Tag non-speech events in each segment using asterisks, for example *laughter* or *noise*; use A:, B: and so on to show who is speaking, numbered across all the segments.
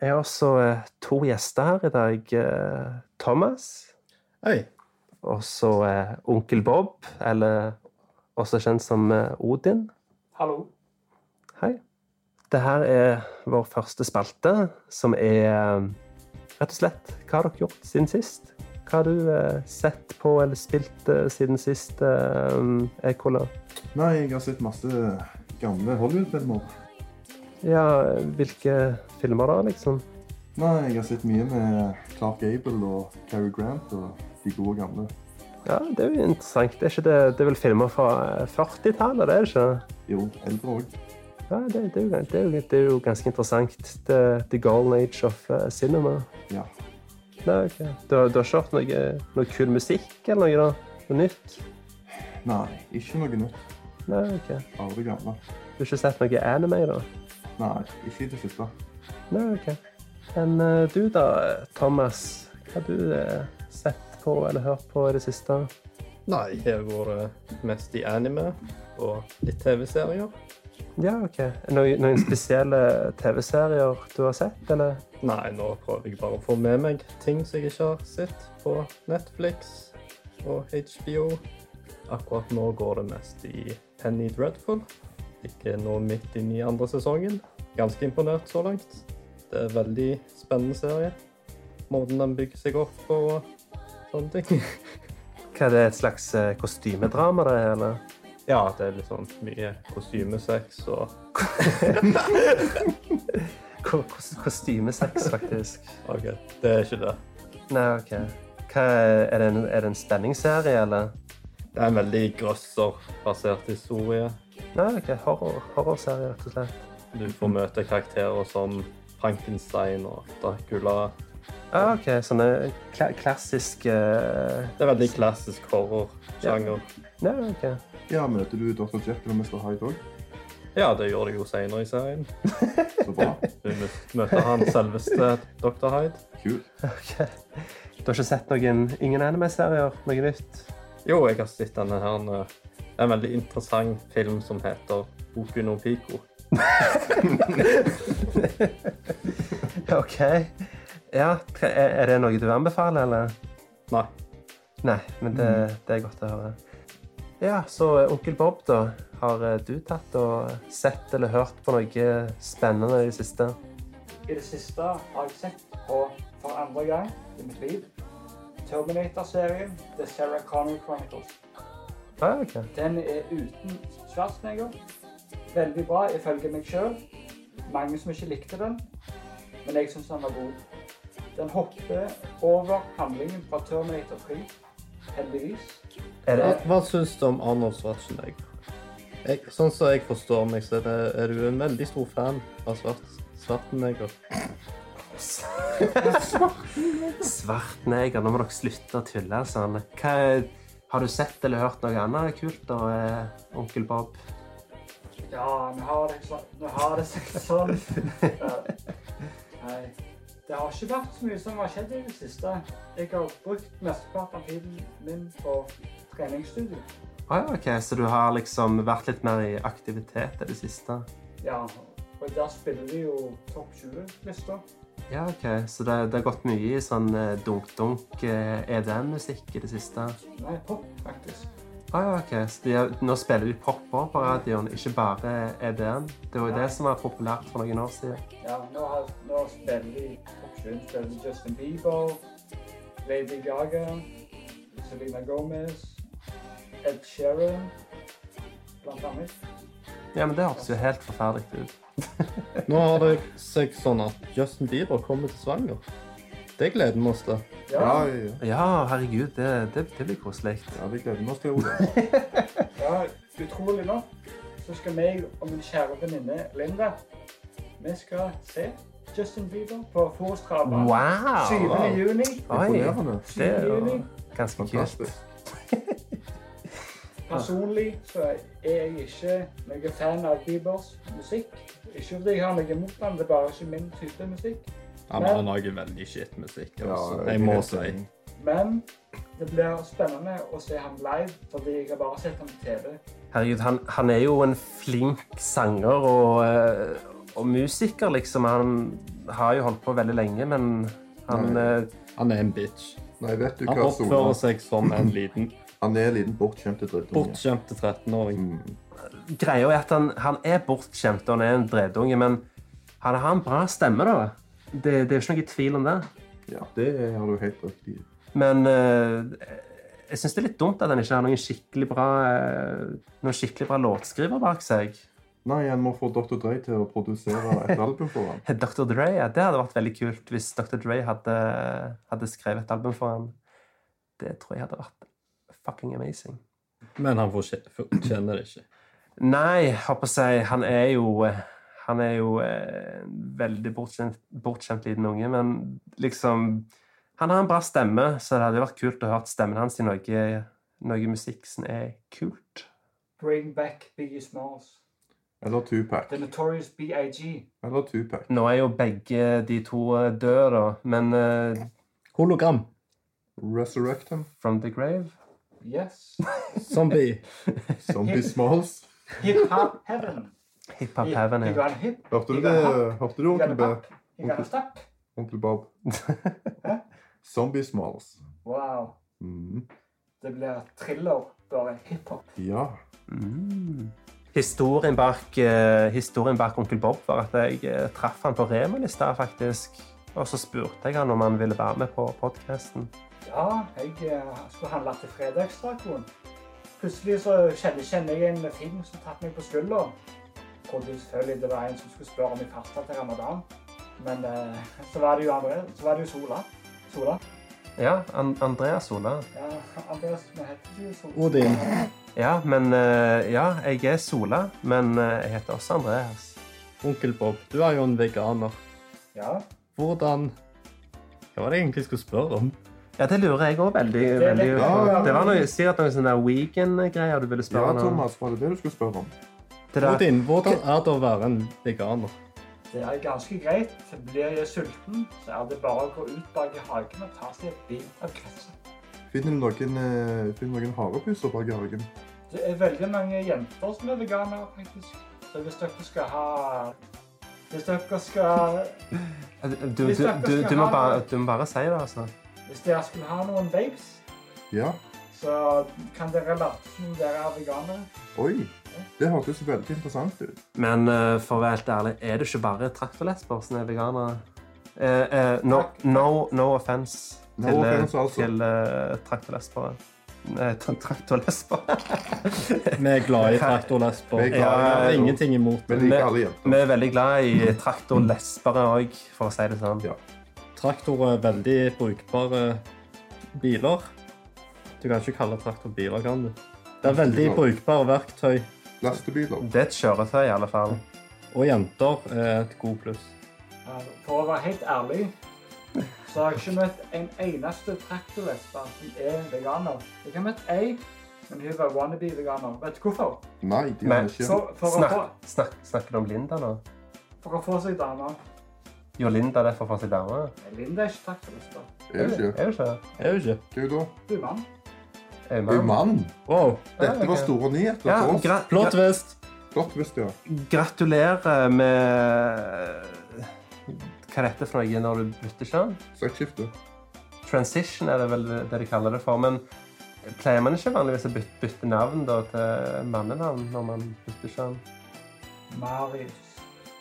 A: Jeg har også eh, to gjester her i dag. eh, Thomas,
B: Hei.
A: og så eh, Onkel Bob, eller også kjent som eh, Odin.
C: Hallo.
A: Hei. Det her er vår første spalte, som er eh, rett og slett hva har dere gjort siden sist? Hva har du eh, sett på eller spilt eh, siden sist, eh, Ekola?
D: Nei, jeg har sett masse gamle Hollywood-filmer.
A: Ja, hvilke filmer da, liksom?
D: Nei, jeg har sett mye med Clark Gable og Cary Grant og de gode gamle.
A: Ja, det er jo interessant. Det er, ikke det, det er vel filmer fra eh, 40-tallet, det er det ikke?
D: Jo, eldre òg.
A: Ja, det, det, er, jo, det, er, jo, det er jo ganske interessant. The, the golden age of eh, cinema.
D: Ja.
A: Nei, ok. Du, har- du har ikke hørt noe, noe kul musikk eller noe, da? noe nytt?
D: Nei, ikke noe nytt.
A: Nei, ok.
D: Bare det gamle.
A: Du har ikke sett noe anime, da?
D: Nei, ikke i det siste.
A: Nei, ok. Men eh, du da, Thomas. Hva har du eh, sett på eller hørt på i det siste?
B: Nei, jeg har vært mest i anime og litt TV-serier.
A: Ja, ok. Noen, noen spesielle TV-serier du har sett, eller?
B: Nei, nå prøver jeg bare å få med meg ting som jeg ikke har sett på Netflix og HBO. Akkurat nå går det mest i Penny Dreadful. Jeg er nå midt inne i andre sesongen. Ganske imponert så langt. Det er en veldig spennende serie. Måten den bygger seg opp på og sånne ting. *laughs*
A: Hva er det, et slags eh, kostymedrama, det, eller?
B: Ja, det er litt sånn mye kostymesex og
A: Ko kos kostymesex, faktisk.
B: OK, det er ikke det.
A: Nei, ok. Hva, er, er det en, er det en spenningsserie, eller?
B: Det er en veldig grøsserbasert historie.
A: Nei, ok. Horror, horrorserie, rett og slett.
B: Du får møte karakterer som Frankenstein og Dracula.
A: Ja, Ah, ok. Sånne kla klassiske...
B: Det er veldig klassisk horrorsjanger.
A: Nei, ok.
D: Ja, møter du Dr. Jekyll og Mr. Hyde òg?
B: Ja, det gjør det jo senere i serien.
D: Så bra.
B: *laughs* Du mø- møter han selveste Dr. Hyde.
D: Kul.
A: Ok. Du har ikke sett noen, ingen anime-serier? Noe nytt? *laughs*
B: Jo, jeg har sett denne her. nå. Det er en veldig interessant film som heter Boku no Pico.
A: OK. Ja, tre- er er det noe du anbefaler, eller?
B: Nei,
A: Nei, men det, det er godt å høre. Ja, så eh, onkel Bob, da. Har eh, du tatt og sett eller hørt på noe spennende i det siste?
C: I det siste har jeg sett, og for andre gang i mitt liv, Terminator-serien The Sarah Connor Chronicles.
A: Ja, Ah, ok.
C: Den er uten Schwarzenegger. Veldig bra ifølge meg sjøl. Mange som ikke likte den, men jeg syns den var god. Den hopper over handlingen fra Terminator 3, heldigvis.
A: Er det,
B: Hva, hva syns du om Arnold Schwarzenegger? Jeg, sånn som jeg forstår meg, så er, det, er du en veldig stor fan av Svart, Svartenegger.
A: Svart neger, nå må dere slutte å tulle. Sånn. Hva, er- har du sett eller hørt noe annet kult da, eh, onkel Bob?
C: Ja, nå har det, så- nå har det seg *laughs* sånn. Ja. Nei. Det har ikke vært så mye som har skjedd i det siste. Jeg har brukt mesteparten av tiden min på treningsstudio.
A: Ah, ja, ok, Så du har liksom vært litt mer i aktivitet i det siste?
C: Ja, og der spiller vi jo topp 20-lista.
A: Ja, ok. Så det, det har gått mye i sånn eh, dunk-dunk eh, EDM-musikk i det siste?
C: Nei, pop, faktisk.
A: Ah, ja, ok. Så de, har- nå spiller de popper på radioen, ikke bare EDM? Det var jo det som var populært for noen år siden.
C: Ja, nå, har, nå spiller vi topp 20. Spiller vi Justin Bieber, Lady Gaga, Selena Gomez, Ed Sheeran, blant annet.
A: Ja, men det hørtes jo helt forferdelig ut.
B: Nå har det seg sånn at Justin Bieber kommer til svanger. Det gleder vi oss til.
D: Ja,
C: Ja,
D: ja, ja.
A: Ja, herregud, det, det, det blir koselig.
D: ja vi gleder oss til
B: *laughs*
D: Ola.
C: Ja, utrolig nok så skal meg og min kjære venninne Linda Vi skal se Justin Bieber på Forstrava.
A: Wow!
C: 7. juni.
A: Oi,
D: Imponerende.
A: det er
C: 7. juni.
A: jo ganske kult.
D: Fantastisk.
C: Personlig så er jeg ikke noen fan av Biebers musikk. Ikke fordi jeg har noe imot han, det er bare ikke min type musikk.
B: Han har laget veldig shit musikk, altså.
D: jeg
B: jeg må
D: vet
B: si.
D: det.
C: Men det blir spennende å se ham live, fordi jeg har bare sett ham på TV.
A: Herregud, han, han er jo en flink sanger og, eh, og musiker, liksom. Han har jo holdt på veldig lenge, men han eh,
B: Han er en bitch.
D: Nei, vet du
B: Han
D: hva,
B: oppfører
D: Sola?
B: seg som en
D: *laughs*
B: liten
D: Han er en liten bortskjemt drittunge.
B: bortskjemte 13-åring.
D: Mm.
A: Greia er at han, han er bortskjemt og han er en dredunge, men han har en bra stemme, da. Det, det er jo ikke noe tvil om det.
D: Ja, det har du helt rett i.
A: Men eh, jeg syns det er litt dumt at han ikke har noen skikkelig bra, eh, noen skikkelig bra låtskriver bak seg.
D: Nei, han må få Dr. Dre til å produsere et album for ham.
A: Dr. Dre, ja, det hadde vært veldig kult hvis Dr. Dre hadde, hadde skrevet et album for ham. Det tror jeg hadde vært fucking amazing.
B: Men han fortje- fortjener det ikke.
A: Nei, håper jeg si, han er jo Han er jo eh, en veldig bortskjemt, bortskjemt liten unge, men liksom Han har en bra stemme, så det hadde vært kult å høre stemmen hans i noe, noe musikk som er kult.
C: Bring back Biggie Smalls.
D: Eller Tupac.
C: The Notorious BIG.
D: Eller Tupac.
A: Nå er jo begge de to eh, døde, da, men eh,
B: Hologram.
D: Resurrect him.
A: From the Grave
C: Yes.
B: Zombie.
D: Zombie Smalls.
C: Hip-hop heaven.
A: Hiphop Heaven.
C: You
A: ja.
C: got a hip.
D: Hørte du
C: you
D: det,
C: got a hop,
D: Hørte du
C: You got
D: onkel,
C: a
D: Be-
C: bop. You got a stop.
D: onkel Bob? Zombie Smalls.
C: Wow.
D: Mhm.
C: Det blir thriller, bare hiphop.
D: Ja.
A: Mm. Historien bak, eh, historien bak Onkel Bob var at jeg eh, traff han på Remen i stad, faktisk. Og så spurte jeg han om han ville være med på podkasten.
C: Ja, jeg eh, skulle handle til fredagstacoen. Plutselig så kjenner, kjenner jeg en film som tatt meg på skuldra. Trodde jo selvfølgelig det var en som skulle spørre om jeg fasta til ramadan. Men eh, så var det jo andre, så var det jo Sola. Sola?
A: Ja, An Andreas Sola.
C: Ja, Andreas, vi heter ikke Sola.
B: Odin.
A: Ja, men eh, Ja, jeg er Sola, men eh, jeg heter også Andreas.
B: Onkel Bob, du er jo en veganer.
C: Ja,
B: Hvordan Hva var det jeg egentlig skulle spørre om?
A: Ja, det lurer jeg òg veldig.
C: er
A: veldig
C: litt-
A: på.
D: Ja, ja.
A: Det var noe, sikkert noen sånne der weekend-greier du ville spørre
D: ja,
A: han om.
D: Thomas, var det det du skulle spørre om?
A: Det der-
B: Odin, hvordan er det å være en veganer?
C: det er ganske greit. Blir jeg sulten, så er det bare å gå ut bak i hagen og ta seg et bit av gresset.
D: Finner du noen, eh, finner du noen harepuser bak i hagen?
C: Det er veldig mange jenter som er veganere, faktisk. Så hvis dere skal ha Hvis dere skal
A: Du, du, du, du, må bare, du må bare si det, altså.
C: Hvis dere skulle ha noen babes,
D: Ja.
C: så kan dere late som dere er veganere.
D: Oi. Det hørtes veldig interessant ut.
A: Men eh, for å være helt ærlig, er det ikke bare traktorlesber som er veganere? Eh, eh, no, no, no offense
D: No
A: til, eh,
D: offense, altså.
A: til eh, traktorlesbere.
D: *laughs*
A: Nei, tra traktorlesbere.
B: Vi er glad i traktorlesber.
D: Vi er glad i-
B: Jeg har ingenting imot
D: Men
B: det.
D: liker alle jenter.
A: *laughs* Vi er veldig glad i traktorlesbere òg, for å si det sånn.
D: Ja.
B: Traktorer er veldig brukbare biler. Du kan ikke kalle traktor biler, kan du? Det er veldig brukbare verktøy.
D: Lastebiler.
A: Det er et kjøretøy, i alle fall.
B: Og jenter er et god pluss.
C: Ja, For å være helt ærlig så har jeg ikke møtt en eneste traktorlesbe som er veganer. Jeg har møtt ei, men hun var wannabe-veganer. Vet du hvorfor?
D: Nei, de
A: Men-
D: gjør ikke.
C: For, for, å,
A: Snakk,
C: få,
A: snakk, snakker du om Linda nå?
C: for å få seg dame.
A: Jo, Linda derfor for sin dame.
C: Men Linda er ikke traktorlesbe.
D: Er det ikke?
A: Er du ikke?
B: Er jo ikke?
D: Hva da?
C: Du er mann.
A: Er
D: Du er
A: man?
D: mann. sånn.
B: Wow.
A: Ja,
D: Dette var
A: ok.
D: store nyheter
A: Ja,
D: for oss.
A: gra
B: Plot twist.
D: Godt visst, ja.
A: gratulerer med Hva er dette for noe når du bytter kjønn?
D: Sektskifte.
A: Transition er det vel det de kaller det for. Men pleier man ikke vanligvis å bytte, bytte navn da, til mannenavn når man bytter kjønn?
C: Marius.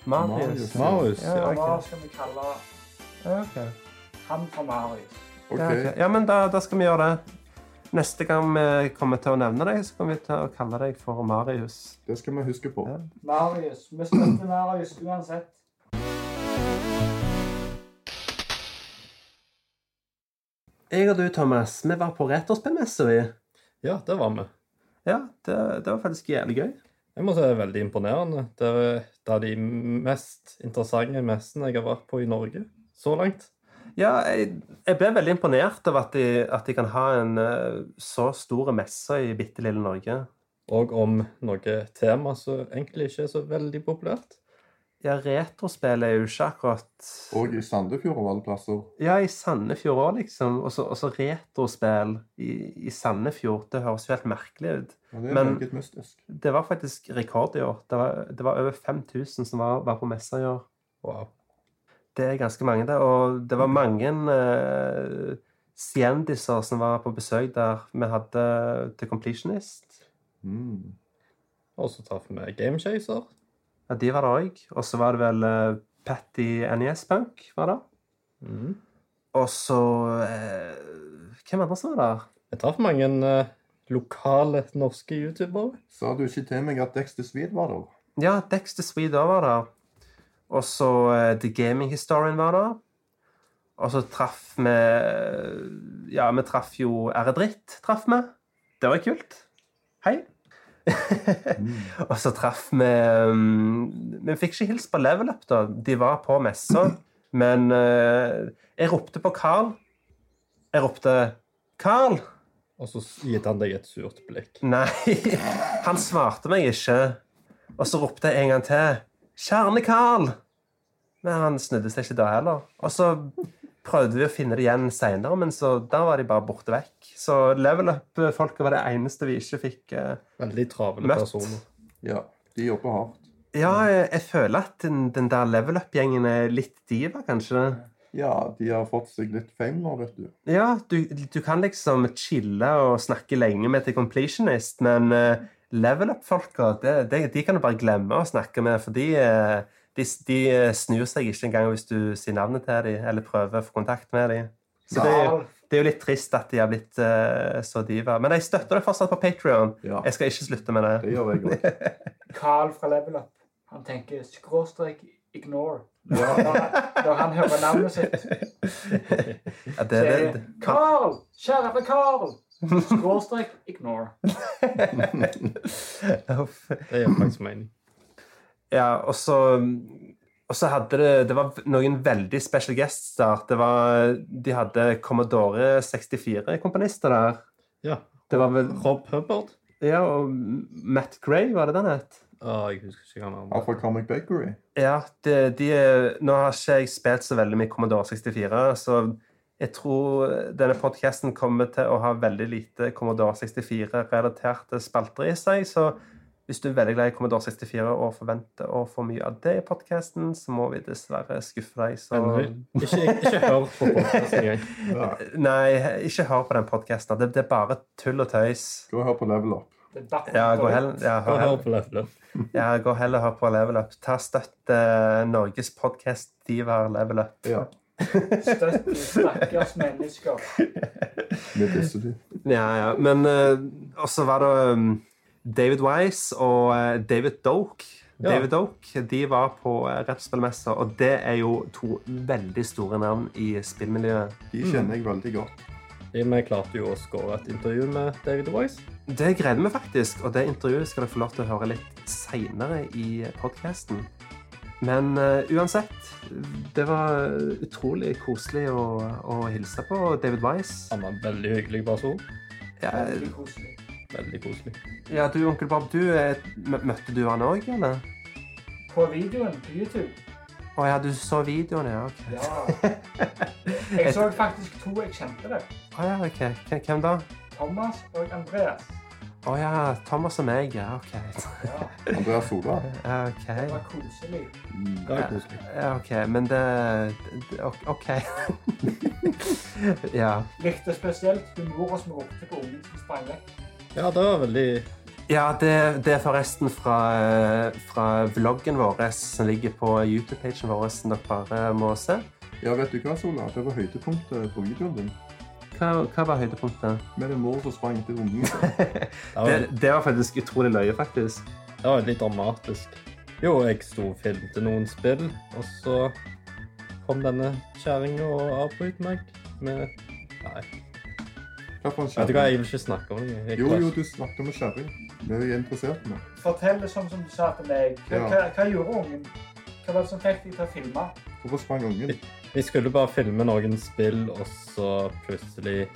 A: Marius.
D: Marius.
B: Marius.
A: Ja,
B: Ja.
A: ok.
C: Hva skal vi kalle
A: Ja, ok.
C: han fra Marius?
D: OK.
A: Ja, ok. ja, men da, da skal vi gjøre det. Neste gang vi kommer til å nevne deg, så kommer vi til å kalle deg for Marius.
D: Det skal vi huske på.
A: Ja.
C: Marius. Vi støtter Marius uansett.
A: Jeg og du, Thomas, vi var på retorspillmessa, vi.
B: Ja, der var vi.
A: Ja, det, det var faktisk jævlig gøy.
B: Jeg må si det er veldig imponerende. Det er, det er de mest interessante messene jeg har vært på i Norge så langt.
A: Ja, jeg, jeg ble veldig imponert over at de, at de kan ha en eh, så stor messe i bitte lille Norge.
B: Og om noe tema som egentlig ikke er så veldig populært.
A: Ja, retrospill er jo ikke akkurat
D: Og i Sandefjord av alle plasser.
A: Ja, i Sandefjord òg, liksom. Og så og så retrospill i, i Sandefjord. Det høres jo helt merkelig ut.
D: Ja, det er
A: Men-
D: meget mystisk.
A: Det var faktisk rekord i år. Det var, det var over 5000 som var, var på messa i år.
B: Wow.
A: Det er ganske mange, det. Og det var mange eh, siendiser som var på besøk der vi hadde til Completionist.
D: Mm.
B: Og så traff vi Gamechaser.
A: Ja, de var der òg. Og så var det vel eh, Patty NES Punk var der.
B: Mm.
A: Og så eh, Hvem andre som var der?
B: Jeg traff mange eh, lokale norske youtubere.
D: Sa du ikke til meg at Dexter Swede var der?
A: Ja, Dexter Swede også var der. Og så eh, The Gaming Historian var der. Og så traff vi Ja, vi traff jo Ære Dritt. traff vi. Det var kult. Hei. *laughs* og så traff vi um, Vi fikk ikke hilst på Level Up, da. De var på messa. Men eh, jeg ropte på Carl. Jeg ropte 'Carl!'
B: Og så gitt han deg et surt blikk.
A: Nei, *laughs* han svarte meg ikke. Og så ropte jeg en gang til 'Kjerne-Carl'! Men han snudde seg ikke da heller. Og så prøvde vi å finne det igjen seinere, men så, da var de bare borte vekk. Så level up-folka var det eneste vi ikke fikk eh.
B: Veldig travle
A: Møtt.
B: personer.
D: Ja, de jobber hardt.
A: Ja, jeg, jeg føler at den, den der level up-gjengen er litt diva, kanskje.
D: Ja, de har fått seg litt fame nå, vet du.
A: Ja, du, du kan liksom chille og snakke lenge med til completionist, men eh, level up-folka, det- det- de kan du bare glemme å snakke med, for de, eh, de, de eh, snur seg ikke engang hvis du sier navnet til dem, eller prøver å få kontakt med dem. Så det, er jo- det er jo litt trist at de har blitt eh, så diva. Men jeg støtter det fortsatt på Patrion.
D: Ja.
A: Jeg skal ikke slutte med det.
D: Det gjør jeg
A: *laughs*
D: òg.
C: Carl fra Level Up. Han tenker skråstrek ignore. Når, han- når han hører navnet sitt,
A: *laughs* Ja, det,
C: sier
A: det,
C: de Carl! Kjære Carl! Skråstrek ignore.
A: det. Uff.
B: Det gir faktisk mening.
A: Ja, og så og så hadde det, det var noen veldig special guests der. Det var, de hadde Commodore 64-komponister der.
B: Ja.
A: Det var vel
B: Rob Hubbard.
A: Ja, og Matt Gray, var det den het?
B: Ah, jeg husker ikke hva han
D: Ja,
B: var.
D: fra Comic Bakery.
A: Ja, de, de er- Nå har ikke jeg spilt så veldig mye Commodore 64, så jeg tror denne podcasten kommer til å ha veldig lite Commodore 64-relaterte spalter i seg. Så hvis du er veldig glad i Commodore 64 og forventer å få mye av det i podcasten, så må vi dessverre skuffe deg. Så
B: Men Ikke, ikke hør på podkasten engang.
D: Ja.
A: Nei, ikke hør på den podkasten. Det, det er bare tull og tøys.
D: Gå og hør på Level Up.
C: Det er datter-
A: Ja, gå heller, ja, hør
B: Og hør
A: heller,
B: på Level Up.
A: ja, gå heller hør på Level Up. Ta støtt eh, Norges podkast Divar Level Up.
D: Ja.
C: Støtt de stakkars mennesker.
D: Vi disser de.
A: Ja, ja. Men eh, også var det um, David Wise og eh, David Doak.
B: Ja.
A: David Doak de var på uh, Rettspillmessa, og det er jo to veldig store navn i spillmiljøet.
D: De kjenner jeg veldig godt.
B: Vi klarte jo å score et intervju med David Wise.
A: Det gleder vi faktisk, og det intervjuet skal dere få lov til å høre litt seinere i podkasten. Men eh, uansett, det var utrolig koselig å, å hilse på David Wise.
B: Han var en veldig hyggelig person.
A: Ja,
C: Veldig koselig.
B: Veldig koselig.
A: ja du, onkel Bob, du, eh, mø- møtte du han òg, eller?
C: På videoen på YouTube
A: Å ja, du så videoen, ja. ok.
C: Ja. Jeg så faktisk to jeg kjente det.
A: Å ja, ok. K- Hvem da?
C: Thomas og Andreas.
A: Å ja, Thomas og meg, ja, ok. *laughs*
C: Ja,
D: Andreas Sola.
A: Ja, ok.
C: det var koselig.
D: Mm.
B: Det var koselig.
A: Ja, ok, men det, det ok, *laughs* OK. ja.
C: Likte spesielt humoren som ropte på ungen som sprang vekk.
B: Ja, det var veldig
A: Ja, det, det er forresten fra, eh, fra vloggen vår som ligger på YouTube-pagen vår, som dere bare må se.
D: Ja, vet du hva, Sola? Det var høydepunktet på videoen din.
A: Hva, hva var høydepunktet?
D: Med en mor som sprang etter
A: *laughs*
D: ungen.
B: det var,
A: Det, det var faktisk utrolig løye, faktisk.
B: det var veldig dramatisk. Jo, jeg sto og filmte noen spill, og så kom denne kjerringa og avbrøt meg med Nei.
D: Hva for en
B: Vet du hva,
D: kjerring?
B: jeg vil ikke snakke om det. Jeg
D: Jo,
B: klarer
D: jo,
B: ikke.
D: du snakket om en kjerring. Vi er jo interessert nå.
C: Fortell det som, som du sa til meg. Hva,
D: Ja.
C: hva, hva gjorde ungen? Hva var det som fikk deg til å filme?
D: Hvorfor sprang ungen?
B: Vi skulle bare filme noen spill, og så plutselig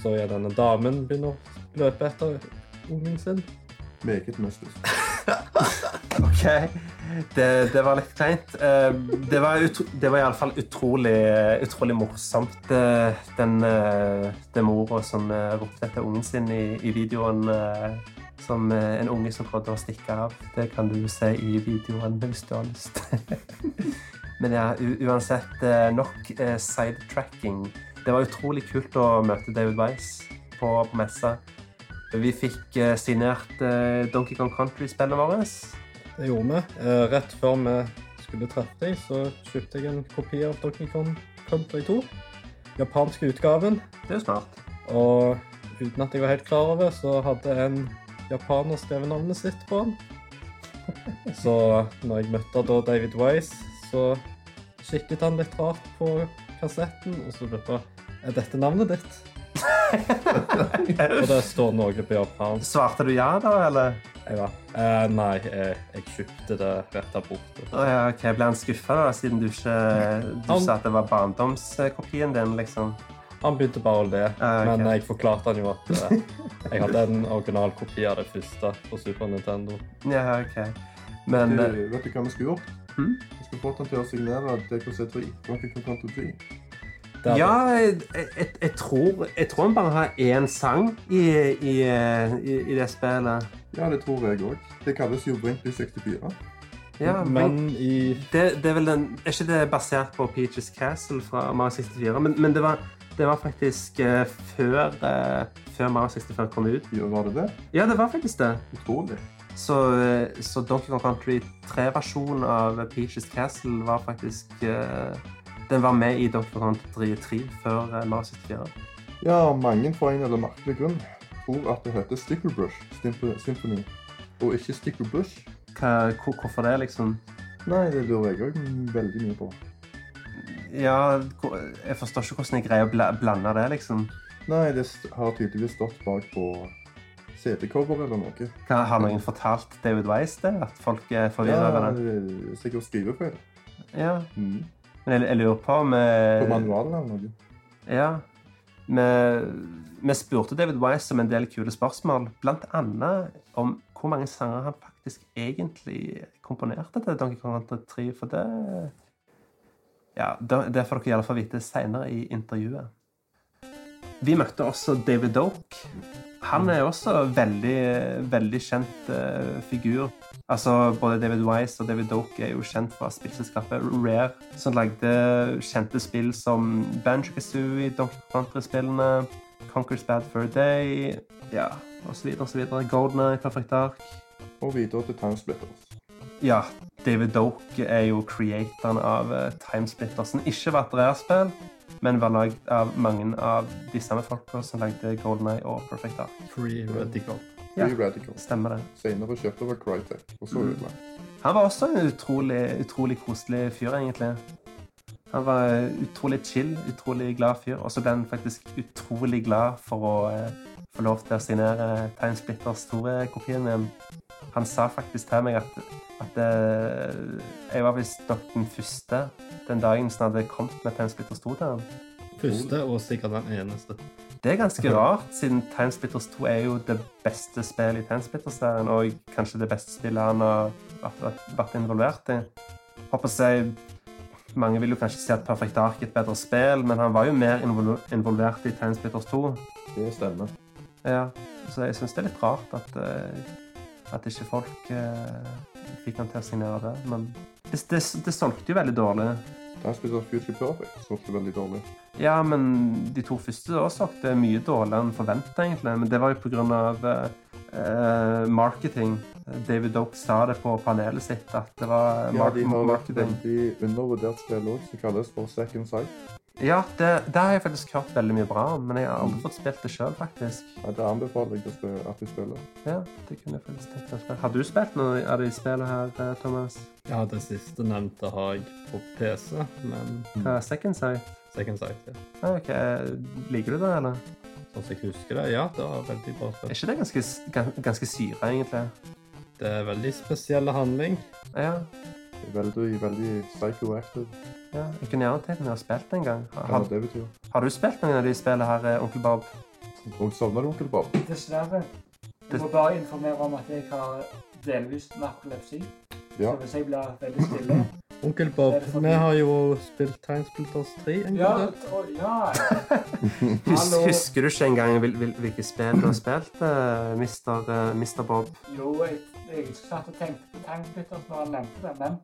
B: så jeg denne damen begynne å løpe etter ungen sin.
D: Meget mystisk.
A: OK. Det, det var litt kleint. Eh, Det var, utro, det var iallfall utrolig, utrolig morsomt, det, den, eh, den mora som eh, ropte etter ungen sin i, i videoen. eh, Som eh, en unge som prøvde å stikke av. Det kan du se i videoen hvis du har lyst. *laughs* Men ja, u uansett, eh, nok eh, sidetracking. Det var utrolig kult å møte David Weiss på, på messa. Vi fikk eh, signert eh, Donkey Kong Country-spillene våre.
B: Det gjorde vi. Eh, Rett før vi skulle treffe deg, så kjøpte jeg en kopi av Donkey Kong Country 2. Japanske utgaven.
A: Det er jo smart.
B: Og uten at jeg var helt klar over, så hadde en japaner skrevet navnet sitt på den. *laughs* Så når jeg møtte da David Wise, så kikket han litt rart på kassetten, og så lurte jeg er dette navnet ditt. og det står noe på japansk.
A: Svarte du ja, da, eller?
B: Jeg var, eh, nei, jeg, jeg kjøpte det rett der borte.
A: Å ja, ok, Ble han skuffa, da, siden du ikke Du
B: Han-
A: sa at det var barndomskopien din, liksom?
B: Han begynte bare å le,
A: Ah, ok.
B: men jeg forklarte han jo at eh, jeg hadde en original kopi av det første på Super Nintendo.
A: Ja, OK. Men eh,
D: Du, vet du hva vi skulle gjort?
A: Hm?
D: Vi skulle fått han til å signere DKC3. Donkey Kong Country 3.
B: Det hadde-
A: ja, jeg, jeg, jeg, tror, jeg tror han bare har én sang i, i, i, i det spillet.
D: Ja, det tror jeg òg. Det kalles jo Brinkley 64.
A: Ja, men
B: men i
A: det, det er vel den Er ikke det basert på Peaches Castle fra Mario 64? Men, men det, var, det var faktisk eh, før, eh, før Mario 64 kom ut.
D: Ja, var det det?
A: Ja, det var faktisk det.
D: Utrolig.
A: Så, eh, så Donkey Kong Country 3-versjonen av Peaches Castle var faktisk eh, Den var med i Donkey Kong Country 3 før eh, Mario 64.
D: Ja, mange for en eller merkelig grunn tror at det heter Sticklebush Symp- Symphony, og ikke Sticklebush.
A: Hva, hvor, hvorfor det, liksom?
D: Nei, det lurer jeg òg veldig mye på.
A: Ja, hvor- jeg forstår ikke hvordan jeg greier å bla blande det, liksom.
D: Nei, det st- har tydeligvis stått bak på CD-cover eller noe.
A: Hva, har noen fortalt David Weiss det? At folk er forvirra
D: Ja,
A: over det?
D: det er sikkert skrivefeil.
A: Ja.
D: Mm.
A: Men jeg, jeg lurer på om
D: På
A: eh,
D: manualen eller noe.
A: Ja. Vi, vi spurte David Wise om en del kule spørsmål, blant annet om hvor mange sanger han faktisk egentlig komponerte til Donkey Kong Country 3, for det Ja, det det får dere i alle fall vite senere i intervjuet. Vi møtte også David Doke. Han er også veldig, veldig kjent eh, figur. Altså, Både David Wise og David Doke er jo kjent fra spillselskapet Rare, som lagde kjente spill som Banjo-Kazooie, Donkey Kong Country-spillene, Conquer's Bad Fur Day, ja, osv., osv. Goldeneye, Perfect Dark.
D: Og videre til Timesplitters.
A: Ja, David Doke er jo creatoren av eh, Timesplitter, som ikke var et Rare-spill, men var lagd av mange av de samme folka som lagde Goldeneye og Perfect Dark.
B: Free Radical.
A: Ja. Mm.
D: Free Radical.
A: Stemmer det.
D: Senere kjøpt over Crytek, og så utlagt.
A: Han var også en utrolig, utrolig koselig fyr, egentlig. Han var eh, utrolig chill, utrolig glad fyr. Og så ble han faktisk utrolig glad for å eh, få lov til å signere eh, Timesplitters store kopien min. Han sa faktisk til meg at, at eh, jeg var visstnok den første den dagen som hadde kommet med Timesplitters 2 til han.
B: Første og sikkert den eneste.
A: Det er ganske rart, siden Timesplitters 2 er jo det beste spillet i Timesplitters-serien, og kanskje det beste spillet han har vært, vært, vært involvert i. Håper jeg mange vil jo kanskje si at Perfect Dark er et bedre spill, men han var jo mer invol- involvert i Timesplitters 2.
D: Det stemmer.
A: Ja, så jeg syns det er litt rart at, eh, at ikke folk eh, fikk han til å signere det. Men det, det, det solgte jo veldig dårlig.
D: Timesplitters Future Perfect solgte veldig dårlig.
A: Ja, men de to første da solgte mye dårligere enn forventa, egentlig. Men det var jo pga. Uh, marketing. David Doke sa det på panelet sitt at det var
D: Ja,
A: mar-
D: de har vært
A: marketing.
D: veldig undervurdert spill òg, som kalles for Second Sight.
A: Ja, det, det har jeg faktisk hørt veldig mye bra om, men jeg har aldri fått spilt det sjøl, faktisk.
D: Ja, det anbefaler jeg å spille, at du spiller.
A: Ja, det kunne jeg faktisk tenkt meg å spille. Har du spilt noe av de spillene her, eh, Thomas?
B: Ja, det siste nevnte har jeg på PC, men
A: Hva er Second Sight?
B: Second Sight, ja.
A: Ah, ok, Liker du det, eller?
B: Hvis jeg husker det. Ja, det var veldig bra
A: Er
B: film.
A: ikke det ganske, s- gan- ganske syre, egentlig?
B: Det er veldig spesiell handling.
A: Ja,
D: Veldig, veldig psychoactive.
A: ja. jeg kunne gjerne tenkt meg å ha spilt det en gang.
D: Hva
A: Har,
D: det betyr.
A: har du spilt noen av de spillene her, eh, onkel Bob?
D: Og savner du onkel Bob?
C: Dessverre. Jeg
A: Dess-
C: må bare informere om at jeg har delvis narkolepsi.
D: Ja.
C: Så hvis jeg blir veldig
D: *laughs*
C: stille
B: Onkel Bob,
C: Er det fordi-
B: vi har jo spilt Tegnspilters 3 en
C: Ja,
B: gang.
C: å, ja.
A: Hus,
C: Hallo.
A: husker du ikke engang hvil, hvil, hvilket spill du har spilt, eh, Mr. eh, Mr. Bob?
C: Jo, jeg, jeg satt og tenkte på tankbytter når han nevnte det, men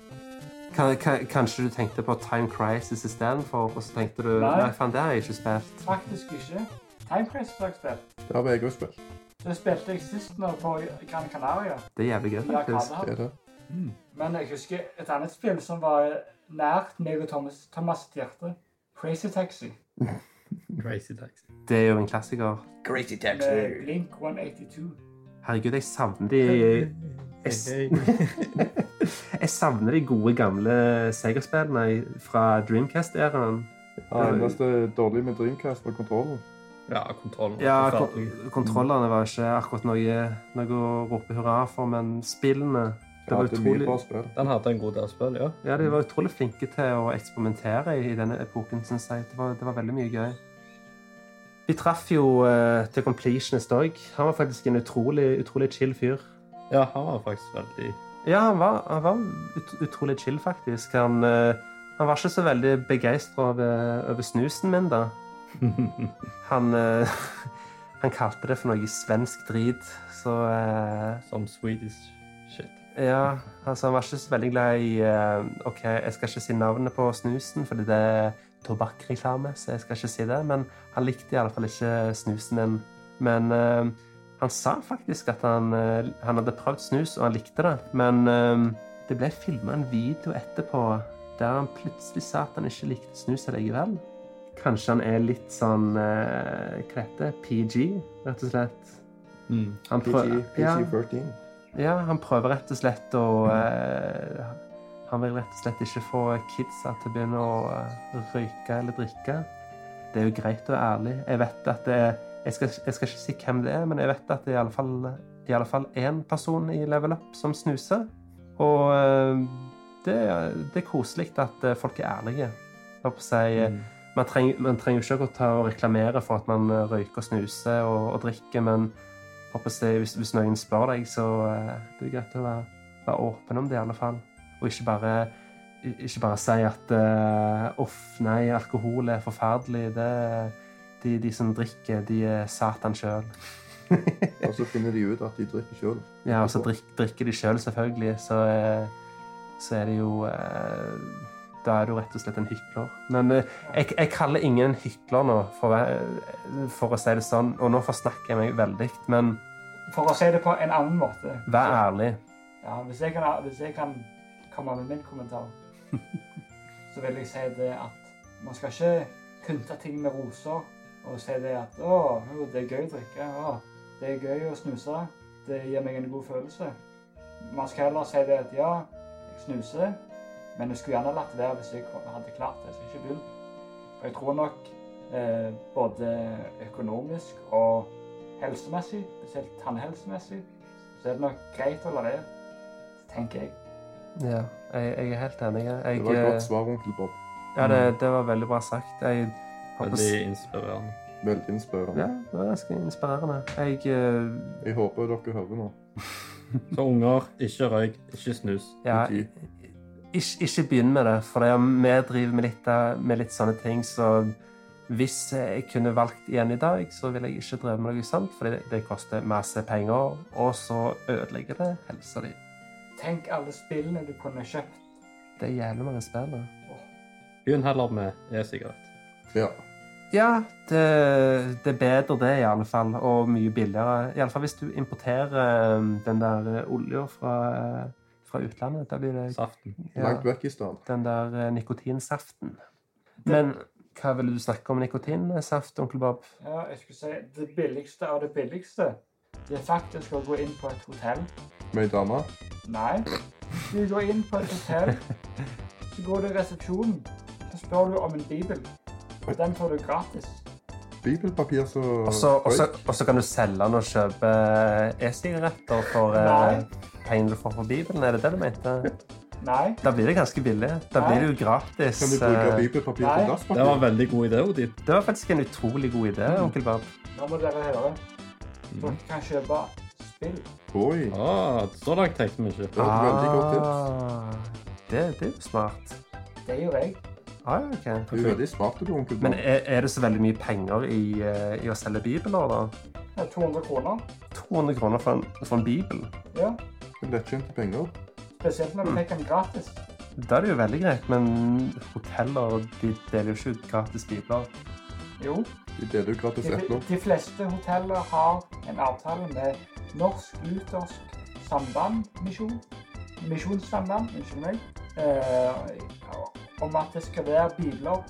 A: Kan, kan, kanskje du tenkte på Time Crisis istedenfor, og så tenkte du
C: Nei.
A: Nei, faen, det har jeg ikke spilt.
C: faktisk ikke. Time Crisis har jeg spilt.
D: Det har jeg òg spilt.
C: Det spilte jeg sist nå på Gran Canaria.
A: Det er jævlig gøy,
C: i
A: faktisk.
D: Det
C: Arkadehallen.
D: er det.
C: Men jeg husker et annet spill som var nært meg og Thomas, Thomas sitt hjerte. Crazy Taxi.
B: Crazy Taxi.
A: Det er jo en klassiker.
E: Crazy
C: Med Blink 182.
A: Herregud, jeg savner de Jeg, jeg savner de gode, gamle Sega-spillene fra Dreamcast-æraen.
D: Det eneste dårlige med Dreamcast var kontrollen.
B: Ja, kontrollen var
A: Ja,
B: forferdelig.
A: kon kontrollene Mm. var ikke akkurat noe, noe å rope hurra for, men spillene
D: Jeg
A: det var
D: hadde mye
A: utrolig,
D: bra spill.
B: Den hadde en god del spill, ja.
A: ja, de var utrolig flinke til å eksperimentere i, i denne epoken, syns jeg. Det var, det var veldig mye gøy. Vi traff jo eh, til Completionist òg. Han var faktisk en utrolig, utrolig chill fyr.
B: Ja, han var faktisk veldig *laughs*
A: Ja, han var, han var ut, utrolig chill, faktisk. Han, eh, han var ikke så veldig begeistra over, over snusen min, da. Han, eh, *laughs* han kalte det for noe svensk drit, så eh,
B: som Swedish shit.
A: Ja, altså han var ikke så veldig glad i eh, OK, jeg skal ikke si navnet på snusen, fordi det er tobakkreklame, så jeg skal ikke si det, men han likte i alle fall ikke snusen min. Men eh, han sa faktisk at han, eh, han hadde prøvd snus, og han likte det, men eh, det ble filma en video etterpå der han plutselig sa at han ikke likte snus likevel. Kanskje han er litt sånn eh, Hva heter det? PG, rett og slett.
B: Mm.
A: Han prøv- Ja.
D: PG-13.
A: Ja, han prøver rett og slett å eh, Han vil rett og slett ikke få kidsa til å begynne å eh, røyke eller drikke. Det er jo greit å være ærlig. Jeg vet at det er jeg skal, jeg skal ikke si hvem det er, men jeg vet at det er i alle fall, i alle fall én person i Level Up som snuser. Og eh, det, det er koselig at eh, folk er ærlige. Jeg håper å si, eh,
B: Mm.
A: man, treng, man trenger jo ikke å ta og reklamere for at man eh, røyker og snuser og, og drikker, men jeg håper å si, hvis, hvis noen spør deg, så eh, det er greit å være, være åpen om det i alle fall. Og ikke bare, i- ikke bare si at eh, uff, nei, alkohol er forferdelig. Det, de, de som drikker, de er satan sjøl. *laughs*
D: Og så finner de ut at de drikker sjøl.
A: Ja, og så drikk, drikker de sjøl, selv, selvfølgelig. Så, eh, så er det jo eh, Da er du rett og slett en hykler. Men eh, jeg, jeg kaller ingen en hykler nå, for, å være- for å si det sånn. Og nå forsnakker jeg meg veldig, men
C: For å si det på en annen måte.
A: vær ærlig.
C: Ja, hvis jeg kan, hvis jeg kan komme med min kommentar, så vil jeg si det at man skal ikke pynte ting med roser og si det at å, jo, det er gøy å drikke, å, det er gøy å snuse, det gir meg en god følelse. Man skal heller si det at ja, jeg snuser, men jeg skulle gjerne latt være hvis jeg hadde klart det, så jeg ikke begynt. Og jeg tror nok eh, både økonomisk og helsemessig, spesielt tannhelsemessig, så er det nok greit å la være, tenker jeg.
A: Ja, jeg, jeg er helt enig. Jeg,
D: Det var et godt
A: eh,
D: svar, onkel Bob.
A: ja, det, det var veldig bra sagt. Jeg har på s-
B: Veldig inspirerende.
D: Veldig
A: Ja,
D: inspirerende.
A: det var ganske inspirerende. Jeg eh,
D: Jeg håper dere hører nå.
B: Så unger, ikke røyk, ikke snus.
A: Ja,
D: Ikke-
A: ikke, ikke begynn med det, for det er, vi driver med litt, av- med litt sånne ting, så hvis jeg kunne valgt igjen i dag, så ville jeg ikke drevet med noe sånt, fordi det, det koster masse penger, og så ødelegger det helsa di.
C: Tenk alle spillene du kunne kjøpt.
A: Det er jævlig mange spill. da.
B: Begynn heller med e-sigarett.
D: Ja.
A: Ja, det, det er bedre det, i alle fall, og mye billigere. I alle fall hvis du importerer eh, den der eh, olja fra, eh, fra utlandet. Da blir det
B: Saften.
A: ja,
D: Langt vekk i stedet.
A: den der eh, nikotinsaften. Men hva ville du snakke om nikotinsaft, onkel Bob?
C: Ja, jeg skulle si det billigste av det billigste. Det er faktisk å gå inn på et hotell.
D: Med ei dame.
C: Nei. Du går inn på et hotell, så går du i resepsjonen, så spør du om en bibel. Den får du gratis.
D: bibelpapir så
A: Og så- Og så og så kan du selge den og kjøpe eh, e-sigaretter for eh,
C: Nei.
A: pengene du får fra Bibelen. Er det det du mente?
C: Nei.
A: Da blir det ganske billig. Da blir det jo gratis.
D: Kan du
A: eh,
D: bruke bibelpapir
C: Nei.
D: til
B: Det var
D: dasspapir?
B: en veldig god idé, Odin.
A: Det var faktisk en utrolig god idé, onkel Bob.
C: Nå må dere høre. Dere kan kjøpe spill.
D: Oi.
B: Ah, så langt tenkte vi ikke.
D: Det var et veldig godt
A: Ah,
D: tips.
A: Det, det er jo smart.
C: Det gjør jeg.
A: Ah, ja, ok.
D: Du er veldig smart, du, onkel
A: Men
D: Bob.
A: er, er det så veldig mye penger i, eh, i å selge bibler, da?
C: Det er 200 kroner.
A: 200 kroner for en, for en bibel?
C: Ja.
D: Lettjente penger.
C: Spesielt når du fikk den gratis.
A: Da er det jo veldig greit, men hoteller de deler jo ikke ut gratis bibler.
C: Jo.
D: De deler jo gratis
C: De,
D: epler.
C: de fleste hoteller har en avtale med Norsk Luthersk Samband Misjon. Misjonssamband, unnskyld meg. Eh, om at det skal være bibler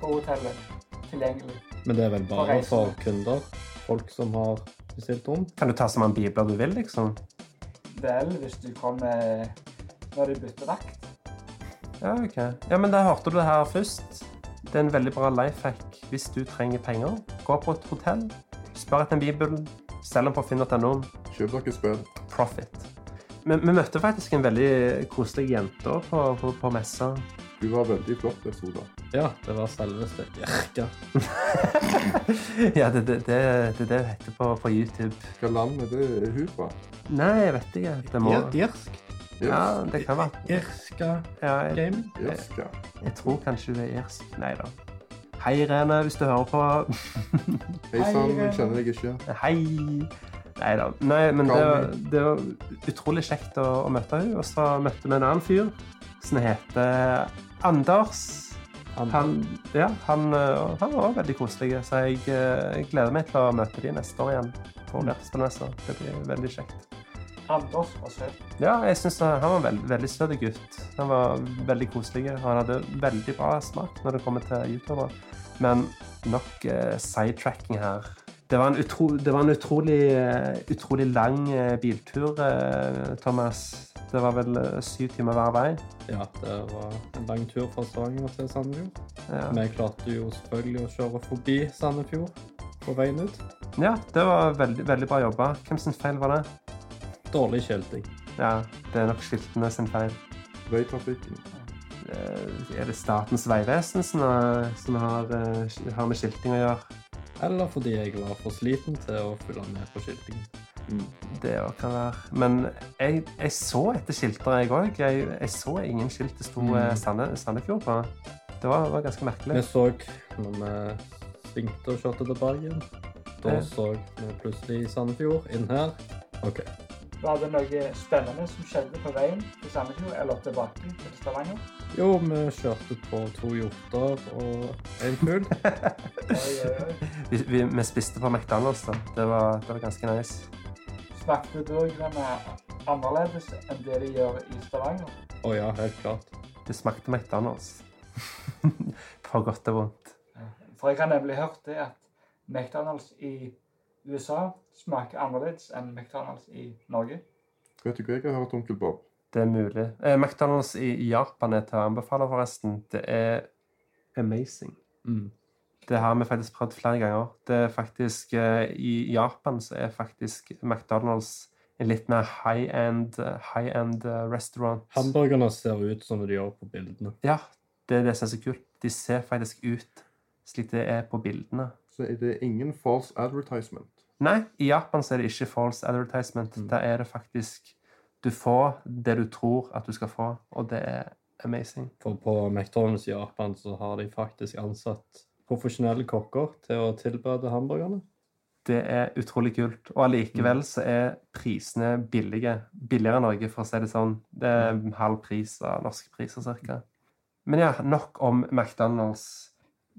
C: på hotellet tilgjengelig.
B: Men det er vel
C: For
B: bare
C: reisende.
B: for kunder? Folk som har bestilt om?
A: Kan du ta så mange bibler du vil, liksom?
C: Vel, hvis du kommer når du bytter vakt.
A: Ja, ok. Ja, men da hørte du det her først. Det er en veldig bra life hack hvis du trenger penger. Gå på et hotell, spør etter en bibel, selg den på finn.no.
D: Kjøp dere spill.
A: Profit. Men vi møtte faktisk en veldig koselig jente på, på, på messa.
D: Du var veldig flott, Sola.
B: Ja, det var selveste Jerka.
A: Ja, det er det, det, det, er det hun heter på, på YouTube.
D: Hvilket land er det hun fra?
A: Nei, jeg vet ikke. Det må
B: Irsk?
A: Ja, det kan være.
B: Irska
A: Ja, jeg,
B: gaming?
D: Irska.
A: jeg tror kanskje hun er irsk. Nei da. Hei, Irene, hvis du hører på. *laughs*
D: Hei sann,
C: Hei,
D: jeg kjenner deg ikke.
A: Hei! Nei da. Nei, men det, var- det var utrolig kjekt å, å møte henne. Og så møtte vi en annen fyr som heter Anders. Han, ja, han, øh, han var også veldig koselig, så jeg øh, gleder meg til å møte de neste år igjen. på Lertespillmessa. Det blir veldig kjekt.
C: Anders var søt.
A: Ja, jeg synes han han var en veld, veldig søt gutt. Han var veldig koselig. og Han hadde veldig bra smak når det kommer til YouTuber. Men nok eh, sidetracking her. Det var en, utro, det var en utrolig, eh, utrolig lang eh, biltur, eh, Thomas. Det var vel eh, syv timer hver vei.
B: Ja, det var en lang tur fra Stavanger til Sandefjord.
A: Ja.
B: Vi klarte jo selvfølgelig å kjøre forbi Sandefjord på veien ut.
A: Ja, det var veldig, veldig bra jobba. Hvem sin feil var det?
B: Dårlig skilting.
A: Ja, det er nok skiltene sin feil.
D: Veitrafikken.
A: Eh, Er det Statens vegvesen som har, som har, eh, sk- har med skilting å gjøre?
B: Eller fordi jeg var for sliten til å følge med på skiltingen.
A: Det òg kan være. Men jeg, jeg så etter skilter, jeg òg. Jeg, jeg så ingen skilt det sto eh, Sande, Sandefjord på. Det var, var ganske
B: Vi
A: merkelig.
B: så, når vi svingte og kjørte til Bergen, da
A: Ja.
B: så vi plutselig Sandefjord inn her. OK.
C: Var det noe spennende som skjedde på veien til Sandefjord eller tilbake til Stavanger?
B: Jo, vi kjørte på to hjorter og en *laughs* fugl.
C: Oi, oi, oi.
A: Vi, vi, vi spiste på McDonald's, da. Det var, det var ganske nice.
C: Smakte burgerne annerledes enn det de gjør i Stavanger?
B: Å ja, helt klart.
A: Det smakte McDonald's. *laughs* på godt og vondt.
C: For jeg har nemlig hørt det at McDonald's i USA smaker annerledes enn McDonald's i Norge.
D: Vet du hva jeg har hørt, onkel Bob?
A: Det er mulig. Eh, McDonald's i i Japan er til å anbefale, forresten. Det er amazing.
B: Mm.
A: Det har vi faktisk prøvd flere ganger. Det er faktisk, eh, I Japan så er faktisk McDonald's en litt mer high-end high end restaurant.
B: Hamburgerne ser ut som de gjør på bildene.
A: Ja, det er det som er så kult. De ser faktisk ut slik det er på bildene.
D: Så er det ingen false advertisement.
A: Nei, i Japan så er det ikke false advertisement. Da er det faktisk Du får det du tror at du skal få, og det er amazing.
B: For på McDonald's i Japan så har de faktisk ansatt profesjonelle kokker til å tilberede hamburgerne.
A: Det er utrolig kult. Og allikevel så er prisene billige. Billigere enn Norge, for å si det sånn. Det er halv pris av norske priser, cirka. Men ja, nok om McDonald's.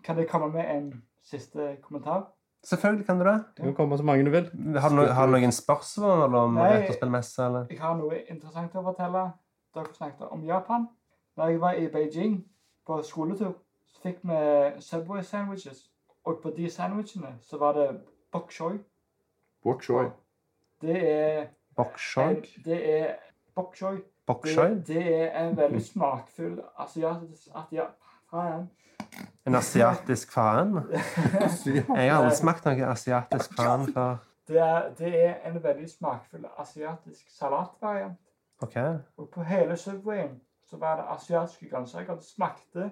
C: Kan jeg komme med en siste kommentar?
A: Selvfølgelig kan du det.
B: Du kan komme så mange du vil.
A: Har du, no har du noen spørsmål om
C: Nei.
A: retrospillmesse, eller?
C: Jeg har noe interessant å fortelle. Dere snakket om Japan. Da jeg var i Beijing på skoletur, så fikk vi Subway sandwiches. Og på de sandwichene så var det bok choy.
D: Walk shoy.
C: Det er
A: Bokshoi?
C: Det er bok choy. Det,
A: Bokshoi?
C: det er en veldig smakfull asiatisk, atia- faen.
A: En asiatisk faen? Jeg har aldri smakt noe asiatisk faen før.
C: Det er, det er en veldig smakfull asiatisk salatvariant.
A: OK.
C: Og på hele Subwayen så var det asiatiske grønnsaker. Det smakte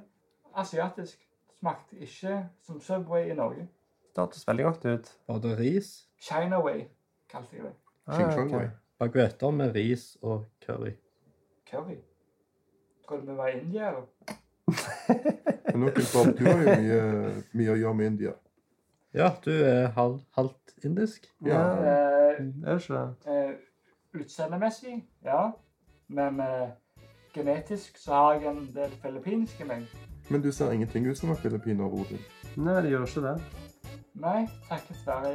C: asiatisk. Det smakte ikke som Subway i Norge.
A: Det hørtes veldig godt ut. Ah,
B: Var det ris?
C: Chinaway kalte jeg det.
D: Xinjiang Way.
B: Baguetter med ris og curry.
C: Curry. Tror du vi var i India, eller?
D: Men onkel Bob, du har jo mye, mye å gjøre med India.
B: Ja, du er halv, halvt indisk.
A: Ja.
D: Ja.
C: Eh,
A: Er det ikke det?
C: eh, utseendemessig, ja. Men eh, genetisk så har jeg en del filippinske meg.
D: Men du ser ingenting ut som en filippiner, Odin.
A: Nei, det gjør ikke det.
C: Nei, takket være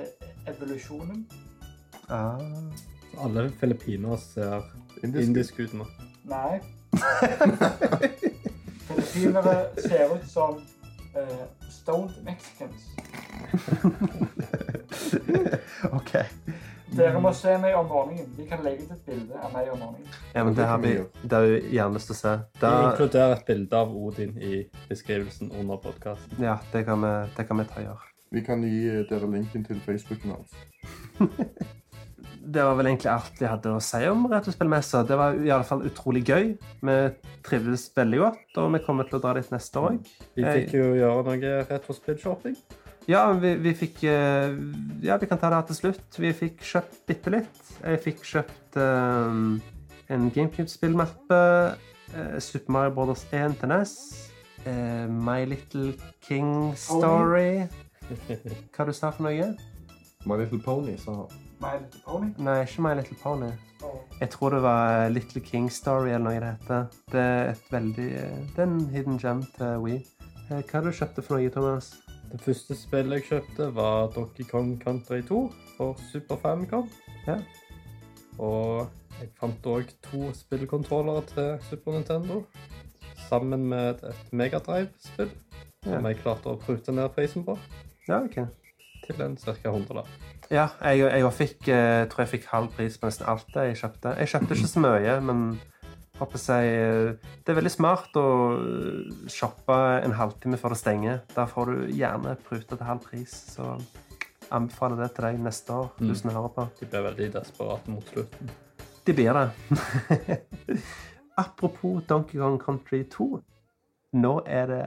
C: evolusjonen.
A: Ah.
B: Så alle filippinere ser
D: Indisk.
B: indisk ut nå.
C: *laughs* Nei. Filippinere ser ut som eh, stoned mexicans.
A: OK.
C: Dere må se meg om morgenen. Vi kan legge ut et bilde av meg om morgenen.
A: Ja, men det har vi det har vi gjerne lyst til å se.
B: Vi
A: Da,
B: inkluderer et bilde av Odin i beskrivelsen under podkasten.
A: ja, det kan vi, det kan vi ta og gjøre.
D: Vi kan gi eh, dere linken til Facebooken hans.
A: Det var vel egentlig alt jeg hadde å si om Retrospillmessa. Det var i alle fall utrolig gøy. Vi trivdes veldig godt, og vi kommer til å dra dit neste år.
B: Vi
A: Jeg-
B: fikk jo gjøre noe retrospill-shopping.
A: Ja, vi, vi fikk eh, Ja, vi kan ta det her til slutt. Vi fikk kjøpt bitte litt. Jeg fikk kjøpt eh, en GameCube-spillmappe, eh, Super Mario Brothers 1 til NES, eh, My Little King Story Hva du sa for noe?
D: My Little Pony, sa han.
C: My Little Pony.
A: Nei, ikke My Little Pony.
C: Og
A: Jeg tror det var Little King Story eller noe det heter. Det er et veldig eh, Det er en hidden gem til Wii. Eh, Hva du kjøpte for noe, Thomas?
B: Det første spillet jeg kjøpte, var Donkey Kong Country 2 for Super Famicom.
A: Ja.
B: Og jeg fant òg to spillkontrollere til Super Nintendo. Sammen med et Megadrive-spill
A: Ja.
B: som jeg klarte å prute ned prisen på
A: Ja, ok.
B: til en ca. 100 der.
A: Ja, jeg, jeg også fikk, eh, tror jeg fikk halv pris på nesten alt det jeg kjøpte. Jeg kjøpte ikke så mye, men håper jeg eh, Det er veldig smart å eh, shoppe en halvtime før det stenger. Da får du gjerne pruta til halv pris, så anbefaler det til deg neste år, du som hører på.
B: De ble veldig desperate mot slutten.
A: De blir det. *laughs* Apropos Donkey Kong Country 2. Nå er det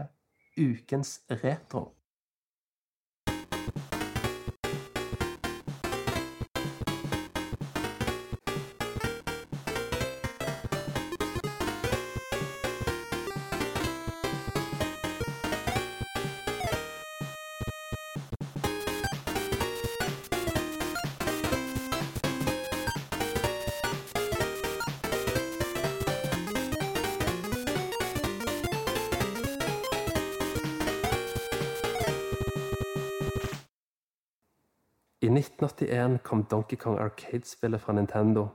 A: ukens retro. I 1981 kom Donkey Kong Arcade-spillet fra Nintendo.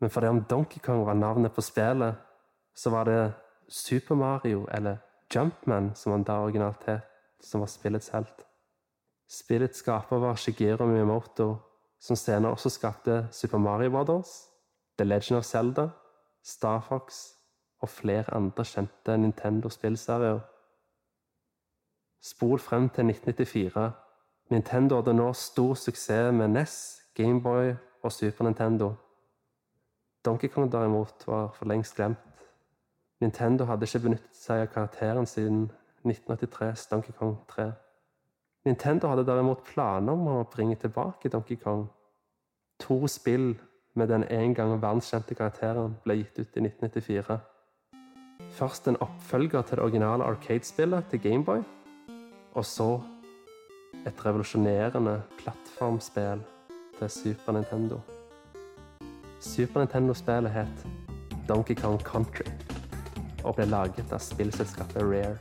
A: Men fordi om Donkey Kong var navnet på spillet, så var det Super Mario, eller Jumpman, som han da originalt het, som var spillets helt. Spillets skaper var Shigeru Miyamoto, som senere også skapte Super Mario Brothers, The Legend of Zelda, Star Fox og flere andre kjente Nintendo-spillserier. Spol frem til 1994. Nintendo hadde nå stor suksess med NES, Gameboy og Super Nintendo. Donkey Kong derimot var for lengst glemt. Nintendo hadde ikke benyttet seg av karakteren siden 1983s Donkey Kong 3. Nintendo hadde derimot planer om å bringe tilbake Donkey Kong. To spill med den en gang verdenskjente karakteren ble gitt ut i 1994. Først en oppfølger til det originale Arcade-spillet til Gameboy, og så et revolusjonerende plattformspill til Super Nintendo. Super Nintendo-spillet het Donkey Kong Country og ble laget av spillselskapet Rare.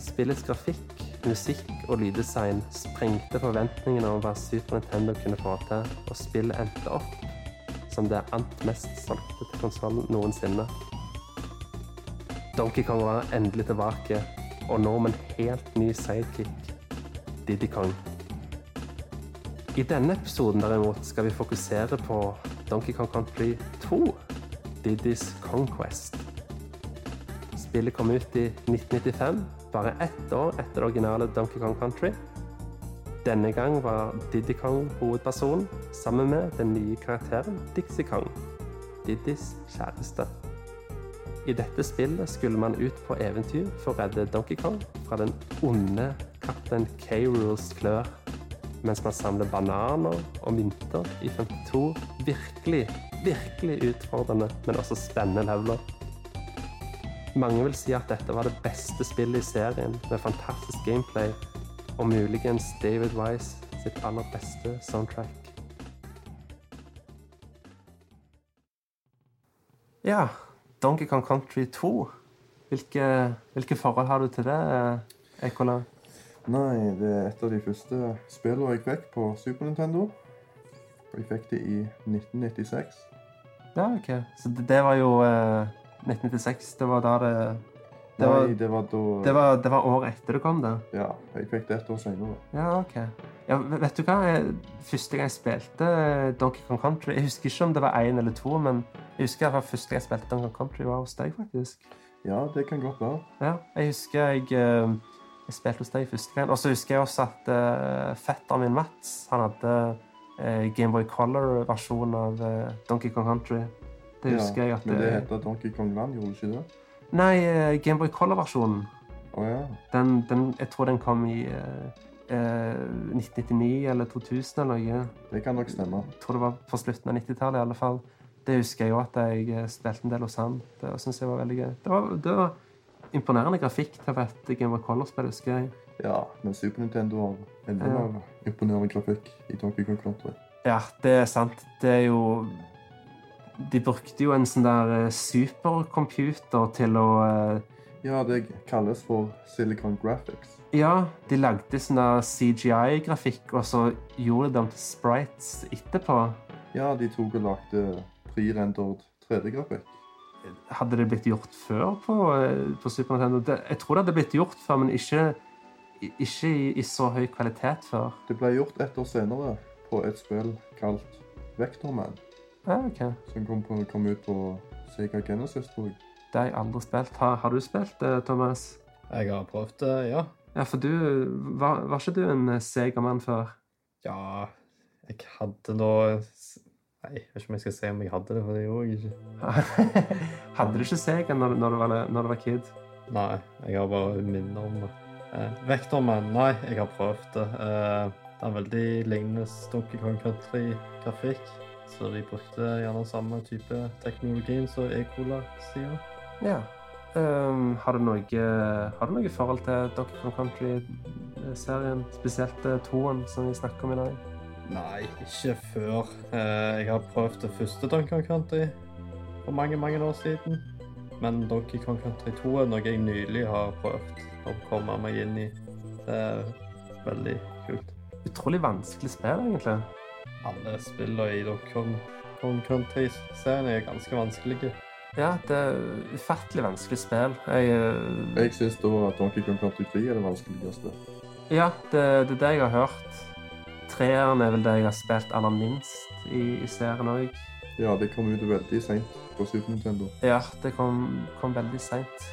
A: Spillets grafikk, musikk og lyddesign sprengte forventningene om hva Super Nintendo kunne få til, og spillet endte opp som det ant mest solgte til konsollen noensinne. Donkey Kong var endelig tilbake, og nå med en helt ny sidekick, Diddy Kong. I denne episoden derimot skal vi fokusere på Donkey Kong Country 2, Diddy's Conquest. Spillet kom ut i 1995 bare ett år etter det originale Donkey Kong Country. Denne gang var Diddy Kong hovedpersonen, sammen med den nye karakteren Dixie Kong, Diddys kjæreste. I dette spillet skulle man ut på eventyr for å redde Donkey Kong fra den onde kaptein K-Rules klør, mens man samler bananer og mynter i 52 virkelig, virkelig utfordrende, men også spennende leveler. Mange vil si at dette var det beste spillet i serien, med fantastisk gameplay og muligens David Wise sitt aller beste soundtrack. Ja, Donkey Kong Country 2. Hvilke, hvilke forhold har du til det, Ekola?
D: Nei, det er et av de første spillene jeg fikk på Super Nintendo. Jeg fikk det i 1996.
A: Ja, ok. Så det, det var jo eh, 1996. Det var da det Det var,
D: Nei, det var da
A: det var, det var året etter du kom, det.
D: Ja, jeg fikk det et år senere.
A: Ja, ok. Ja, v- vet du hva? Jeg- Første gang jeg spilte eh, Donkey Kong Country Jeg husker ikke om det var én eller to, men jeg husker i hvert fall første gang jeg spilte Donkey Kong Country, var hos deg, faktisk.
D: Ja, det kan godt være.
A: Ja, jeg husker jeg, eh, jeg spilte hos deg første gang. Og så husker jeg også at eh, fetteren min, Mats, han hadde eh, Gameboy Color-versjon av eh, Donkey Kong Country. Det husker
D: ja,
A: jeg at
D: Men det
A: det
D: heter Donkey Kong Land, gjorde det ikke det?
A: Nei, eh, Gameboy Color-versjonen.
D: Å ja.
A: Den, den, jeg tror den kom i eh, eh, 1999 eller 2000 eller noe.
D: Det kan nok stemme.
A: Jeg tror det var på slutten av 90-tallet i alle fall. Det husker jeg jo at jeg eh, spilte en del hos han. Det synes jeg var veldig gøy. Det var, det var imponerende grafikk til et Game of Color-spill, husker jeg.
D: Ja, men Super Nintendo har enda
A: Ja.
D: mer imponerende grafikk i Donkey Kong Country.
A: Ja, det er sant. Det er jo De brukte jo en sånn der eh, supercomputer til å eh,
D: Ja, det kalles for Silicon Graphics.
A: Ja, de lagde sånn der CGI-grafikk, og så gjorde de dem til sprites etterpå.
D: Ja, de tok og lagde eh, pre-rendered 3D-grafikk.
A: hadde det blitt gjort før på, eh, på Super Nintendo? Det, jeg tror det hadde blitt gjort før, men ikke, ikke i, i så høy kvalitet før.
D: Det ble gjort ett år senere på et spill kalt Vectorman,
A: Ja, ok.
D: som kom, på, kom ut på Sega Genesis, tror jeg.
A: Det har jeg aldri spilt. Har, har du spilt det, Thomas?
B: Jeg har prøvd det, ja.
A: Ja, for du Var, var ikke du en segermann før?
B: Ja, jeg hadde nå Nei, jeg vet ikke om jeg skal si om jeg hadde det, for det gjorde jeg ikke.
A: *laughs* hadde du ikke seger når, når, du var, når du var kid?
B: Nei, jeg har bare minner om det. Eh, Vektormann, nei, jeg har prøvd det. Eh, det er veldig lignende Donkey Kong Country-grafikk, så de brukte gjerne samme type teknologien som Ecola sier.
A: Ja. Ehm, har, du noe, har du noe forhold til Donkey Kong Country-serien? Spesielt eh, toen, som vi snakker om i dag?
B: Nei, ikke før. Eh, Jeg har prøvd det første Donkey Kong Country for mange, mange år siden. Men Donkey Kong Country 2 er noe jeg nylig har prøvd å komme meg inn i. Det er veldig kult.
A: Utrolig vanskelig spill, egentlig.
B: Alle spillene i Donkey Kong, Kong Country-serien er ganske vanskelige.
A: Ja, det er ufattelig vanskelig spill. Jeg, eh,
D: Jeg syns da at Donkey Kong Country 3 er det vanskeligste.
A: ja, det, det er det jeg har hørt. Treeren er vel det jeg har spilt aller minst i, i serien òg.
D: Ja, det kom ut veldig seint på Super Nintendo.
A: Ja, det kom, kom veldig seint.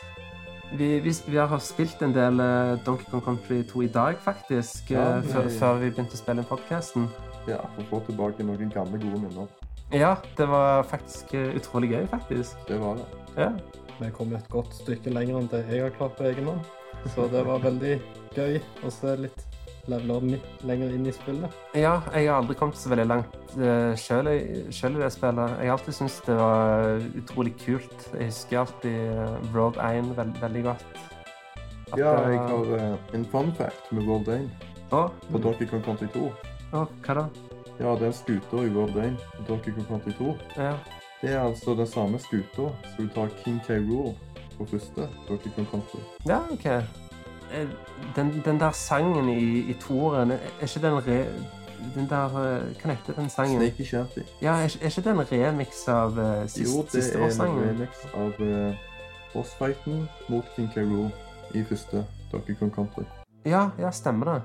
A: Vi, vi, vi har spilt en del eh, Donkey Kong Country 2 i dag, faktisk.
D: Ja,
A: eh,
D: ja,
A: før,
D: ja.
A: før vi begynte å spille inn podkasten.
D: Ja, for å få tilbake noen gamle, gode minner.
A: Ja, det var faktisk eh, utrolig gøy, faktisk.
D: Det var det.
A: Ja.
B: Vi kom et godt stykke lenger enn det jeg har klart på egen hånd. Så det var veldig gøy å se litt leveler mitt lenger inn i spillet.
A: Ja, jeg har aldri kommet så veldig langt uh, sjøl i selv i det spillet. Jeg har alltid syntes det var eh, utrolig kult. Jeg husker alltid eh, Road 1 veld, veldig godt. At
D: Ja,
A: det-
D: jeg har eh, en fun fact med World 1
A: Å,
D: på Donkey Kong Country 2.
A: å, hva da?
D: Ja, den skuta i World 1 på Donkey Kong Country 2,
A: Ja.
D: det er altså den samme skuta som du tar King K. Rool på første Donkey Kong Country.
A: ja, OK. Eh, Den, den der sangen i, i toeren, er er ikke den re... Den der eh, Hva heter den sangen?
D: Snakey Shanty.
A: Ja, er, ikke- er ikke det en remix av uh, sist,
D: Jo, det
A: siste
D: er en
A: årssangen?
D: remix av eh, bossfighten mot King K. Rool i første Donkey Kong Country.
A: Ja, ja, stemmer det.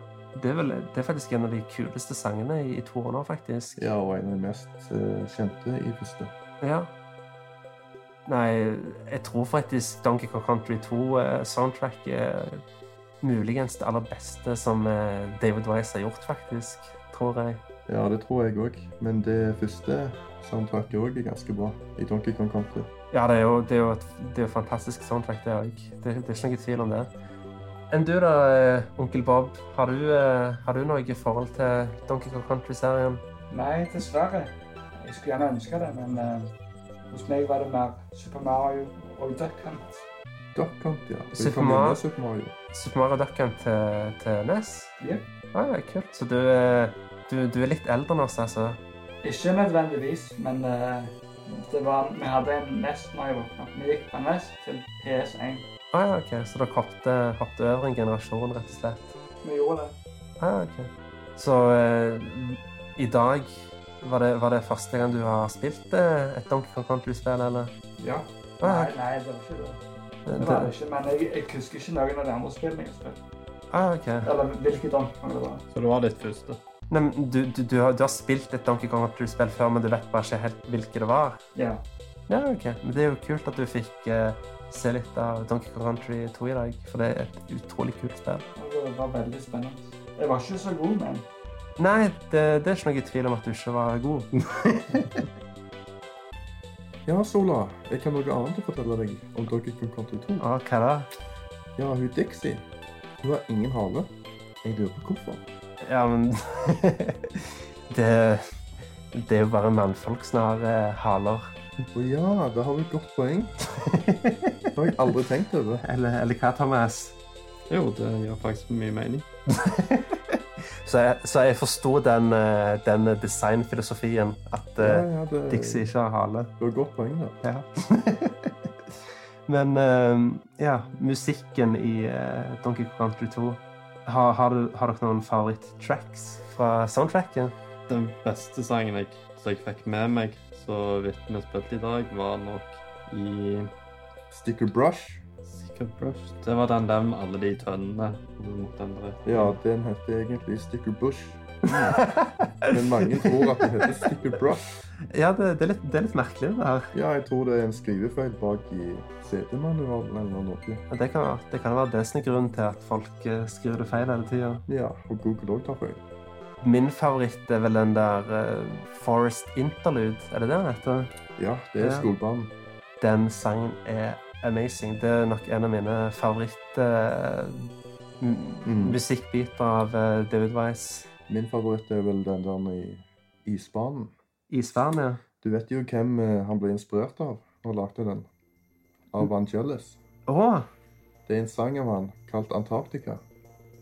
A: Det er, vel, det er faktisk en av de kuleste sangene i, i toeren òg, faktisk.
D: Ja, og en av de mest eh, kjente i første.
A: Ja. Nei, jeg tror faktisk Donkey Kong Country 2-soundtracket eh, muligens det aller beste som eh, David Wise har gjort, faktisk, tror jeg.
D: Ja, det tror jeg òg. Men det første soundtracket òg er ganske bra. I Donkey Kong Country.
A: Ja, det er jo, det er jo et det er jo fantastisk soundtrack, det òg. Det, det er ikke noen tvil om det. Enn du da, eh, onkel Bob, har du, eh, har du noe forhold til Donkey Kong Country-serien?
C: Nei, dessverre. Jeg skulle gjerne ønske det, men eh, hos meg var det mer Super Mario og Duck Hunt.
D: Duck Hunt, ja. Det
A: Super
D: kommer med
A: Mario.
D: Super Mario.
A: Super Mario Duck Hunt til, til NES?
C: Ja.
A: Ja, ja, kult. Så du, eh, du, du er litt eldre enn oss, altså?
C: Ikke nødvendigvis, men eh, det var, vi hadde en Nest når jeg våkna. Vi gikk fra Nest til PS1.
A: Å ja, ok. Så dere hoppet, hoppet over en generasjon, rett og slett?
C: Vi gjorde det.
A: Å ja, ok. Så eh, i dag var det, var det første gang du har spilt eh, et Donkey Kong Country-spill, eller?
C: Ja.
A: Å ja,
C: Nei,
A: ok.
C: nei, det var ikke det. Det var det
A: Det-
C: ikke, men jeg, jeg husker ikke noen av de andre spillene jeg spilte.
A: Å ja, ok.
C: Eller hvilket omfang det var.
B: Så det var ditt første.
A: Nei, men du, du, du, har, du har spilt et Donkey Kong Country-spill før, men du vet bare ikke helt hvilke det var.
C: Ja.
A: Ja, ok. Men det er jo kult at du fikk eh, se litt av Donkey Kong Country 2 i dag, for det er et utrolig kult spill.
C: Det var veldig spennende. Jeg var ikke så god, men
A: Nei, det, det er ikke noe tvil om at du ikke var *laughs* god.
D: Ja, Sola. Jeg har noe annet å fortelle deg om Donkey Kong Country 2.
A: Å, Ah, hva da?
D: Ja, hun Dixie. Hun har ingen hale. Jeg lurer på hvorfor.
A: Ja, men *laughs* det, det er jo bare mannfolk som har eh, haler.
D: Å ja, da har vi et godt poeng. *laughs* Det har jeg aldri tenkt over.
A: Eller, eller hva, Thomas?
B: Jo, det gir faktisk mye mening.
A: Så jeg, så jeg forsto den, eh, den designfilosofien at eh,
D: Ja, ja, det,
A: Dixie ikke har hale.
D: Du har godt poeng der.
A: Ja. Men eh, ja, musikken i eh, Donkey Kong Country 2 har, har, du- har dere noen favoritt-tracks fra soundtracken?
B: Den beste sangen jeg, som jeg fikk med meg, så vidt vi spilte i dag, var nok i
D: Sticker brush.
B: Secret Brush. Det var den der med alle de tønnene. mot den der.
D: Ja, den heter egentlig Sticker
A: *laughs*
D: bush. Men mange tror at den heter Sticker brush.
A: Ja, det, det, er litt, det er litt merkelig, det her.
D: Ja, jeg tror det er en skrivefeil bak i CD-manualen eller noe.
A: Men Det kan, være- det kan være det som er grunnen til at folk eh, skriver det feil hele tida.
D: Ja, og Google òg tar feil.
A: Min favoritt er vel den der eh, Forest Interlude, er det det den heter?
D: Ja, det er
A: Ja.
D: skogbanen.
A: den sangen er amazing. Det er nok en av mine favoritt eh, m-
D: Mm.
A: musikkbiter av eh, David Wise.
D: Min favoritt er vel den der i isbanen.
A: Isvern, ja.
D: Du vet jo hvem eh, han ble inspirert av når han lagde den. Av Vangelis.
A: Å,
D: Det er en sang av han kalt Antarktika,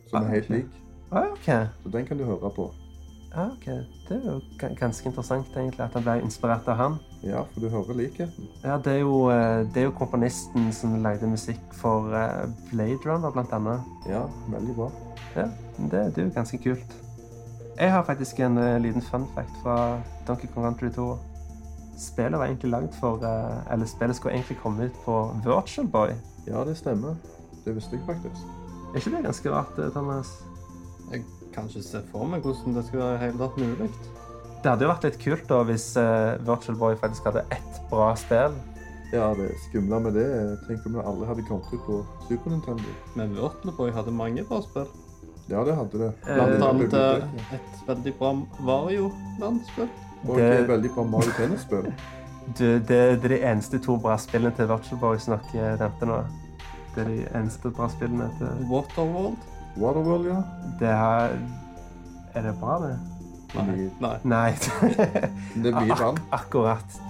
D: som er helt lik.
A: ah, ok.
D: Så den kan du høre på.
A: Ja, Ah, ok. Det er jo ga- ganske interessant, egentlig, at han ble inspirert av han.
D: Ja, for du hører likheten.
A: Ja, det er jo, eh, det er jo komponisten som lagde musikk for eh, Blade Runner, blant annet.
D: Ja, veldig bra.
A: Ja, det, det er jo ganske kult. Jeg har faktisk en eh, liten fun fact fra Donkey Kong Country 2. Spillet var egentlig lagd for eh, Eller spillet skulle egentlig komme ut på Virtual Boy.
D: Ja, det stemmer. Det visste jeg faktisk.
A: Er ikke det ganske rart, eh, Thomas?
B: Jeg kan ikke se for meg hvordan det skal være i hele tatt mulig.
A: Det hadde jo vært litt kult da hvis eh, Virtual Boy faktisk hadde ett bra spill.
D: Ja, det skumle med det er Tenk om det aldri hadde kommet ut på Super Nintendo.
B: Men Wurtleboy hadde mange bra spill.
D: Ja, det hadde det.
B: Blant
A: Eh,
B: annet eh, et veldig bra Vario-landsspill.
D: Og det er
A: det-
D: veldig bra Mario Tennis-spill.
A: Du, det, det er de eneste to bra spillene til Virtual Boy som dere nevnte nå. Det er de eneste bra spillene til
B: Waterworld.
D: Waterworld, ja.
A: Det her Er det bra, det?
B: Nei.
D: Mm.
B: nei.
A: Nei. *laughs*
D: Det blir vann.
A: Akkurat.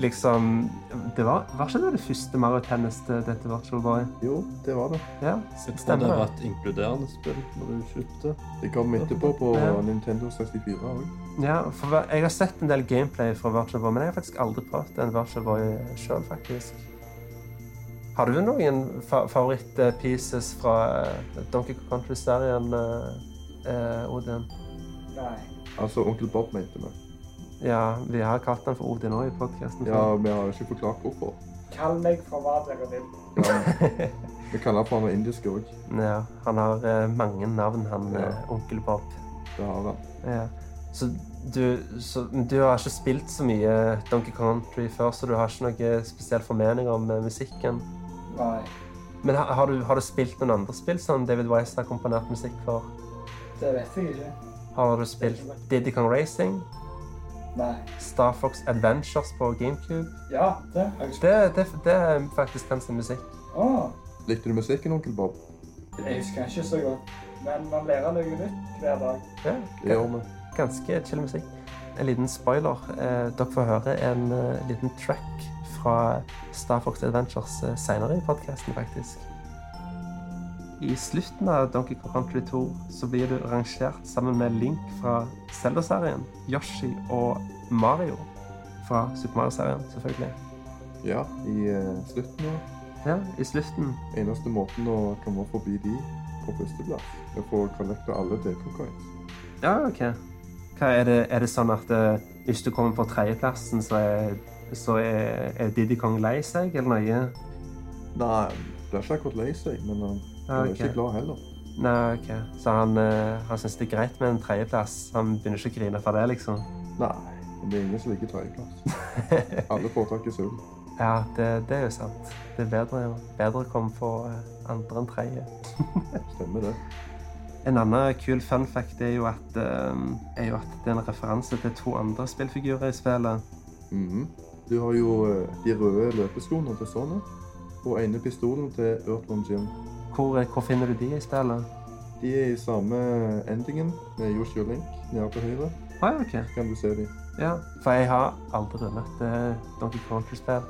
A: Liksom Det var, var ikke det det første Mario Tennis til dette Virtual Boy?
D: Jo, det var det.
A: Ja,
B: Jeg tror det
A: stemmer
B: var
A: det.
B: et inkluderende spill når du kjøpte.
D: Det kom etterpå på
A: Ja.
D: Nintendo 64 òg.
A: Ja, for hva- jeg har sett en del gameplay fra Virtual Boy, men jeg har faktisk aldri prøvd en Virtual Boy sjøl, faktisk. Har du noen fa favoritt-pieces fra eh, Donkey Kong Country-serien, eh, eh, Odin?
C: nei.
D: Altså Onkel Bob mente vi.
A: Ja, vi har kalt den for Odin òg i podkasten.
D: Ja, vi har ikke forklart hvorfor.
C: Kall meg for hva dere vil.
A: *laughs*
D: Vi kaller han for indisk òg.
A: ja. Han har eh, mange navn, han
D: Ja.
A: eh, onkel Bob.
D: Det har han.
A: Ja. Så du, så men du har ikke spilt så mye Donkey Country før, så du har ikke noe spesiell formening om eh, musikken?
C: Nei.
A: Men har, har, du, har du spilt noen andre spill som David Wise har komponert musikk for?
C: Det vet jeg ikke.
A: Har du spilt Diddy Kong Racing?
C: Nei.
A: Star Fox Adventures på GameCube?
C: Ja, det har jeg spilt.
A: Det, det, det er faktisk hans musikk.
C: Å,
D: Likte du musikken, onkel Bob?
C: jeg husker ikke så godt. Men man lærer noe nytt hver dag.
A: Ja,
D: Det gjør vi.
A: ganske chill musikk. En liten spoiler. Eh, dere får høre en eh, liten track fra Star Fox Adventures eh, senere i podkasten, faktisk. I slutten av Donkey Kong Country 2 så blir du rangert sammen med Link fra Zelda-serien, Yoshi og Mario fra Super Mario-serien, selvfølgelig.
D: Ja, i eh, slutten av
A: Ja, i slutten.
D: Eneste måten å komme forbi de på førsteplass, er å få kollekta alle Dayton Coins.
A: Ja, OK. Hva er, det, er det sånn at eh, hvis du kommer på tredjeplassen, så er, så er, er Diddy Kong lei seg, eller noe?
D: Nei, han er ikke akkurat lei seg, men han han er
A: Ah, Ok.
D: ikke glad heller.
A: Nei, ok. Så han, eh, han syns det er greit med en tredjeplass? Han begynner ikke å grine for det, liksom?
D: Nei, men det er ingen som
A: *laughs*
D: liker tredjeplass. Alle får tak i sølv.
A: Ja, det, det er jo sant. Det er bedre, bedre å komme på eh, andre enn tredje.
D: Stemmer det.
A: En annen kul fun fact er jo at, eh, er jo at det er en referanse til to andre spillfigurer i spillet.
D: Mhm. Du har jo eh, de røde løpeskoene til Sony, og ene pistolen til Earthworm Jim.
A: Hvor, eh, hvor finner du de i spillet?
D: De er i samme endingen med Yoshi og Link nede på høyre.
A: Å ja, ok.
D: Kan du se dem?
A: Ja, for jeg har aldri rundet eh, Donkey Kong-spill.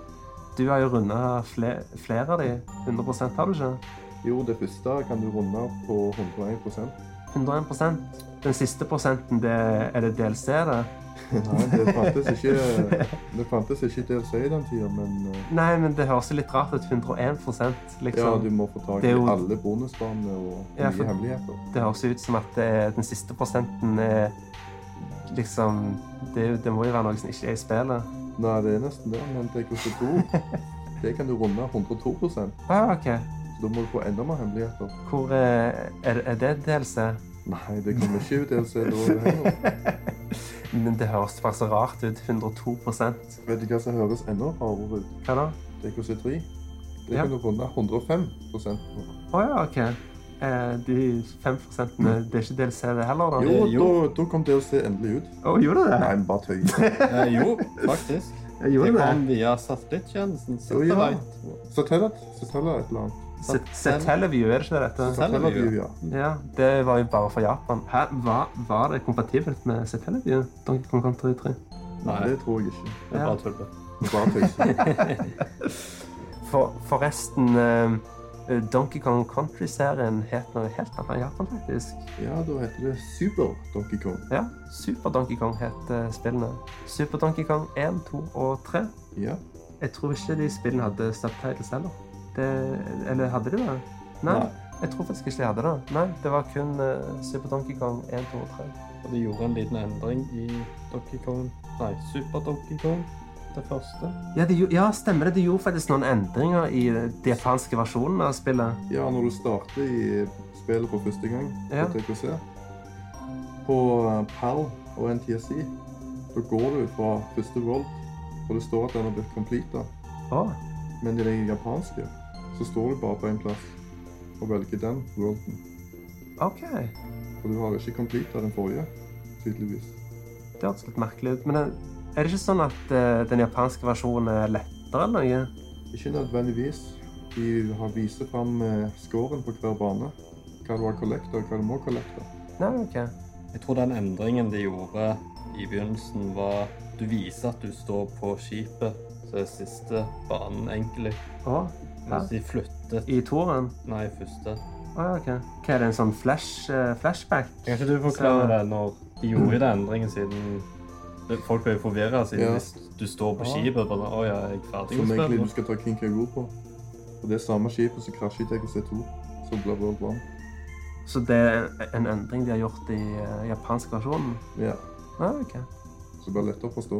A: Du har jo rundet fle flere av de. 100 har du ikke?
D: Jo, det første kan du runde på
A: *laughs*
D: 101
A: 101 Den siste prosenten, det, er det DLC, det?
D: Nei, det fantes ikke, det fantes ikke DLC i den tida, men eh,
A: Nei, men det høres jo litt rart ut. 101
D: ja,
A: liksom.
D: du må få tak
A: det
D: i
A: er jo-
D: alle bonusbanene og
A: Ja,
D: mye
A: for-
D: hemmeligheter.
A: Det høres jo ut som at det, er- den siste prosenten er liksom det, er jo- det må jo være noe som ikke er i spillet.
D: Nei, det er nesten det, men det er ikke
A: *laughs*
D: to. Det kan du runde 102 så
A: Ah, OK.
D: da må du få enda mer hemmeligheter.
A: Hvor eh, er, er det DLC?
D: Nei, det kommer ikke ut DLC da heller.
A: Men det høres bare så rart ut. 102
D: Vet du hva som høres enda rarere ut?
A: Hva da?
D: DKC3. Det
A: Ja.
D: kan du runde 105 på.
A: Å ja, OK. Eh, de 5 det er ikke DLC, det heller, da?
D: Mm. Jo,
B: jo.
D: Da, da kom DLC endelig ut.
A: Å, gjorde det
D: Nei,
A: det?
D: men bare
A: *laughs*
D: tøy.
B: Eh,
D: *laughs*
B: jo, faktisk.
A: Jeg
B: Det
A: gjorde det.
B: kom via satellittjenesten.
D: Jo, ja.
B: Satellite.
D: Satellet, satellet et eller annet.
A: Set- Satellaview, er det ikke det dette?
D: Satellet,
B: Satellaview.
D: ja.
A: Ja, det var jo bare for Japan. Hæ, hva, var det kompatibelt med Satellaview? Donkey Kong Country 3?
D: Nei,
B: Nei.
D: det tror jeg ikke.
B: Det er bare tull.
D: Bare tøys.
A: For, forresten, eh, Donkey Kong Country-serien het noe helt annet i Japan, faktisk.
D: *laughs* Ja, da heter det Super Donkey Kong.
A: Ja, Super Donkey Kong het eh, spillene. Super Donkey Kong 1, 2 og 3.
D: Ja.
A: Jeg tror ikke de spillene hadde subtitles heller. Det, eller hadde de det? Nei,
D: Nei.
A: jeg tror faktisk ikke de hadde det. Nei, det var kun eh, Super Donkey Kong 1, 2 og 3.
B: Og de gjorde en liten endring i Donkey Kong Nei, Super Donkey Kong, det første.
A: Ja, de, gjo- ja, stemmer det. De gjorde faktisk noen endringer i de japanske versjonene av spillet.
D: ja, når du starter i spillet for første gang,
A: Ja.
D: på TKC, på eh, PAL og NTSI, da går du fra første world, og det står at den har blitt completet.
A: Å,
D: Men i den japanske, så står du bare på en plass og velger den worlden.
A: OK.
D: For du har ikke completet den forrige, tydeligvis.
A: Det hørtes litt merkelig ut. Men er det ikke sånn at eh, den japanske versjonen er lettere eller noe?
D: Ikke nødvendigvis. De har viset frem eh, scoren på hver bane. Hva du har kollekta, og hva du må kollekta.
A: Nei, OK.
B: Jeg tror den endringen de gjorde i begynnelsen, var Du viser at du står på skipet, så er siste banen egentlig.
A: Å,
B: Mens de flyttet
A: i toeren?
B: Nei, første.
A: Å ja, OK. Hva er det, en sånn flash, eh, flashback?
B: Kan ikke du forklare det når de gjorde den endringen, siden det- Folk ble forvirra siden
D: Ja.
B: hvis du står på skipet bare sånn, Å ja, jeg er ferdig
D: Som
B: med
D: egentlig du
B: spillet.
D: skal ta King Kangaroo på. Og det er samme skipet som krasjer i TGC2. Så bla, bla, bla.
A: Så det er en endring de har gjort i eh, japansk versjon?
D: Ja,
A: Ja, OK.
D: så det blir lettere å forstå.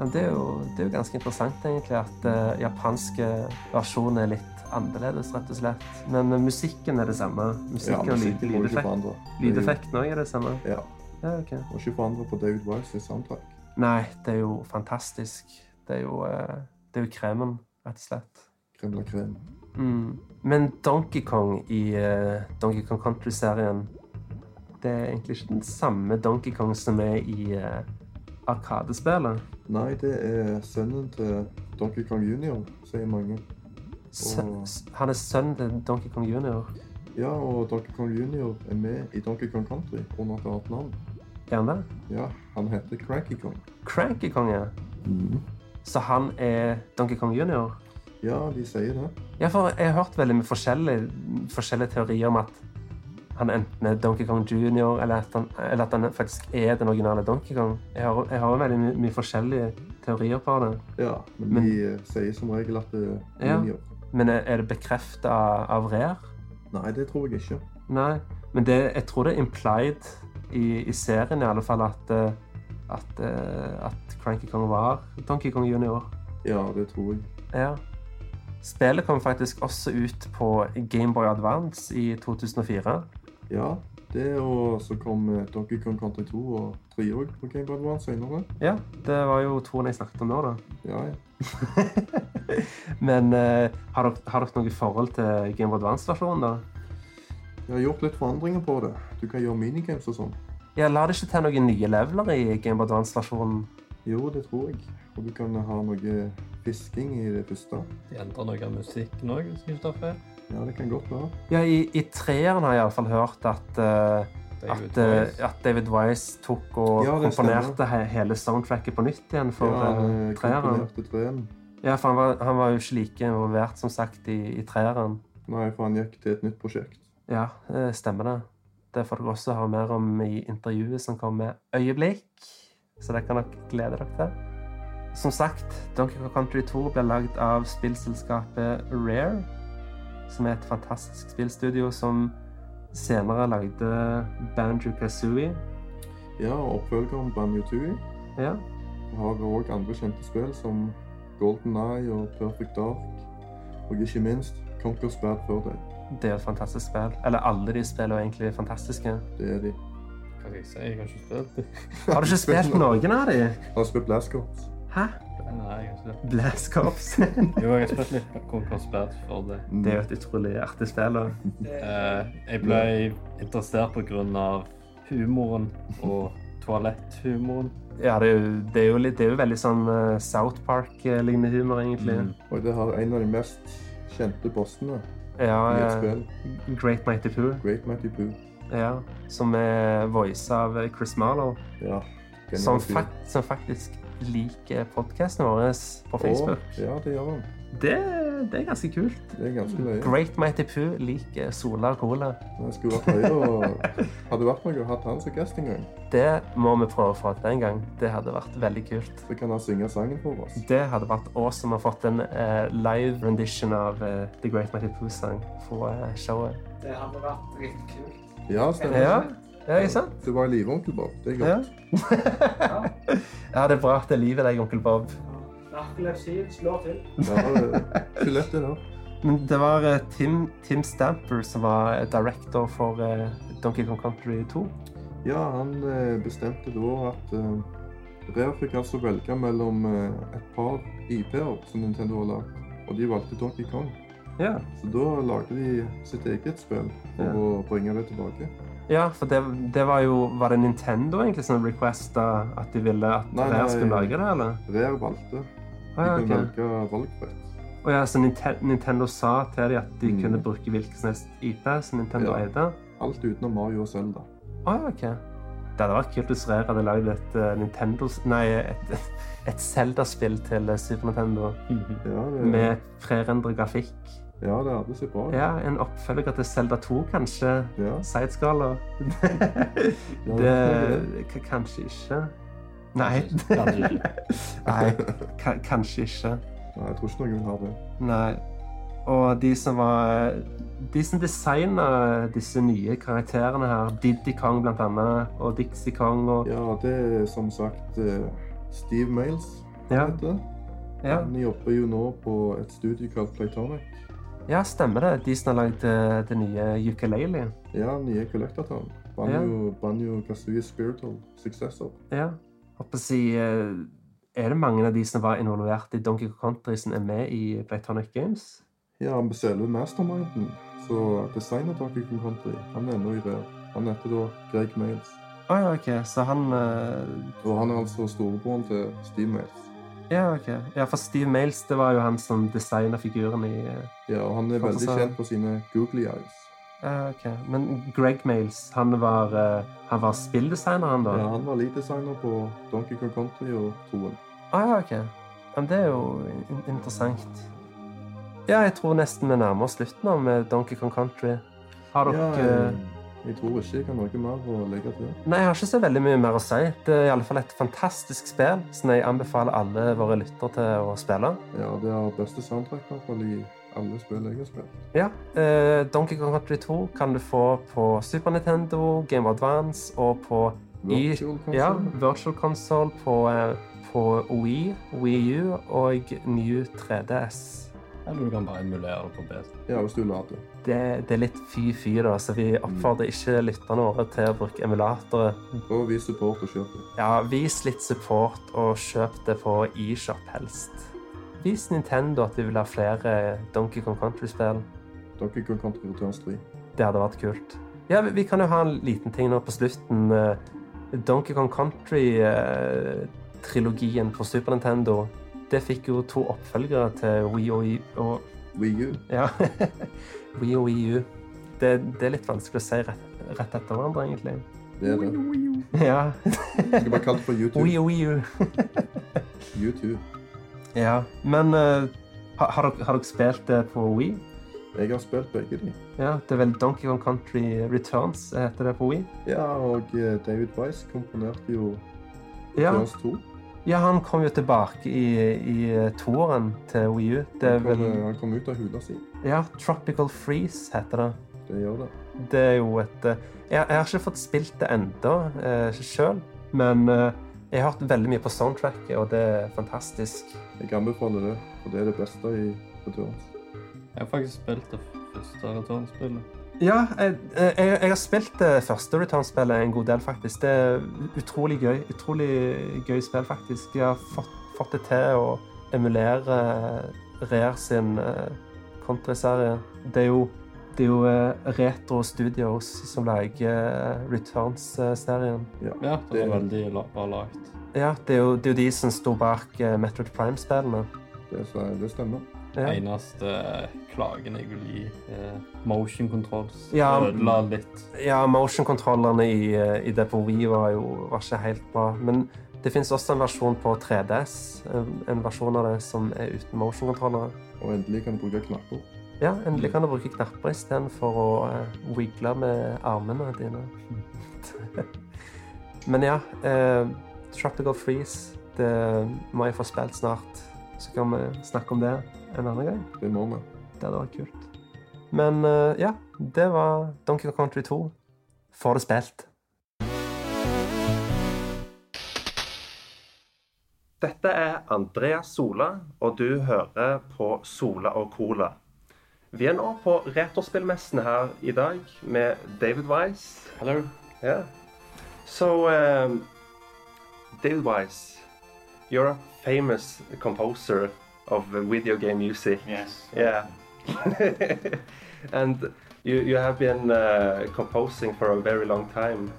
A: Ja, det, er jo, det er jo ganske interessant, egentlig, at eh, japanske versjon er litt annerledes, rett og slett. Men eh, musikken er det samme.
D: Ja,
A: Musikken og lyd-
D: musikken må du ikke
A: lydeffekt-
D: forandre. Det er jo-
A: lydeffekten òg er det samme.
D: Ja,
A: Ja, OK.
D: må ikke forandre på David Wise i soundtrack.
A: Nei, det er jo fantastisk. Det er jo, eh, det er jo kremen, rett og slett.
D: Krem la krem.
A: Mm. Men Donkey Kong i eh, Donkey Kong Country-serien Det er egentlig ikke den samme Donkey Kong som er i eh, Arkadespillet.
D: Nei, det er sønnen til Donkey Kong Junior, sier mange.
A: Sø-
D: Åh.
A: s- Han er sønnen til Donkey Kong Junior.
D: Ja, og Donkey Kong Junior er med i Donkey Kong Country under et annet navn.
A: Er han det?
D: Ja, han heter Cranky Kong.
A: Cranky Kong, ja. Mm. Så han er Donkey Kong Junior?
D: Ja, de sier det.
A: Ja, for jeg har hørt veldig med forskjellige, forskjellige teorier om at han enten er Donkey Kong Junior, eller at han, eller at han faktisk er den originale Donkey Kong. Jeg har, jeg har veldig mye, mye forskjellige teorier på det.
D: Ja, men,
A: Men-
D: de eh, sier som regel at det er
A: Ja.
D: Junior.
A: Men er- er det bekreftet av, av Rare?
D: Nei, det tror jeg ikke.
A: Nei. Men det, jeg tror det er implied i, i serien i alle fall at, eh, at, eh, at Cranky Kong var Donkey Kong Junior.
D: Ja, det tror jeg.
A: Ja. Spillet kom faktisk også ut på Gameboy Advance i 2004.
D: Ja, det og så kom eh, Donkey Kong Country 2 og 3 òg på Game Boy Advance senere.
A: Ja, det var jo toen jeg snakket om nå, da. *laughs*
D: Ja, ja.
A: Men eh, har, dere, har dere noe forhold til Game Boy Advance-versjonen, da?
D: Jeg har gjort litt forandringer på det. Du kan gjøre minigames og sånn.
A: Ja, La det ikke til noen nye leveler i Game Boy Advance-versjonen.
D: Jo, det tror jeg. Og du kan ha noe fisking i det første.
B: De endrer noe av musikken òg, hvis jeg ikke tar feil.
D: Ja, det kan godt være.
A: Ja, I, i treeren har jeg iallfall hørt at, eh,
B: Det er jo
A: at,
B: et voice.
A: eh, at David Wise tok og
D: Ja, det stemmer.
A: komponerte he hele soundtracket på nytt igjen for
D: ja,
A: eh,
D: eh,
A: treeren.
D: komponerte treen.
A: Ja, for han var, han var jo ikke like involvert, som sagt, i, i treeren.
D: Nei, for han gikk til et nytt prosjekt.
A: Ja, eh, stemmer det. Det får dere også høre mer om i intervjuet som kommer øyeblikk. Så det kan dere glede dere til. Som sagt, Donkey Kong Country 2 ble lagd av spillselskapet Rare, som er et fantastisk spillstudio som senere lagde Banjo Kazooie.
D: Ja, og oppfølgeren Banjo-Tooie
A: Ja.
D: har òg andre kjente spill som Golden Eye og Perfect Dark. Og ikke minst Conquers Bad Fur Day.
A: Det er et fantastisk spill. Eller alle de spillene er egentlig fantastiske.
D: Det er de.
B: Hva skal jeg si? Jeg har ikke spilt *laughs* det.
A: Har du ikke spilt noen av de?
D: Han har spilt Blast Corps.
A: Hæ?
B: Nei, jeg har ikke det.
A: Blast Corps? *laughs* det
B: Jo, jeg har spilt litt Conquer Splats for det.
D: Mm.
A: er jo et utrolig artig spill. da.
B: Eh, jeg ble interessert på grunn av humoren og toaletthumoren.
A: Ja, det er jo, det er jo, litt, det er jo veldig sånn eh, South Park-lignende humor, egentlig.
B: Mm.
D: Og det har en av de mest kjente bossene
A: Ja,
D: i et
A: eh,
D: spill.
A: Great Mighty Pooh,
D: Great Matty Pooh.
A: ja, som er voice av eh, Chris Marlow,
D: Ja. genial
A: som,
D: fyr.
A: fak som faktisk liker podkasten vår på Facebook.
D: Og, ja, det gjør han.
A: Det, det er ganske kult.
D: Det er ganske løye.
A: Mm. Great Mighty Pooh liker Sola og Cola.
D: Jeg skulle vært høy og hadde vært noe å hatt han som gjest en gang.
A: Det må vi prøve å få til en gang. Det hadde vært veldig kult.
D: Så kan han synge sangen for oss.
A: Det hadde vært awesome å ha fått en eh, live rendition av eh, The Great Mighty Pooh-sang for eh, showet.
C: Det hadde vært dritkult.
D: Ja, stemmer.
A: Ja, ja, ikke sant?
D: Du var i live, onkel Bob. Det er
A: Ja.
D: godt.
C: Ja.
A: Ja, det er bra at det er liv i deg, onkel Bob.
C: Narkolepsien slår til.
D: Ja, det er ikke lett det da.
A: Men det var eh, Tim, Tim Stamper som var director for eh, Donkey Kong Country 2.
D: Ja, han eh, bestemte da at eh, Rare fikk altså velge mellom eh, et par IP-er som Nintendo har lagd, og de valgte Donkey Kong.
A: Ja.
D: Så da lagde de sitt eget spill for
A: Ja.
D: å bringe det tilbake.
A: Ja, for det, det var jo Var det Nintendo egentlig som requesta at de ville at
D: Nei,
A: Rare skulle
D: nei.
A: lage det, eller?
D: Rare valgte. De
A: Ah, ja,
D: kunne
A: ok.
D: velge valgfritt.
A: Og ja, så Ninten Nintendo sa til dem at de
D: Mm.
A: kunne bruke hvilken som helst IP som Nintendo
D: Ja.
A: eide?
D: Alt utenom Mario og Zelda.
A: Å ja, OK. Det hadde vært kult hvis Rare hadde lagd et eh, Nintendo Nei, et, *laughs* et Zelda-spill til eh, Super Nintendo
B: Mhm.
D: Ja, det,
A: med prerendret grafikk.
D: ja, det hadde sett bra ut.
A: Ja, en oppfølger til Zelda 2, kanskje?
D: Ja.
A: Sideskala?
D: Ja,
A: det
D: det
A: k- Kanskje ikke. Nei.
B: Kanskje ikke.
A: *laughs* Nei, ka- kanskje ikke.
D: Nei, jeg tror ikke noen vil ha det.
A: Nei. Og de som var De som designa disse nye karakterene her, Diddy Kong blant annet, og Dixie Kong og
D: Ja, det er som sagt eh, Steve Males.
A: Ja.
D: vet du.
A: Ja,
D: Han jobber jo nå på et studio kalt Playtonic.
A: ja stemmer det. De som har lagd eh, det nye ukulele.
D: Ja, nye kollektortall. Banjo, Banjo Kazooie Spiritual Successor.
A: Ja. Håper å si eh, Er det mange av de som var involvert i Donkey Kong Country, som er med i Playtonic Games?
D: Ja, han bestiller masterminden, så designertaket King Country, han er ennå i rev. Han heter da Greg Mails,
A: Å ja, OK. Så han eh,
D: og han er altså storebroren til Steve Mails.
A: Ja, OK. Ja, for Steve Males, det var jo han som designa figuren i eh,
D: Ja, og han er
A: Hva for
D: veldig
A: sa-
D: kjent for sine googly eyes.
A: Ja, ok. Men Greg Males, han var, eh, han var spilldesigner, han da?
D: Ja, han var lead-designer på Donkey Kong Country og Toen.
A: Ah, ja, ok. Men det er jo in interessant. Ja, jeg tror nesten vi nærmer oss slutten av med Donkey Kong Country. Har dere
D: Ja, jeg, jeg tror ikke jeg har noe mer å legge til.
A: Nei, jeg har ikke så veldig mye mer å si. Det er i alle fall et fantastisk spill, så jeg anbefaler alle våre lyttere til å spille.
D: Ja, det er beste soundtrack i hvert fall i alle spill jeg har spilt.
A: Ja, eh, Donkey Kong Country 2 kan du få på Super Nintendo, Game of Advance og på I-
D: Virtual
A: Ja,
D: Console.
A: Virtual Console på, eh, på Wii, Wii U og New 3DS.
B: Eller du kan bare emulere det på PC.
D: Ja, hvis du lader.
A: Det, det er litt fy-fy, da, så vi oppfordrer ikke lytterne våre til å bruke emulatorer.
D: Og vi supporter kjøpet.
A: Ja, vis litt support, og kjøp det på eShop helst. Vis Nintendo at de vil ha flere Donkey Kong Country-spill.
D: Donkey Kong Country Returns 3.
A: Det hadde vært kult. Ja, vi, vi kan jo ha en liten ting nå på slutten. Eh, Donkey Kong Country-trilogien på Super Nintendo, det fikk jo to oppfølgere til Wii og, I- og
D: Wii U.
A: Ja. *laughs* Wii og Wii U. Det, det er litt vanskelig å si rett, rett etter hverandre, egentlig.
D: Det er det.
A: Ja.
D: Jeg skal bare kalle det for YouTube.
A: Wii og Wii U.
D: YouTube.
A: Ja. Men eh, ha- har, dere- har dere spilt det på Wii?
D: Jeg har spilt begge de.
A: Ja, det er vel Donkey Kong Country Returns heter det på Wii?
D: Ja, og eh, David Weiss komponerte jo
A: Ja.
D: Returns 2.
A: Ja, han kom jo tilbake i, i toeren til Wii U. Det er
D: Han kom,
A: vel
D: eh, han kom ut av hula si.
A: Ja, Tropical Freeze heter det.
D: Det gjør det.
A: Det er jo et eh, Jeg, jeg har ikke fått spilt det ennå eh, sjøl, men eh, jeg har hørt veldig mye på soundtracket, og det er fantastisk.
D: Jeg anbefaler det, for det er det beste i Returns.
B: Jeg har faktisk spilt det første return-spillet.
A: Ja, jeg, jeg, jeg har spilt det første Return-spillet en god del, faktisk. Det er utrolig gøy. Utrolig gøy spill, faktisk. Jeg har fått, fått det til å emulere Rare sin eh, Country-serie. Det er jo, det er jo eh, Retro Studios som lager eh, Returns-serien.
B: Ja, det
D: Det-
B: var veldig la- bra lagt.
A: Ja, det er jo, det er jo de som sto bak eh, Metroid Prime-spillene.
D: Det, sa- det stemmer.
A: Ja.
B: Eneste eh, klagen jeg vil gi, er motion controls.
A: Ja.
B: Ødela litt.
A: Ja, motion-kontrollerne i, eh, i det på Wii var jo var ikke helt bra. Men det fins også en versjon på 3DS, en- eh, en versjon av det som er uten motion-kontrollere.
D: Og endelig kan du bruke knapper.
A: Ja, endelig kan du bruke knapper istedenfor å eh, wiggle med armene dine. *laughs* Men ja, eh, Tropical Freeze, det må jeg få spilt snart. Så kan vi snakke om det en annen gang.
D: Det må vi.
A: Det hadde vært kult. Men eh, ja, det var Donkey Kong Country 2. Få det spilt. Dette er Andrea Sola, og du hører på Sola og Cola. Vi er nå på Retorspillmessen her i dag med David Wise. Hello. Yeah. So, um, David Wise, you're a famous composer of video game music.
E: Yes.
A: Yeah. *laughs* and you, you have been uh, composing for a very long time.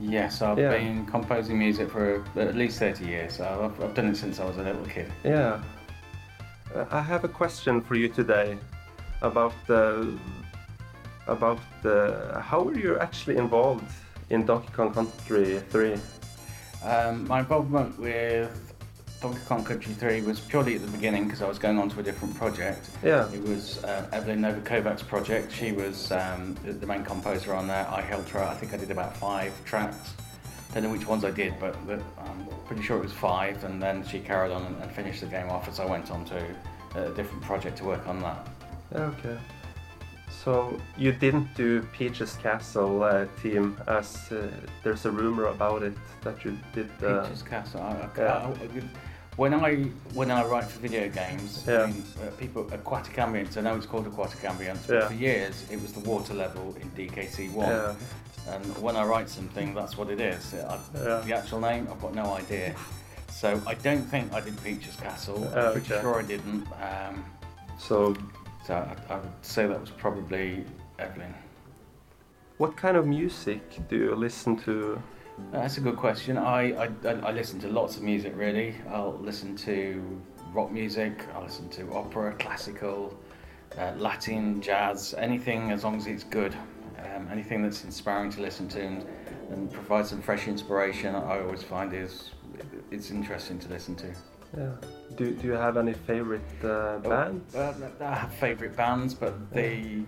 E: Yes, I've
A: Yeah.
E: been composing music for at least 30 years. So I've, I've done it since I was a little kid.
A: Yeah. Uh, I have a question for you today about the about the how were you actually involved in Donkey Kong Country 3?
E: Um, my involvement with Donkey Kong Country 3 was purely at the beginning because I was going on to a different project.
A: Yeah.
E: It was uh, Evelyn Novakovac's project. She was um, the- the main composer on that. I helped her. I think I did about five tracks. Don't know which ones I did, but the, I'm pretty sure it was five. And then she carried on and, and finished the game off as I went on to a different project to work on that.
A: Okay. So you didn't do Peach's Castle uh, team as uh, there's a rumor about it that you did uh,
E: Peach's Castle. Oh, I, I,
A: Yeah.
E: I- I- when I when I write for video games,
A: Yeah.
E: I mean, uh, people aquatic ambience. I know it's called aquatic ambience, but
A: Yeah.
E: for years it was the water level in DKC one.
A: Yeah.
E: And when I write something, that's what it is. I,
A: Yeah.
E: The actual name, I've got no idea.
A: Oh,
E: So I don't think I did Peach's Castle. I'm pretty
A: Okay.
E: sure I didn't. Um,
A: So
E: So I, I would say that was probably Evelyn.
A: What kind of music do you listen to?
E: That's a good question. I, I, I listen to lots of music, really. I'll listen to rock music, I'll listen to opera, classical, uh, Latin, jazz, anything as long as it's good. Um, anything that's inspiring to listen to and, and provides some fresh inspiration, I always find is it's interesting to listen to.
A: Yeah. Do, do you have any favorite uh, bands?
E: Uh, I have favourite bands, but the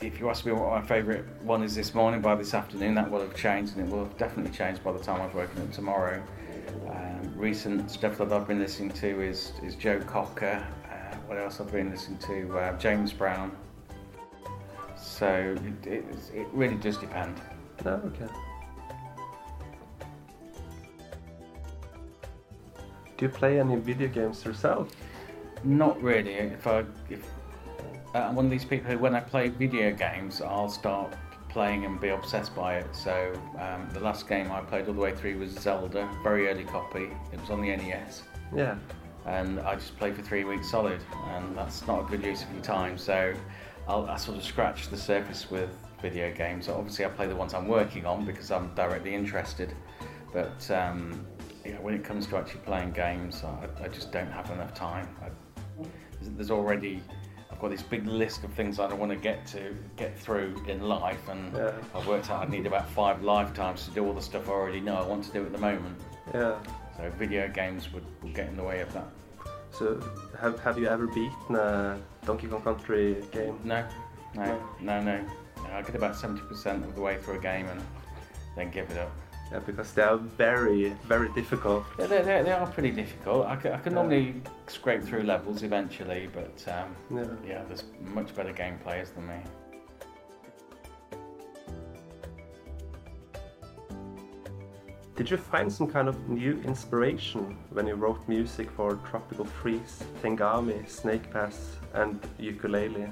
E: if you ask me what my favourite one is this morning, by this afternoon that will have changed, and it will have definitely changed by the time I've woken up tomorrow. Um, recent stuff that I've been listening to is is Joe Cocker. Uh, what else I've been listening to? Uh, James Brown. So it, it, it really does depend.
A: No, okay. Do you play any video games yourself?
E: Not really. If I if uh, I'm one of these people who, when I play video games, I'll start playing and be obsessed by it. So um, the last game I played all the way through was Zelda, very early copy. It was on the E NES,
A: Yeah.
E: and I just played for three weeks solid, and that's not a good use of your time. So I'll, I sort of scratch the surface with video games. Obviously, I play the ones I'm working on because I'm directly interested, but. Um, yeah, when it comes to actually playing games, I, I just don't have enough time. I, there's- there's already I've got this big list of things I want to get to get through in life, and
A: Yeah.
E: I've worked out I need about five lifetimes to do all the stuff I already know I want to do at the moment.
A: Yeah.
E: So video games would, would get in the way of that.
A: So have, have you ever beaten a Donkey Kong Country game?
E: No, no, no, no. I get about seventy percent of the way through a game and then give it up.
A: Yeah, because they are very, very difficult.
E: They, they, they, they are pretty difficult. I can, I can
A: Yeah.
E: normally scrape through levels eventually, but um,
A: Yeah.
E: yeah, there's much better game players than me.
A: Did you find some kind of new inspiration when you wrote music for Tropical Freeze, Tengami, Snake Pass, and Ukulele?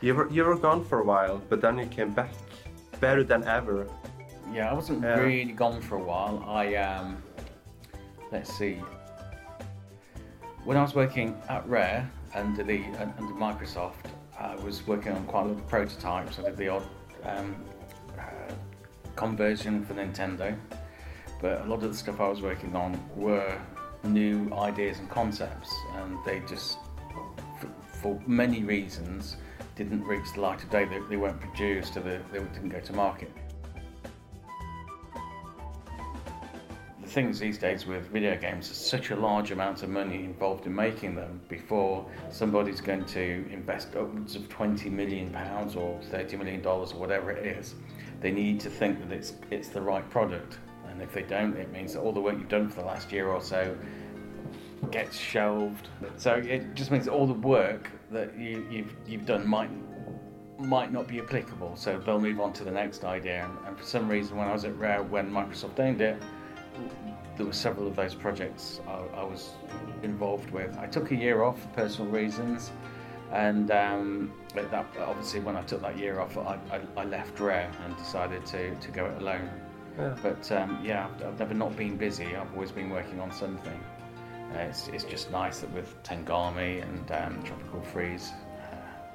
A: You were, you were gone for a while, but then you came back better than ever.
E: Yeah, I wasn't
A: Yeah.
E: really gone for a while. I um, let's see. When I was working at Rare under the un- under Microsoft, I was working on quite a lot of prototypes. I did the odd um, uh, conversion for Nintendo, but a lot of the stuff I was working on were new ideas and concepts, and they just, for, for many reasons, didn't reach the light of day. They, they weren't produced, or they, they didn't go to market. the things these days with video games is such a large amount of money involved in making them before somebody's going to invest upwards of 20 million pounds or 30 million dollars or whatever it is they need to think that it's it's the right product and if they don't it means that all the work you've done for the last year or so gets shelved so it just means all the work that you, you've you've done might might not be applicable so they'll move on to the next idea and, and for some reason when I was at Rare when Microsoft owned it there were several of those projects I, I was involved with. I took a year off for personal reasons, and um, but that obviously when I took that year off, I, I, I left Rare and decided to, to go it alone.
A: Yeah.
E: But um, yeah, I've, I've never not been busy. I've always been working on something. Uh, it's, it's just nice that with Tengami and um, Tropical Freeze,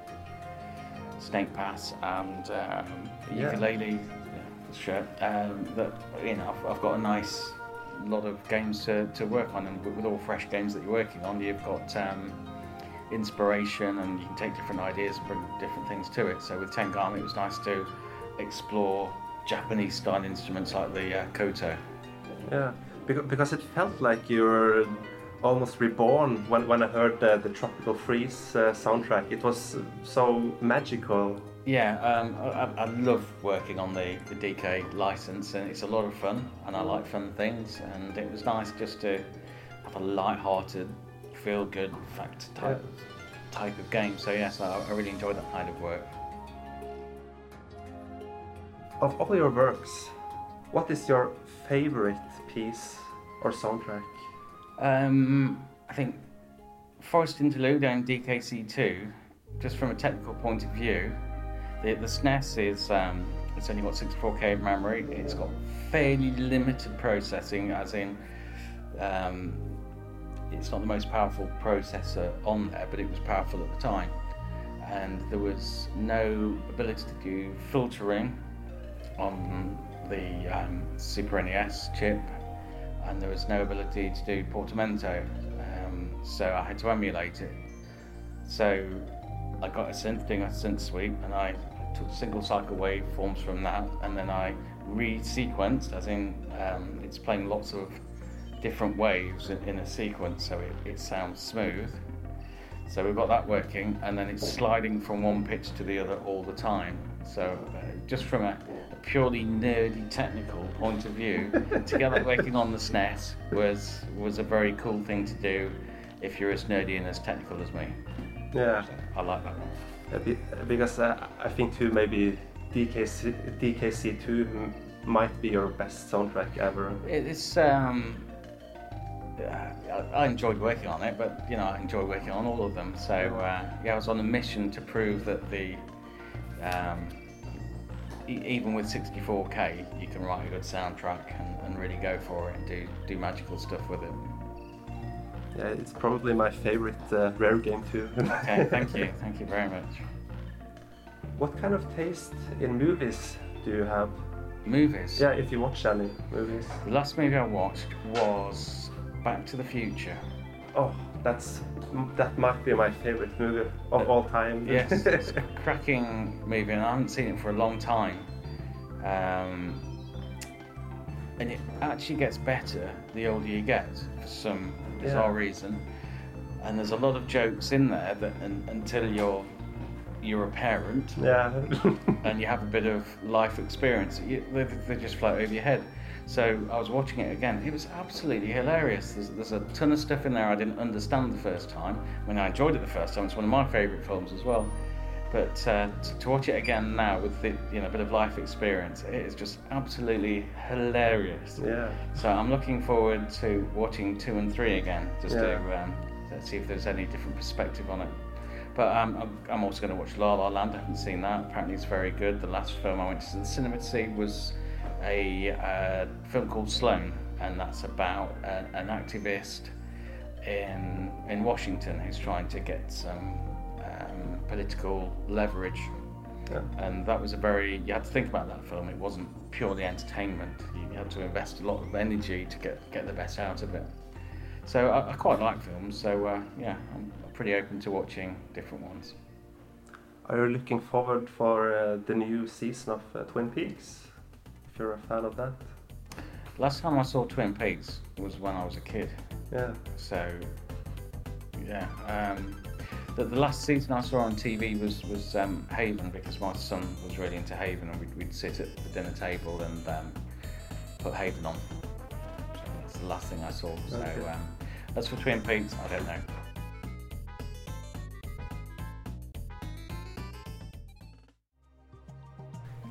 E: uh, Snake Pass, and um,
A: Yeah.
E: ukulele yeah, shirt, um, that you know I've, I've got a nice lot of games to, to work on, and with, with all fresh games that you're working on, you've got um, inspiration, and you can take different ideas and bring different things to it. So with Tengami, it was nice to explore Japanese style instruments like the uh, koto.
A: Yeah, because, because it felt like you were almost reborn when, when I heard the, the Tropical Freeze uh, soundtrack. It was so magical.
E: Yeah, um, I, I- I love working on the, the DK license, and it's a lot of fun, and I like fun things, and it was nice just to have a light-hearted, feel-good fact type type of game. So yes, I, I really enjoy that kind of work.
A: Of all your works, what is your favorite piece or soundtrack?
E: Um, I think Forest Interlude and DKC2, just from a technical point of view, the, the SNES is um, it's only got 64k of memory. It's got fairly limited processing, as in um, it's not the most powerful processor on there, but it was powerful at the time. and there was no ability to do filtering on the um, Super NES chip, and there was no ability to do portamento, um, so I had to emulate it. So I got a synth doing a synth sweep, and I took single cycle waveforms from that, and then I resequenced, as in um, it's playing lots of different waves in, in a sequence, so it, it sounds smooth. So we've got that working, and then it's sliding from one pitch to the other all the time. So uh, just from a, a purely nerdy technical point of view, to get that working on the SNES was was a very cool thing to do if you're as nerdy and as technical as me.
F: Yeah.
E: I like that one.
F: Uh, be- Because uh, I think too maybe DKC DKC2 m- might be your best soundtrack ever.
E: It- It's um, uh, I I enjoyed working on it, but you know I enjoy working on all of them. So uh, yeah, I was on a mission to prove that the um, e- even with 64k, you can write a good soundtrack and, and really go for it and do do magical stuff with it.
F: Yeah, it's probably my favorite uh, rare game too.
E: Okay, thank you, thank you very much.
F: What kind of taste in movies do you have?
E: Movies.
F: Yeah, if you watch any movies.
E: The last movie I watched was Back to the Future.
F: Oh, that's that might be my favorite movie of all time.
E: Yes, *laughs* it's a cracking movie, and I haven't seen it for a long time. Um, and it actually gets better the older you get for some bizarre reason. And there's a lot of jokes in there that un until you're you're a parent
F: *laughs* yeah. *laughs*
E: and you have a bit of life experience, you, they, they just float over your head. So I was watching it again. It was absolutely hilarious. There's, there's a ton of stuff in there I didn't understand the first time. I mean, I enjoyed it the first time. It's one of my favourite films as well. But uh, t- to watch it again now with the, you know a bit of life experience, it is just absolutely hilarious.
F: yeah.
E: So I'm looking forward to watching two and three again, just to
F: Yeah.
E: um, to see if there's any different perspective on it. But um, I'm, I'm also going to watch La La Land. I haven't seen that. Apparently, it's very good. The last film I went to the cinema to see was a uh, film called Sloan, and that's about an, an activist in in Washington who's trying to get some um, political leverage
F: Yeah.
E: and that was a very you had to think about that film it wasn't purely entertainment you had to invest a lot of energy to get get the best out of it so i, I quite like films so uh, yeah i'm pretty open to watching different ones
F: Are you looking forward for uh, the new season of uh, Twin Peaks? If you're a fan of that.
E: last time i saw twin peaks was when i was a kid
F: Yeah.
E: so yeah um the, the last season I saw on TV was was um, Haven because my son was really into Haven and we'd, we'd sit at the dinner table and um, put Haven on. So that's the last thing I saw. So
F: Okay.
E: um, as for Twin Peaks, I don't know.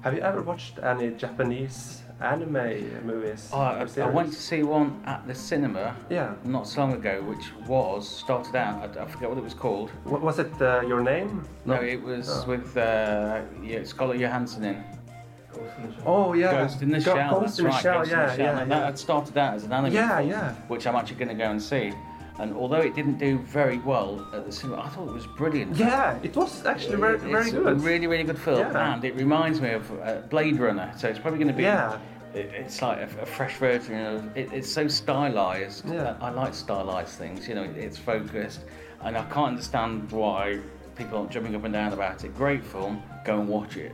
F: Have you ever watched any Japanese anime movies?
E: Oh, I,
F: or
E: I went
F: series?
E: to see one at the cinema
F: Yeah.
E: not so long ago, which was started out. I, I forget what it was called.
F: Wa- was it uh, your name?
E: No, it was
F: Oh.
E: with uh, yeah, Scarlett Johansson in.
F: Oh yeah.
E: Ghost in the
F: Go-
E: Shell.
F: Ghost
E: that's
F: in the
E: right,
F: Shell.
E: Ghost in
F: Yeah,
E: the Shell.
F: yeah,
E: and
F: yeah.
E: That had started out as an anime,
F: Yeah,
E: film,
F: yeah.
E: which I'm actually going to go and see. And although it didn't do very well at the cinema, I thought it was brilliant.
F: Yeah, it was actually very,
E: It-
F: very
E: it's
F: good.
E: A really, really good film,
F: Yeah.
E: and it reminds me of uh, Blade Runner. So it's probably going to be.
F: Yeah.
E: it- It's like a, a fresh version of. It, it's so stylized.
F: Yeah.
E: I, I like stylized things. You know, it- it's focused, and I can't understand why people aren't jumping up and down about it. Great film. Go and
F: *laughs*
E: watch it.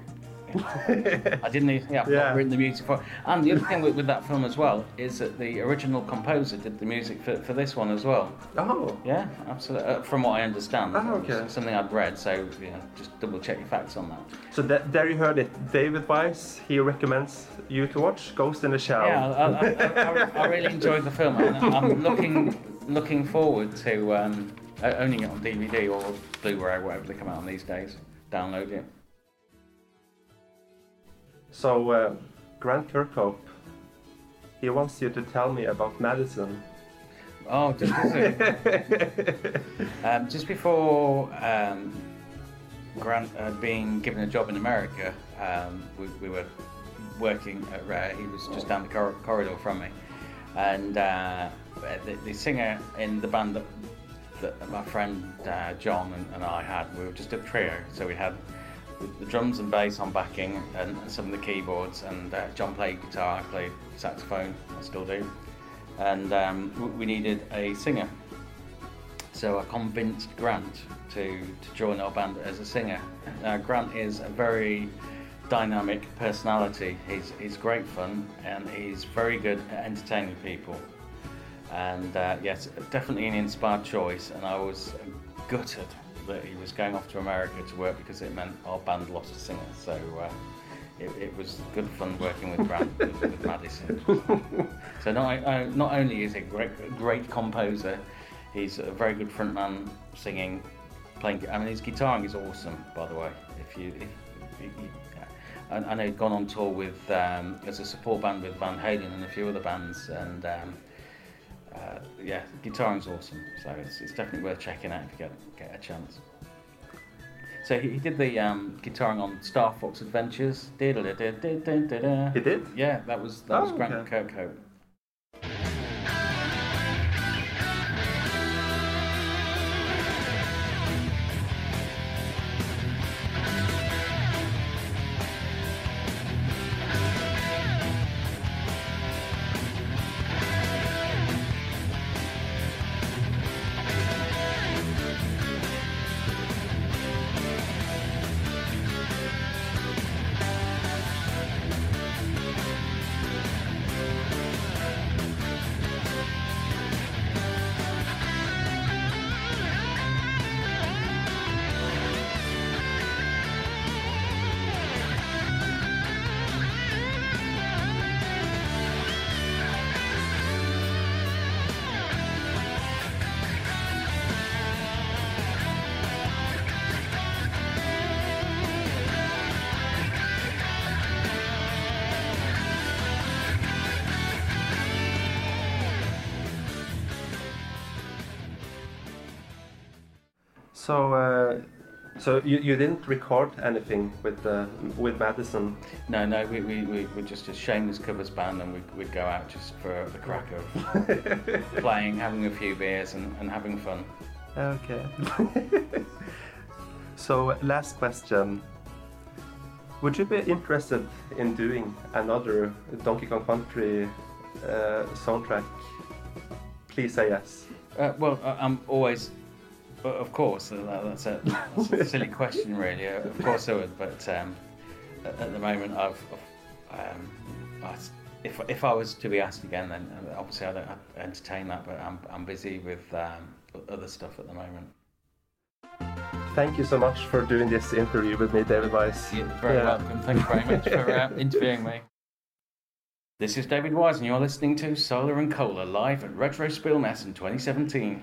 E: I didn't. Even, yeah, I've
F: Yeah.
E: not written the music for. And the other thing with, with that film as well is that the original composer did the music for, for this one as well.
F: Oh.
E: Yeah, absolutely. Uh, from what I understand,
F: Ah, okay.
E: It's something I've read. So you know, just double check your facts on that.
F: So that, there you heard it. David Weiss, he recommends you to watch Ghost in the Shell.
E: Yeah, I, I, I, I really enjoyed the film. And I'm looking looking forward to um, o- owning it on DVD or Blu-ray, whatever they come out on these days. Download it.
F: So, uh, Grant Kirkhope, he wants you to tell me about Madison.
E: Oh, just just, um, just before um, Grant uh, being given a job in America, um, we, we were working at Rare. He was just down the cor- corridor from me, and uh, the, the singer in the band that, that my friend uh, John and, and I had. We were just a trio, so we had the, the drums and bass on backing and, and some of the keyboards. And uh, John played guitar, I played saxophone, I still do. And um, w- we needed a singer, so I convinced Grant to, to join our band as a singer. Now, Grant is a very dynamic personality. He's, he's great fun and he's very good at entertaining people. And uh, yes, definitely an inspired choice. And I was gutted that he was going off to America to work because it meant our band lost a singer. So uh, it, it was good fun working with Grant with, with Madison. So not, uh, not only is he a great, great composer, he's a very good frontman, singing, playing. I mean, his guitaring is awesome, by the way. If you, if, you you- I, I know he'd gone on tour with um, as a support band with Van Halen and a few other bands, and um, uh, yeah, guitaring's awesome. So it's, it's definitely worth checking out if you get, get a chance. So he, he did the um, guitaring on Star Fox Adventures. Diddle-da-da-da-da-da.
A: He did?
E: Yeah, that was that was
A: Oh,
E: Grant
A: okay.
E: Kirkhope.
A: So, uh, so you, you didn't record anything with uh, with Madison.
E: No, no, we, we, we were just a shameless covers band and we'd, we'd go out just for the crack of playing, having a few beers and, and having fun.
A: Okay. *laughs* so, last question. Would you be interested in doing another Donkey Kong Country uh, soundtrack? Please say yes.
E: Uh, well, I- I'm always, uh, of course, uh, that- that's a, that's a silly question, really. Uh, Of course, I would, but um, at at the moment, I've, I've, um, I s- if if I was to be asked again, then uh, obviously I don't I'd entertain that, but I'm I'm busy with um, o- other stuff at the moment.
A: Thank you so much for doing this interview with me, David Weiss.
E: You're very
A: Yeah.
E: welcome. Thank you very much for uh, interviewing me. This is David Wise, and you're listening to Solar and Cola live at Retro Spillness in 2017.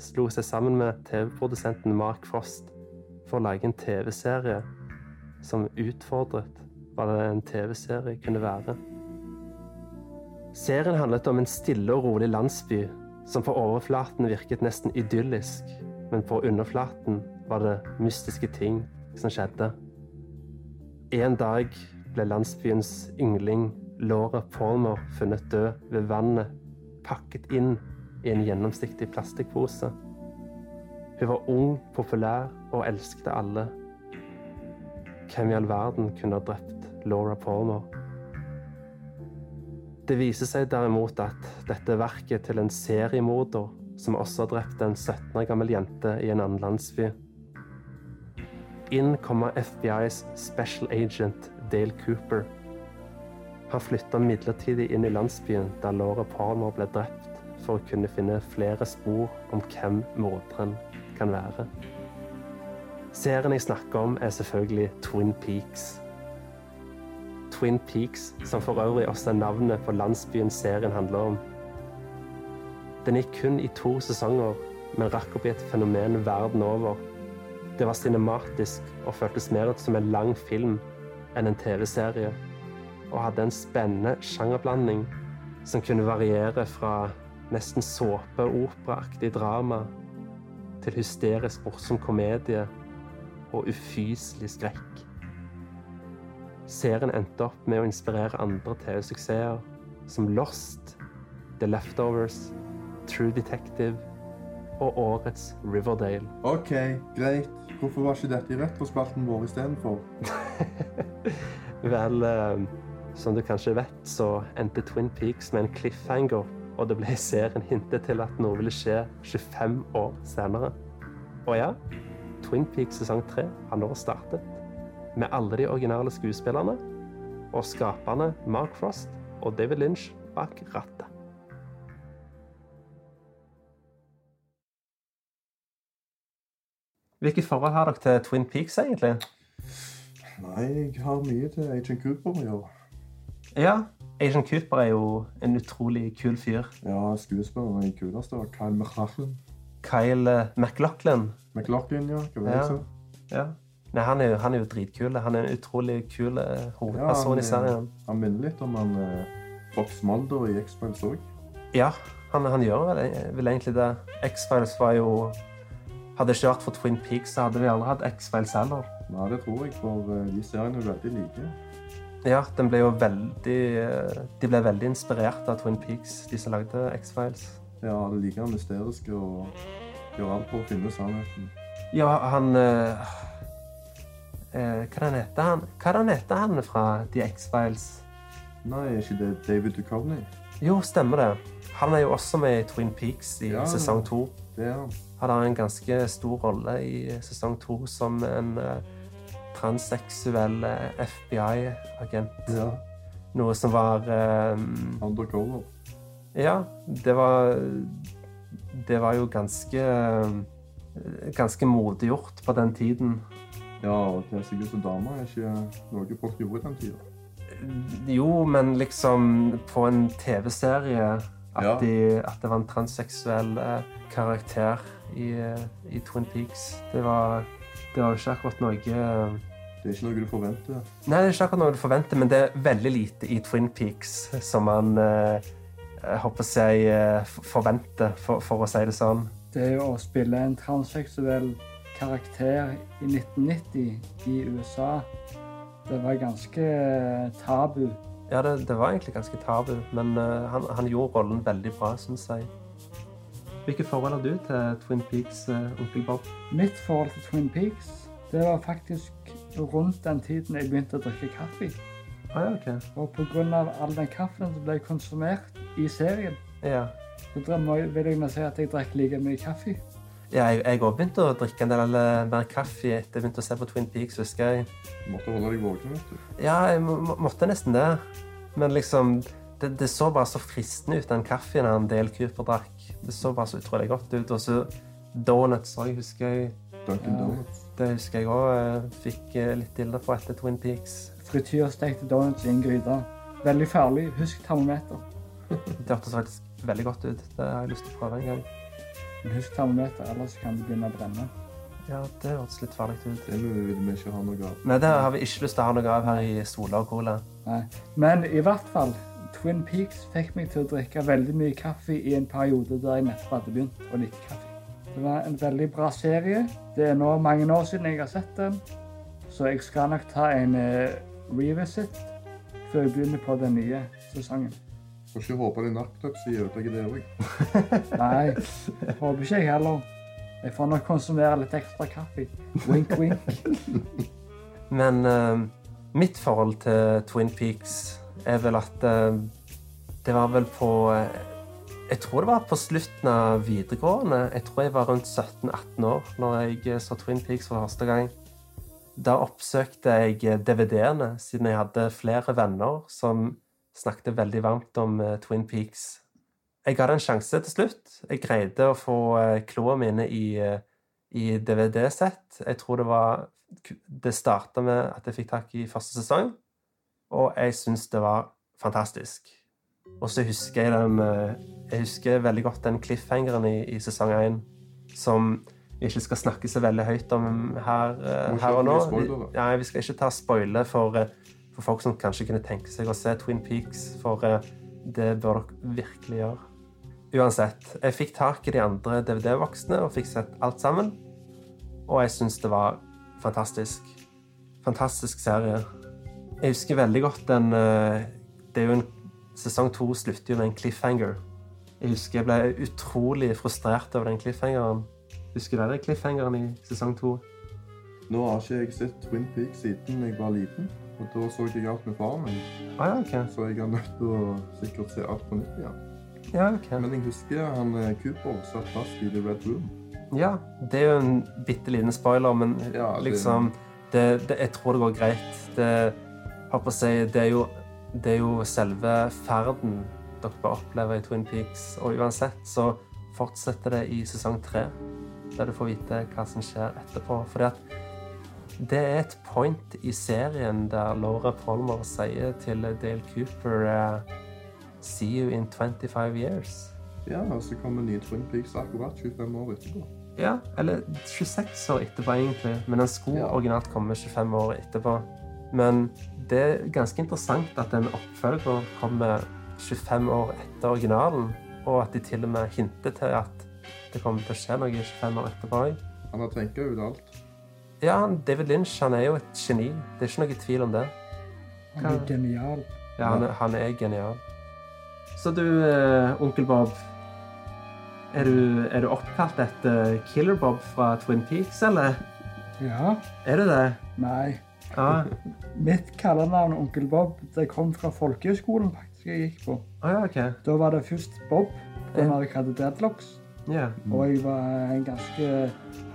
A: slo seg sammen med TV-produsenten Mark Frost for å lage en TV-serie som utfordret hva en TV-serie kunne være. Serien handlet om en stille og rolig landsby som på overflaten virket nesten idyllisk, men på underflaten var det mystiske ting som skjedde. En dag ble landsbyens yngling, Laura Palmer, funnet død ved vannet, pakket inn i en gjennomsiktig plastikkpose. Hun var ung, populær og elsket av alle. Hvem i all verden kunne ha drept Laura Palmer? Det viser seg derimot at dette er verket til en seriemorder som også drepte en 17 år gammel jente i en annen landsby. Inn kommer FBIs special agent Dale Cooper. Han flytta midlertidig inn i landsbyen der Laura Palmer ble drept, for å kunne finne flere spor om hvem morderen kan være. Serien jeg snakker om, er selvfølgelig Twin Peaks. Twin Peaks, som for øvrig også er navnet på landsbyen serien handler om. Den gikk kun i to sesonger, men rakk opp i et fenomen verden over. Det var cinematisk og føltes mer ut som en lang film enn en TV-serie, og hadde en spennende sjangerblanding som kunne variere fra nesten såpe-operaaktig drama til hysterisk morsom komedie og ufyselig skrekk. Serien endte opp med å inspirere andre TV-suksesser som Lost, The Leftovers, True Detective og årets Riverdale.
D: OK, greit. Hvorfor var ikke dette i retrospalten vår istedenfor?
A: Vel, eh, som du kanskje vet, så endte Twin Peaks med en cliffhanger, og det ble i serien hintet til at noe ville skje 25 år senere. Og ja, Twin Peaks sesong 3 har nå startet, med alle de originale skuespillerne og skaperne Mark Frost og David Lynch bak rattet. Hvilke forhold har dere til Twin Peaks, egentlig?
D: Nei, jeg har mye til Agent Cooper å gjøre.
A: Ja, Agent Cooper er jo en utrolig kul fyr.
D: Ja, skuespilleren er den kuleste. og Kyle McLachlan.
A: Kyle eh, McLaughlin.
D: McLachlan, ja. Hva var det
A: Ja.
D: jeg sa?
A: Ja. Nei, han er, jo, han er jo dritkul. Han er en utrolig kul eh, hovedperson
D: Ja, han er-
A: i serien.
D: Han minner litt om han eh, Fox Mulder i X-Files òg.
A: Ja, han, han gjør vel, eh, vel egentlig det. X-Files var jo Hadde det ikke vært for Twin Peaks, så hadde vi aldri hatt X-Files heller.
D: Nei, det tror jeg, for eh, de seriene er veldig like.
A: Ja, den ble jo veldig eh, De ble veldig inspirert av Twin Peaks, de som lagde X-Files.
D: Ja, det er like mysteriske og gjør alt for å finne sannheten.
A: Ja, han eh, eh, Hva er det han heter han? Hva er det han heter han fra The X-Files?
D: Nei, er ikke det David Duchovny?
A: Jo, stemmer det. Han er jo også med i Twin Peaks i
D: Ja.
A: sesong to.
D: Det er han.
A: Han har en ganske stor rolle i sesong to som en eh, transseksuell eh, FBI-agent.
D: Ja.
A: Noe som var eh,
D: Undercover.
A: Ja, det var Det var jo ganske eh, Ganske modiggjort på den tiden.
D: Ja, og til sikkert som dame er ikke noe folk gjorde i den tida.
A: Jo, men liksom på en TV-serie at,
D: Ja.
A: de, at det var en transseksuell eh, karakter i, eh, i Twin Peaks. Det var, det var jo ikke akkurat noe eh,
D: Det er ikke noe du forventer.
A: Nei, det er ikke akkurat noe du forventer, men det er veldig lite i Twin Peaks som man eh, jeg håper jeg eh, f- forventer, for, for å si det sånn.
C: Det å spille en transseksuell karakter i 1990 i USA, det var ganske eh, tabu.
A: Ja, det, det var egentlig ganske tabu, men eh, han, han gjorde rollen veldig bra, syns jeg. Hvilke forhold har du til Twin Peaks, eh, onkel Bob?
C: Mitt forhold til Twin Peaks, det var faktisk rundt den tiden jeg begynte å drikke kaffe.
A: Ah, ja, ok.
C: Og pga. all den kaffen som ble konsumert i serien,
A: Ja.
C: så drømmer jeg, vil jeg nå si at jeg drakk like mye kaffe.
A: Ja, jeg jeg også begynte å drikke en del eh, mer kaffe etter jeg begynte å se på Twin Peaks. husker jeg.
D: Måtte holde deg våken, vet du.
A: Ja, jeg må- må- måtte nesten det. Men liksom, det, det så bare så fristende ut, den kaffen han Dale Cooper drakk. Det så bare så utrolig godt ut. Og så donuts òg, husker jeg.
D: Duncan
C: Ja.
D: Donuts.
A: Det husker jeg òg. Fikk eh, litt dilda på etter Twin Peaks.
C: Frityrstekte donuts i en gryte. Veldig farlig. Husk termometer.
A: Det hørtes faktisk veldig godt ut. Det har jeg lyst til å prøve en gang.
C: Men husk termometer, ellers kan det begynne å brenne.
A: Ja, det hørtes litt farlig ut.
D: Det vil vi ikke ha noe av.
A: Nei, det har vi ikke lyst til å ha noe av her i Sola og Cola.
C: Nei. Men i hvert fall, Twin Peaks fikk meg til å drikke veldig mye kaffe i en periode der jeg nettopp hadde begynt å like kaffe. Det var en veldig bra serie. Det er nå mange år siden jeg har sett den, så jeg skal nok ta en eh, revisit før jeg begynner på den nye sesongen.
D: Får ikke håpe det er narkolepsi ødelegger det òg.
C: Nei, jeg håper ikke jeg heller. Jeg får nok konsumere litt ekstra kaffe. Wink, wink.
A: Men eh, mitt forhold til Twin Peaks er vel at eh, det var vel på eh, Jeg tror det var på slutten av videregående. Jeg tror jeg var rundt 17-18 år når jeg eh, så Twin Peaks for første gang. Da oppsøkte jeg eh, DVD-ene, siden jeg hadde flere venner som snakket veldig varmt om eh, Twin Peaks. Jeg ga det en sjanse til slutt. Jeg greide å få eh, kloa mine i, eh, i DVD-sett. Jeg tror det var det starta med at jeg fikk tak i første sesong, og jeg syns det var fantastisk. Og så husker jeg den eh, Jeg husker veldig godt den cliffhangeren i, i sesong 1, som vi ikke skal snakke så veldig høyt om her, eh,
D: Må ikke
A: her og
D: ha
A: nå.
D: mye spoiler,
A: Vi, nei, vi skal ikke ta spoiler for, eh, for folk som kanskje kunne tenke seg å se Twin Peaks, for eh, det bør dere virkelig gjøre. Uansett, jeg fikk tak i de andre DVD-voksne og fikk sett alt sammen. Og jeg syns det var fantastisk. Fantastisk serie. Jeg husker veldig godt den eh, Det er jo en Sesong to slutter jo med en cliffhanger. Jeg husker jeg ble utrolig frustrert over den cliffhangeren. Husker dere cliffhangeren i sesong to?
D: Nå har ikke jeg sett Twin Peaks siden jeg var liten. Og da så jeg alt med faren min,
A: Å ja, OK.
D: så jeg er nødt til å sikkert se alt på nytt igjen.
A: Ja, ok.
D: Men jeg husker han eh, Cooper satt fast i The Red Room.
A: ja, det er jo en bitte liten spoiler, men
D: Ja, det-
A: liksom det, det, Jeg tror det går greit. Det, holdt på å si, det, er jo, det er jo selve ferden dere bør oppleve i Twin Peaks. Og uansett så fortsetter det i sesong tre, der du får vite hva som skjer etterpå. Fordi at Det er et point i serien der Laura Palmer sier til Dale Cooper eh, See you in 25 years.
D: Ja, og så kommer nye Twin Peaks akkurat 25 år etterpå.
A: Ja, eller 26 år etterpå egentlig, men den skulle
D: Ja.
A: originalt komme 25 år etterpå. Men det er ganske interessant at en oppfølger kommer 25 år etter originalen, og at de til og med hinter til at det kommer til å skje noe 25 år etterpå òg.
D: Han har tenkt ut alt.
A: Ja, han- David Lynch han er jo et geni. Det er ikke noe tvil om det.
G: Han er genial.
A: Ja, han, er- han er genial. Så du, eh, onkel Bob er du, er du oppkalt etter Killer Bob fra Twin Peaks, eller?
G: Ja.
A: Er du det?
G: Nei.
A: Ja.
G: Mitt kallenavn Onkel Bob det kom fra folkehøyskolen faktisk jeg gikk på.
A: Å ja, ok.
G: Da var det først Bob, da jeg hadde deadlocks.
A: Ja.
G: Og jeg var en ganske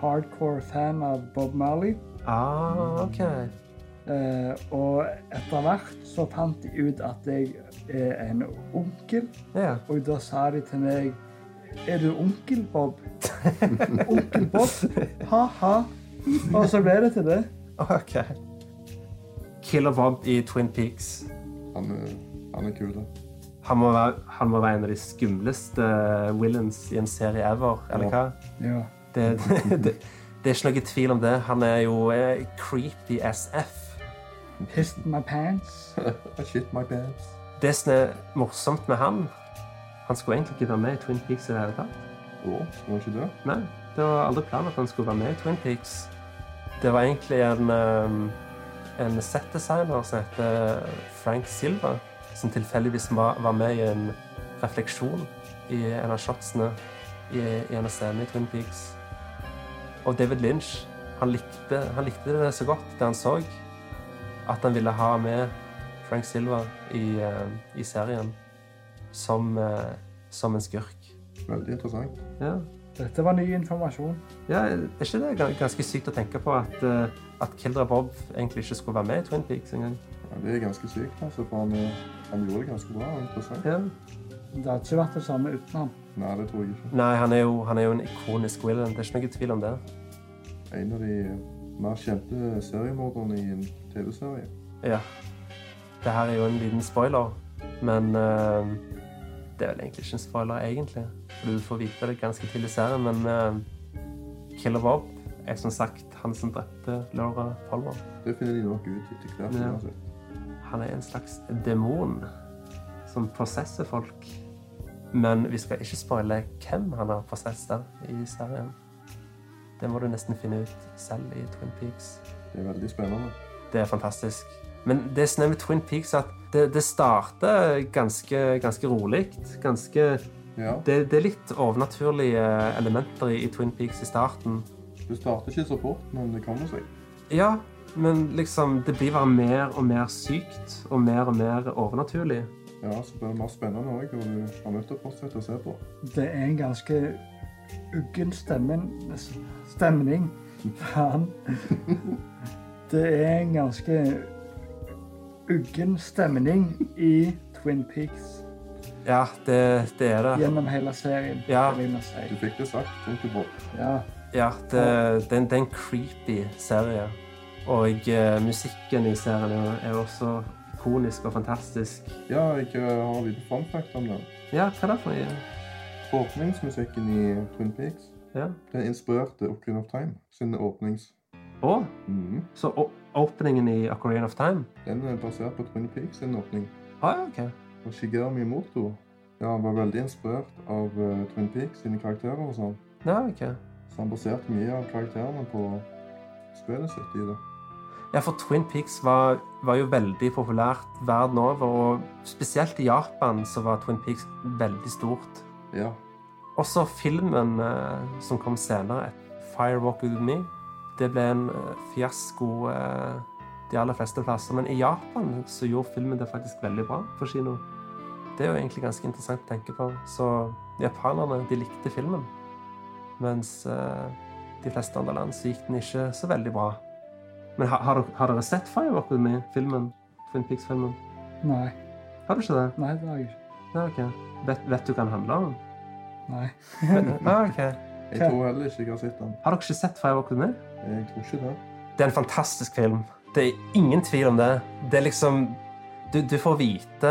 G: hardcore fan av Bob Marley.
A: Ah, ok.
G: Eh, og etter hvert så fant de ut at jeg er en onkel,
A: Ja. *laughs*
G: og da sa de til meg Er du onkel Bob? *laughs* onkel Bob? Ha-ha. Og så ble det til det.
A: Ok. Killer Bob i Twin Peaks.
D: Han er, han er kul, da.
A: Han må, være, han må være en av de skumleste eh, villains i en serie ever, eller hva?
G: Ja.
A: Det, *laughs* det, det er ikke noe tvil om det. Han er jo eh, creepy SF.
G: Pissed my pants.
D: I shit my pants.
A: Det som er morsomt med han Han skulle egentlig ikke være med i Twin Peaks i det hele tatt.
D: Å, var han ikke det?
A: Nei, det var aldri planen at han skulle være med i Twin Peaks. Det var egentlig en, ehm, en setdesigner som heter Frank Silva, som tilfeldigvis var, var med i en refleksjon i en av shotsene i, i en av scenene i Twin Peaks. Og David Lynch, han likte, han likte det så godt, det han så, at han ville ha med Frank Silva i, ehm, i serien som, eh, som en skurk.
D: Veldig interessant.
A: Ja.
G: Dette var ny informasjon.
A: Ja, er ikke det gans- ganske sykt å tenke på at, eh, at Kildra Bob egentlig ikke skulle være med i Twin Peaks engang?
D: Ja, det er ganske sykt, altså, for han, eh, han gjorde det ganske bra. og Interessant.
A: Ja.
G: Det hadde ikke vært det samme uten ham.
D: Nei, det tror jeg ikke.
A: Nei, han er, jo, han er jo en ikonisk villain. Det er ikke noe tvil om det.
D: En av de eh, mer kjente seriemorderne i en TV-serie.
A: Ja. Det her er jo en liten spoiler, men eh, det er vel egentlig ikke en spoiler, egentlig. For du får vite det ganske tidlig i serien, men eh, Killer Bob er som sagt han som drepte Laura Palmer.
D: Det finner de nok ut etter hvert.
A: Ja.
D: uansett.
A: Han er en slags demon som prosesser folk. Men vi skal ikke spoile hvem han har prosesset i serien. Det må du nesten finne ut selv i Twin Peaks.
D: Det er veldig spennende.
A: Det er fantastisk. Men det som er med Twin Peaks, er at det, det starter ganske, ganske rolig. Ganske
D: Ja,
A: det, det er litt overnaturlige elementer i, i Twin Peaks i starten.
D: Du starter ikke så fort, men det kommer seg.
A: Ja, men liksom Det blir bare mer og mer sykt og mer og mer overnaturlig.
D: Ja, så blir det mer spennende òg, og du har nødt til å fortsette å se på.
G: Det er en ganske uggen stemmen, altså, stemning. Faen. Det er en ganske uggen stemning i Twin Peaks
A: Ja, det, det er det.
G: gjennom hele serien.
A: Ja.
G: vil jeg
D: Du
G: si.
D: fikk det sagt. Tenk på
G: ja.
A: Ja, det, det, er en- det er en creepy serie. Og eh, musikken i serien er jo- er jo også ikonisk og fantastisk.
D: Ja, jeg eh, har en liten fun fact om den.
A: Ja, hva er det for noe?
D: Åpningsmusikken i Twin Peaks
A: Ja.
D: den inspirerte Ocarina of Time sin åpnings...
A: Og
D: Mhm.
A: så å- åpningen i Ocarina of Time.
D: Den er basert på Twin Peaks sin åpning.
A: Ah, ja, ok.
D: Og Shigeru Miyamoto ja, han var veldig inspirert av eh, Twin Peaks sine karakterer og sånn.
A: Ja, ok.
D: Så han baserte mye av karakterene på spillet sitt i det.
A: Ja, for Twin Peaks var, var jo veldig populært verden over, og spesielt i Japan så var Twin Peaks veldig stort.
D: Ja.
A: Også filmen eh, som kom senere, Firewalk With Me, det ble en eh, fiasko eh, de aller fleste plasser. Men i Japan så gjorde filmen det faktisk veldig bra på kino. Det er jo egentlig ganske interessant å tenke på. Så japanerne, de likte filmen. Mens eh, de fleste andre land så gikk den ikke så veldig bra. Men har, har, dere- har dere sett Firewalk With Me, filmen? Twin Peaks-filmen?
G: Nei.
A: Har du ikke det?
G: Nei, det har jeg ikke.
A: Ja, ok. Vet, vet du hva den handler om?
G: Nei.
A: Ja, ok.
D: Jeg tror heller ikke jeg har sett den.
A: Har dere ikke sett Firewalk With Me?
D: Jeg tror ikke det.
A: Det er en fantastisk film. Det er ingen tvil om det. Det er liksom Du, du, får, vite,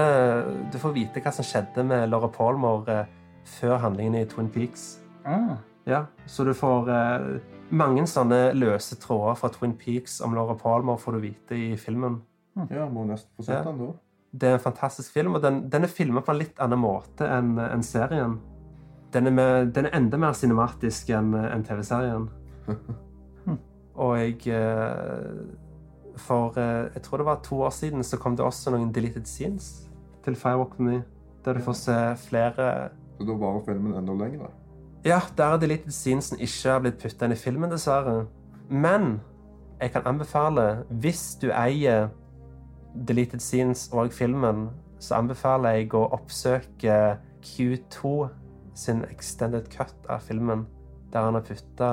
A: du får vite hva som skjedde med Laura Palmer eh, før handlingen i Twin Peaks.
G: Ah,
A: Ja, Så du får eh, mange sånne løse tråder fra Twin Peaks om Laura Palmer får du vite i filmen.
D: Ja, må nesten få sett
A: Ja.
D: den da.
A: Det er en fantastisk film, og den, den er filmet på en litt annen måte enn enn serien. Den er, med, den er enda mer cinematisk enn enn TV-serien. Og jeg eh, For eh, jeg tror det var to år siden så kom det også noen deleted scenes til Firewalk With Me, der du får se flere
D: Så da varer filmen enda lengre.
A: ja, der er deleted scenes som ikke har blitt putta inn i filmen, dessverre. Men jeg kan anbefale, hvis du eier deleted scenes og filmen, så anbefaler jeg å oppsøke Q2 sin extended cut av filmen, der han har putta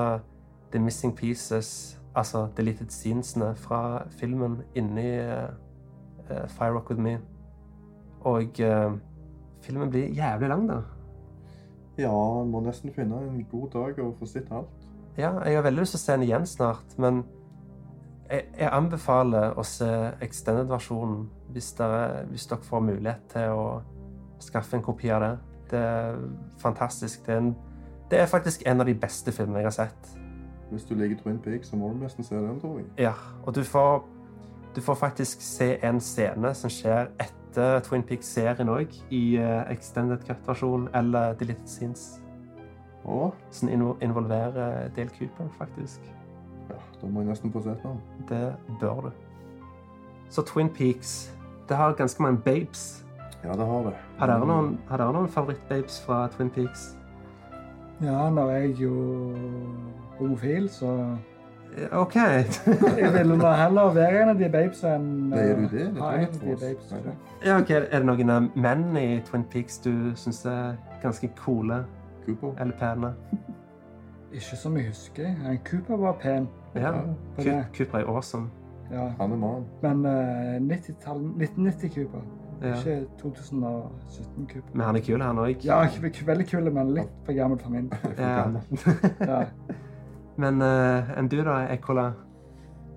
A: the missing pieces, altså deleted scenesene fra filmen, inni eh, Fire Rock With Me. Og eh, filmen blir jævlig lang, da.
D: Ja, en må nesten finne en god dag og få sett alt.
A: Ja, jeg har veldig lyst til å se den igjen snart, men jeg, jeg anbefaler å se extended-versjonen hvis, dere- hvis dere får mulighet til å skaffe en kopi av det. Det er fantastisk. Det er, en, det er faktisk en av de beste filmene jeg har sett.
D: Hvis du liker Twin Peaks, så må du nesten se den, tror jeg.
A: Ja, og du får, du får faktisk se en scene som skjer etter Twin Peaks-serien òg, i eh, extended cut-versjon eller Deleted Scenes,
D: Å,
A: som invo- involverer Dale Cooper, faktisk.
D: ja, da må jeg nesten få sett den.
A: Det bør du. Så Twin Peaks Det har ganske mange babes.
D: Ja, det har det.
A: Har dere noen, har dere noen favorittbabes fra Twin Peaks?
G: ja, nå er jeg jo homofil, så
A: Eh, OK. *laughs*
G: jeg ville nå heller være en av de babes enn
D: Nei, er du det? Det
G: Ja,
D: tror jeg
G: en av
D: tror
G: de
D: oss.
G: babes.
D: Nei, det-
A: ja, ok. Er det noen eh, menn i Twin Peaks du syns er ganske coole
D: Cooper.
A: eller pene?
G: Ikke som jeg husker. Han Cooper var pen.
A: Ja.
G: på
A: Coop-
G: det.
A: Cooper er awesome.
G: Ja.
D: Han er mann.
G: Men eh, 90-tall- 1990 Cooper,
A: Ja.
G: ikke 2017 Cooper.
A: Men han er kul, han òg.
G: Ja, ikke- ikke veldig kul, men litt for gammel for min.
A: Ja. *laughs*
G: Ja.
A: Men eh, enn du, da, Ekkola?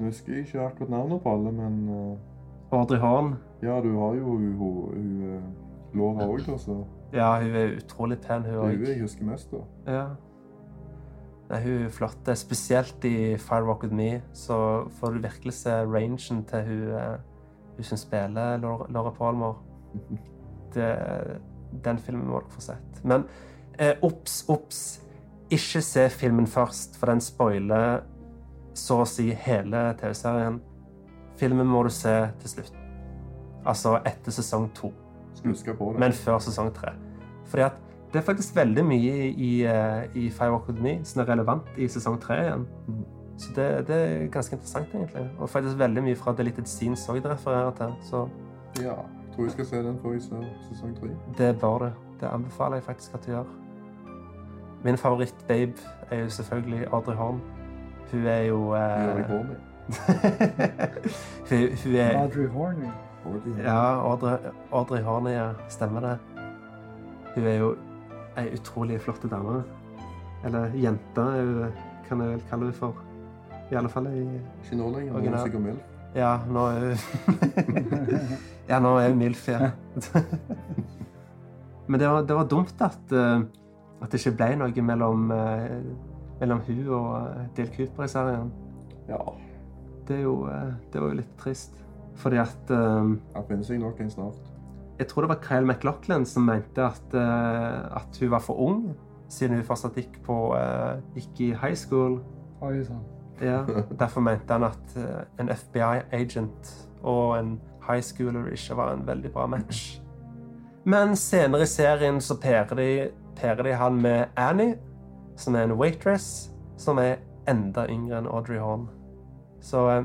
D: Nå husker jeg ikke akkurat navnet på alle, men eh,
A: Audrey Horn?
D: ja, du har jo hun- hun hun, eh, Laura òg, da, så
A: Ja, hun er utrolig pen, hun
D: det er hun
A: òg.
D: jeg husker mest, da.
A: Ja. Nei, hun er flott. Det er Spesielt i Firewalk With Me så får du virkelig se rangen til hun, eh, hun som spiller Laura Laura Palmer. Det, den filmen må dere få sett. Men eh, obs, obs! Ikke se filmen først, for den spoiler så å si hele TV-serien. Filmen må du se til slutt. Altså etter sesong to
D: Skal huske på det.
A: men før sesong tre. Fordi at det er faktisk veldig mye i, i, eh, i Five Walk With Me som er relevant i sesong tre igjen. Så det, det er ganske interessant, egentlig. Og faktisk veldig mye fra Deleted Scenes òg det refererer til. Så
D: Ja, jeg tror jeg skal se den før jeg ser sesong tre.
A: det bør du. Det anbefaler jeg faktisk at du gjør. Min favoritt-babe er jo selvfølgelig Audrey Horn. Hun er jo
D: Det gjør
A: *laughs*
D: jeg
A: eh...
D: på meg.
A: hun, hun er
G: Audrey Horney. *laughs*
D: Fordi-
A: Ja, Audrey, Audrey Horne, ja. Stemmer det. Hun er jo ei utrolig flott dame. Eller jente, er hun- kan jeg vel kalle henne for. I alle fall i
D: Ikke nå lenger. Nå er
A: Original.
D: jeg sikkert mild.
A: Ja, nå er hun *laughs* Ja, *laughs* nå er hun MILF, ja. Men det var, det var dumt at eh, At det ikke ble noe mellom, eh, mellom hun og eh, Dale Cooper i serien.
D: Ja.
A: Det, er jo, eh, det var jo litt trist. Fordi at eh,
D: Han finner seg nok en snart.
A: Jeg tror det var Kyle McLaughlin som mente at, eh, at hun var for ung, siden hun fortsatt gikk, på, eh, gikk i high school.
G: Oi sånn. sann.
A: Ja, derfor mente han at eh, en FBI-agent og en high schooler ikke var en veldig bra match. Men senere i serien så pærer de, pærer de han med Annie, som er en waitress, som er enda yngre enn Audrey Horn. Så eh,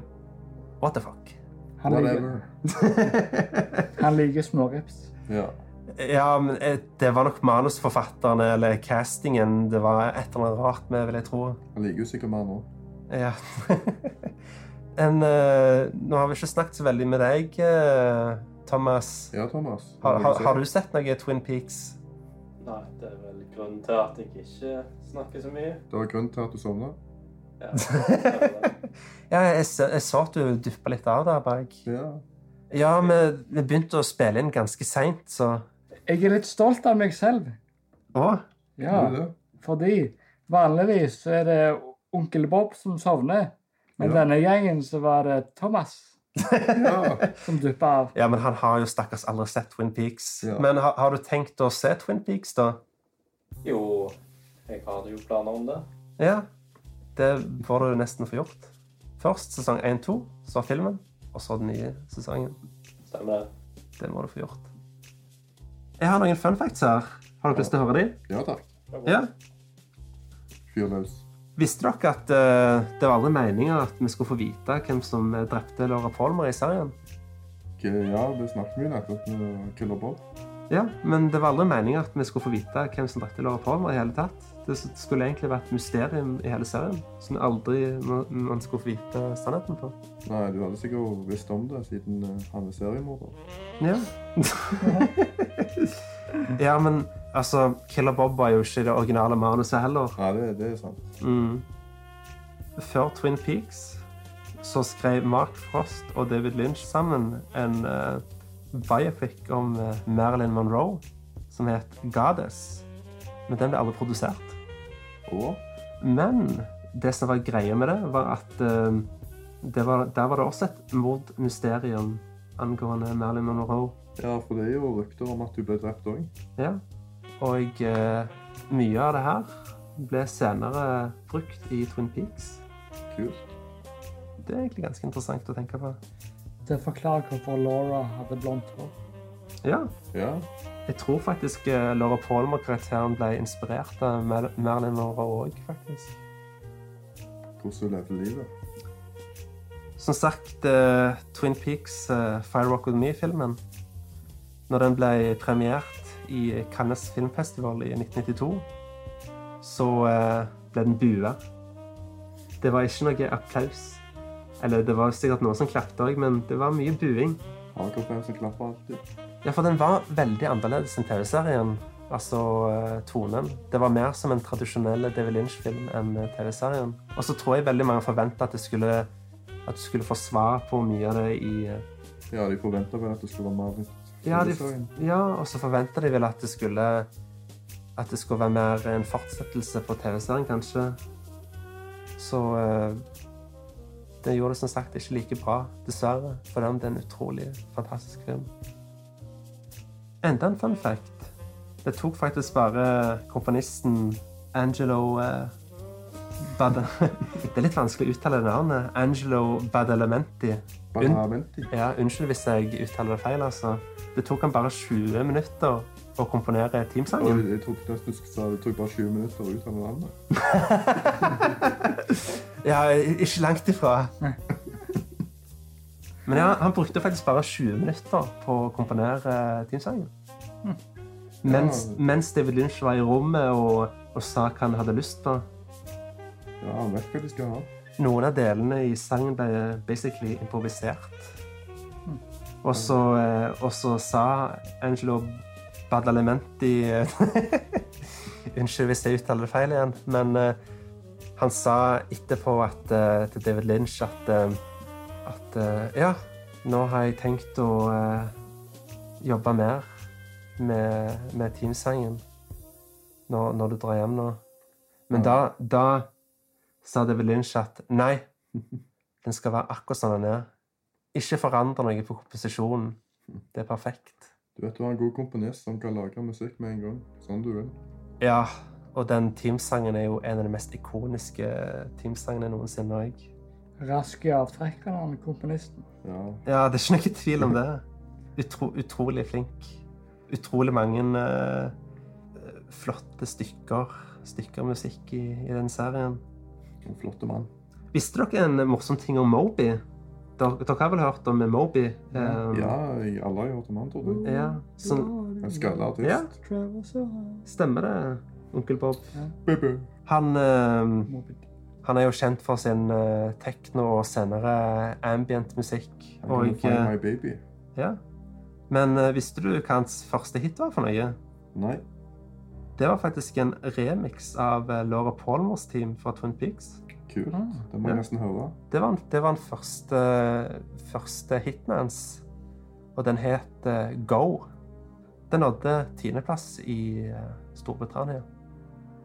A: what the fuck?
G: Han liker,
D: Whatever.
G: han liker smårips.
D: Ja.
A: ja, men eh, det var nok manusforfatterne eller castingen. Det var et eller annet rart med, vil jeg tro.
D: Han liker jo sikkert mer nå.
A: Ja. *laughs* En, eh, nå har vi ikke snakket så veldig med deg, eh, Thomas.
D: Ja, Thomas.
A: Har, har, har du sett noe Twin Peaks? *laughs*
B: Nei, det er vel grunnen til at jeg ikke snakker så mye.
D: Det var grunnen til at du sovna.
B: Ja,
A: ja, jeg, så- jeg så at du duppa litt av der, Berg.
D: Ja.
A: Ja, vi, vi begynte å spille inn ganske seint, så
G: Jeg er litt stolt av meg selv.
A: Å?
G: Ja,
D: Det er det.
G: fordi vanligvis så er det onkel Bob som sovner. Men
D: Ja.
G: denne gangen så var det Thomas
D: Ja.
G: som duppa av.
A: Ja, men han har jo stakkars aldri sett Twin Peaks.
D: Ja.
A: Men har, har du tenkt å se Twin Peaks, da?
B: jo, jeg hadde jo planer om det.
A: Ja. Det får du nesten få gjort. Først sesong 1-2, så filmen, og så den nye sesongen.
B: Stemmer det.
A: Det må du få gjort. Jeg har noen fun facts her. Har dere lyst til å høre de?
D: ja takk.
A: Ja.
D: Fyr løs.
A: Visste dere at eh, det var aldri meninga at vi skulle få vite hvem som eh, drepte Laura Palmer i serien?
D: Ok, Ja, det snakket vi jo nettopp med Killer Bob.
A: Ja, men det var aldri meninga at vi skulle få vite hvem som drepte Laura Palmer i hele tatt. Det s- skulle egentlig vært et mysterium i hele serien som aldri ma- man skulle få vite sannheten på.
D: Nei, du hadde sikkert visst om det siden eh, han er seriemorder.
A: Ja. *laughs* ja, men altså Killer Bob var jo ikke i det originale manuset heller.
D: Nei, det, det er sant.
A: Mm. Før Twin Peaks så skrev Mark Frost og David Lynch sammen en eh, biopic om eh, Marilyn Monroe som het Goddess. Men den ble aldri produsert.
D: Og
A: Men det som var greia med det, var at eh, det var, der var det også et mordmysterium angående Marilyn Monroe.
D: Ja, for det er jo rykter om at du ble drept òg.
A: Ja. Og eh, mye av det her ble senere brukt i Twin Peaks.
D: Kult.
A: Det er egentlig ganske interessant å tenke på.
G: Det forklarer hvorfor Laura hadde blondt hår.
A: Ja.
D: Ja.
A: Jeg tror faktisk eh, Laura Palmer-karakteren ble inspirert av Mer- Marilyn Monroe òg, faktisk.
D: Hvordan du levde livet.
A: Som sagt, eh, Twin Peaks eh, Firework With Me-filmen Når den ble premiert i Cannes filmfestival i 1992, så eh, ble den bua. Det var ikke noe applaus. Eller det var sikkert noen som klappet òg, men det var mye buing.
D: Hardcore-fansen klapper alltid.
A: Ja, for den var veldig annerledes enn TV-serien. Altså eh, tonen. Det var mer som en tradisjonell David Lynch-film enn eh, TV-serien. Og så tror jeg veldig mange forventa at det skulle at du skulle få svar på mye av det i eh,
D: Ja, de forventa vel at det skulle være mer
A: Ja, de,
D: Serien.
A: ja og så forventa de vel at det skulle At det skulle være mer en fortsettelse på TV-serien, kanskje. Så eh, Det gjorde det som sagt ikke like bra, dessverre. For det er en utrolig fantastisk film. Enda en fun fact. Det tok faktisk bare komponisten Angelo eh, Bad *laughs* Det er litt vanskelig å uttale det navnet. Angelo Badalamenti. Unn-
D: Bare vent i.
A: ja, unnskyld hvis jeg uttaler det feil, altså. Det tok han bare 20 minutter å komponere
D: Og
A: teamsangen.
D: jeg- jeg tok nesten du sa det tok bare 20 minutter ut av landet.
A: Ja, ikke langt ifra. *laughs* Men ja, han brukte faktisk bare 20 minutter på å komponere teamsangen. Mens, mens David Lynch var i rommet og, og sa hva han hadde lyst på.
D: Ja, han vet hva de skal ha.
A: Noen av delene i sangen ble basically improvisert. Og så, eh, og så sa Angelo Badalamenti eh, *laughs* Unnskyld hvis jeg uttaler det feil igjen, men eh, han sa etterpå at, eh, til David Lynch at, eh, at eh, Ja, nå har jeg tenkt å eh, jobbe mer med, med teamsangen. når, når du drar hjem nå. Men da, da sa David Lynch at nei, den skal være akkurat som den er. Ikke forandre noe på komposisjonen. Det er perfekt.
D: Du vet du har en god komponist som kan lage musikk med en gang. Sånn du vil.
A: Ja, og den teamsangen er jo en av de mest ikoniske teamsangene noensinne òg.
G: Rask i avtrekkeren, han komponisten.
D: Ja.
A: Ja, det er ikke noe tvil om det. Utro, utrolig flink. Utrolig mange eh, eh, flotte stykker, stykker musikk i, i den serien.
D: En flott mann.
A: Visste dere en morsom ting om Moby? Dere, dere har vel hørt om Moby? Eh,
D: Mm, Ja, jeg, alle har hørt om han, tror jeg.
A: ja. Som,
D: En skalla
A: Ja.
D: artist.
A: stemmer det, onkel Bob?
D: Bubbu.
A: Han, eh, han er jo kjent for sin eh, tekno og senere ambient-musikk.
D: Han kan jo
A: Og
D: find
A: eh,
D: my baby.
A: ja. Men eh, visste du hva hans første hit var for noe?
D: Nei.
A: Det var faktisk en remix av eh, Laura Palmers team fra Twin Peaks.
D: Kult.
G: Ah,
D: Det må jeg
A: ja.
D: nesten høre.
A: Det var, det var den første, første hiten hans, og den het eh, Go. Den nådde tiendeplass i eh, Storbritannia.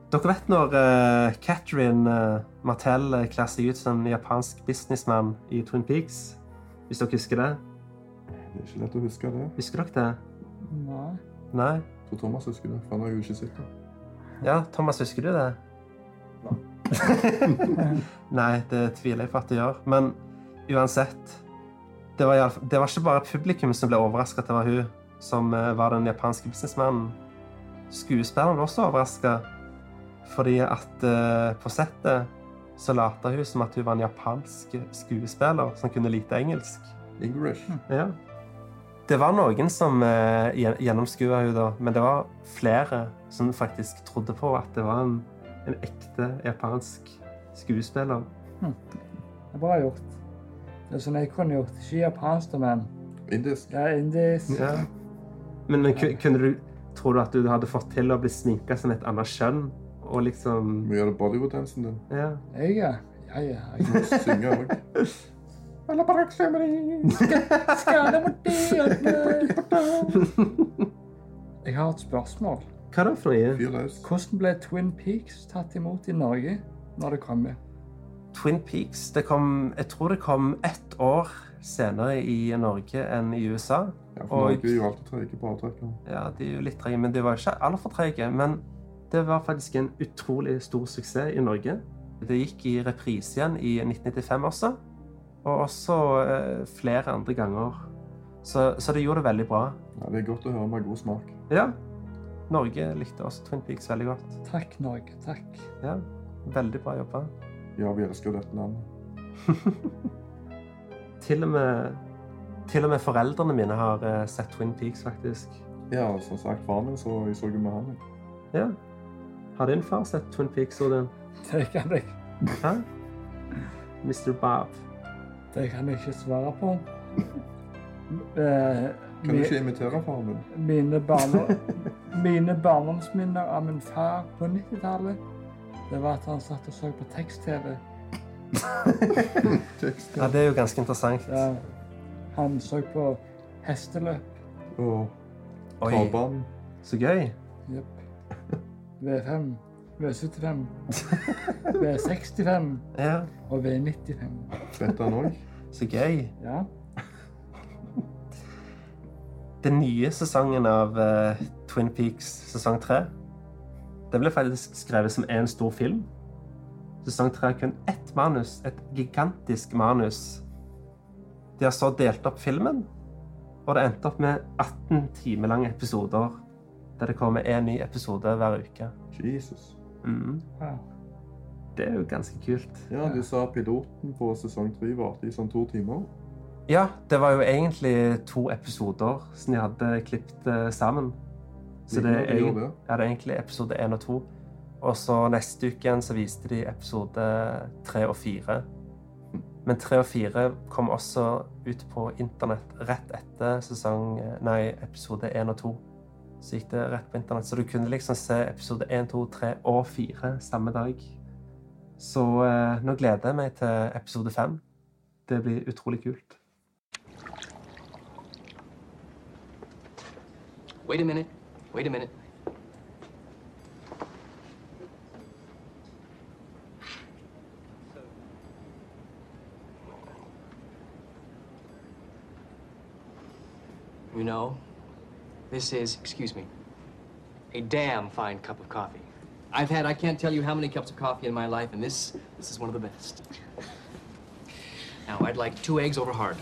A: Dere vet når eh, Catherine eh, Martell eh, kler seg ut som en japansk businessmann i Twin Peaks? Hvis dere husker det?
D: Det er ikke lett å huske det.
A: Husker dere det?
G: Nei.
A: Nei?
D: Jeg tror Thomas husker det, for han har jo ikke sett det.
A: Ja, Thomas, husker du det? *laughs* Nei, det tviler jeg på at det gjør. Men uansett Det var, i alle fall- det var ikke bare publikum som ble overrasket at det var hun som eh, var den japanske businessmannen. Skuespilleren ble også overraska, fordi at eh, på settet så lata hun som at hun var en japansk skuespiller som kunne lite engelsk.
D: English.
A: Ja. Det var noen som eh, gjen- gjennomskua henne, da, men det var flere som faktisk trodde på at det var en, en ekte japansk skuespiller.
G: Det er bra gjort. Det er sånn jeg kunne gjort. Ikke japansk, da, men
D: Indisk.
G: det er indisk.
A: Ja. Men, men ku- kunne du Tror du at du hadde fått til å bli sminka som et annet kjønn? Og liksom
D: Mye av det Bollywood-dansen din.
A: Ja.
G: Jeg, ja. Ja, ja.
D: Du *laughs* må synge òg.
A: *laughs*
G: Jeg har et spørsmål.
A: Hva da for noe?
D: Fyr løs.
G: Hvordan ble Twin Peaks tatt imot i Norge når det kom?
A: Twin Peaks det kom, Jeg tror det kom ett år senere i Norge enn i USA.
D: Ja, for
A: Og-
D: Norge er jo alltid trege på avtrekkeren.
A: Ja, de er jo litt trege, men de var ikke altfor trege. Men det var faktisk en utrolig stor suksess i Norge. Det gikk i reprise igjen i 1995 også, og også eh, flere andre ganger. Så, så det gjorde det veldig bra.
D: Ja, det er godt å høre med god smak.
A: Ja, Norge likte også Twin Peaks veldig godt.
G: Takk, Norge. Takk.
A: Ja, veldig bra jobba.
D: Ja, vi elsker dette landet.
A: Til og med, til og med foreldrene mine har eh, sett Twin Peaks, faktisk.
D: Ja, som sagt, faren min så jeg så jo med han. jeg.
A: Ja. Har din far sett Twin Peaks, Odin?
G: Det kan jeg,
A: Hæ? Mr. Bob.
G: det kan jeg ikke svare
A: *laughs*
G: på. Eh,
D: Kan du
G: mi-
D: ikke imitere faren min?
G: Mine, barne, mine barndomsminner av min far på 90-tallet, det var at han satt og så på tekst-TV.
D: Tekst.
A: Ja, det er jo ganske interessant.
G: Der Han så på hesteløp.
D: Og
A: Oi,
D: Taban.
A: så gøy.
G: Jepp. V5, V75, V65
A: Ja,
G: og V95.
D: Vet han òg?
A: så gøy.
G: Ja,
A: Den nye sesongen av eh, Twin Peaks sesong 3 det ble faktisk skrevet som en stor film. Sesong 3 har kun ett manus, et gigantisk manus. De har så delt opp filmen, og det endte opp med 18 timer lange episoder der det kommer en ny episode hver uke.
D: Jesus.
A: Mhm.
G: wow.
A: Det er jo ganske kult.
D: Ja, de sa piloten på sesong tre varte i sånn to timer.
A: Ja, det var jo egentlig to episoder som de hadde klippet eh, sammen. Så det er,
D: Lignende gjorde
A: egent-
D: det.
A: ja, det er egentlig episode én og to. Og så neste uke igjen så viste de episode tre og fire. Men tre og fire kom også ut på internett rett etter sesong Nei, episode én og to. Så gikk det rett på internett. Så du kunne liksom se episode én, to, tre og fire samme dag. Så eh, nå gleder jeg meg til episode fem. Det blir utrolig kult.
H: Wait a minute. Wait a minute. You know, this is, excuse me, a damn fine cup of coffee. I've had I can't tell you how many cups of coffee in my life, and this this is one of the best. Now I'd like two eggs over hard.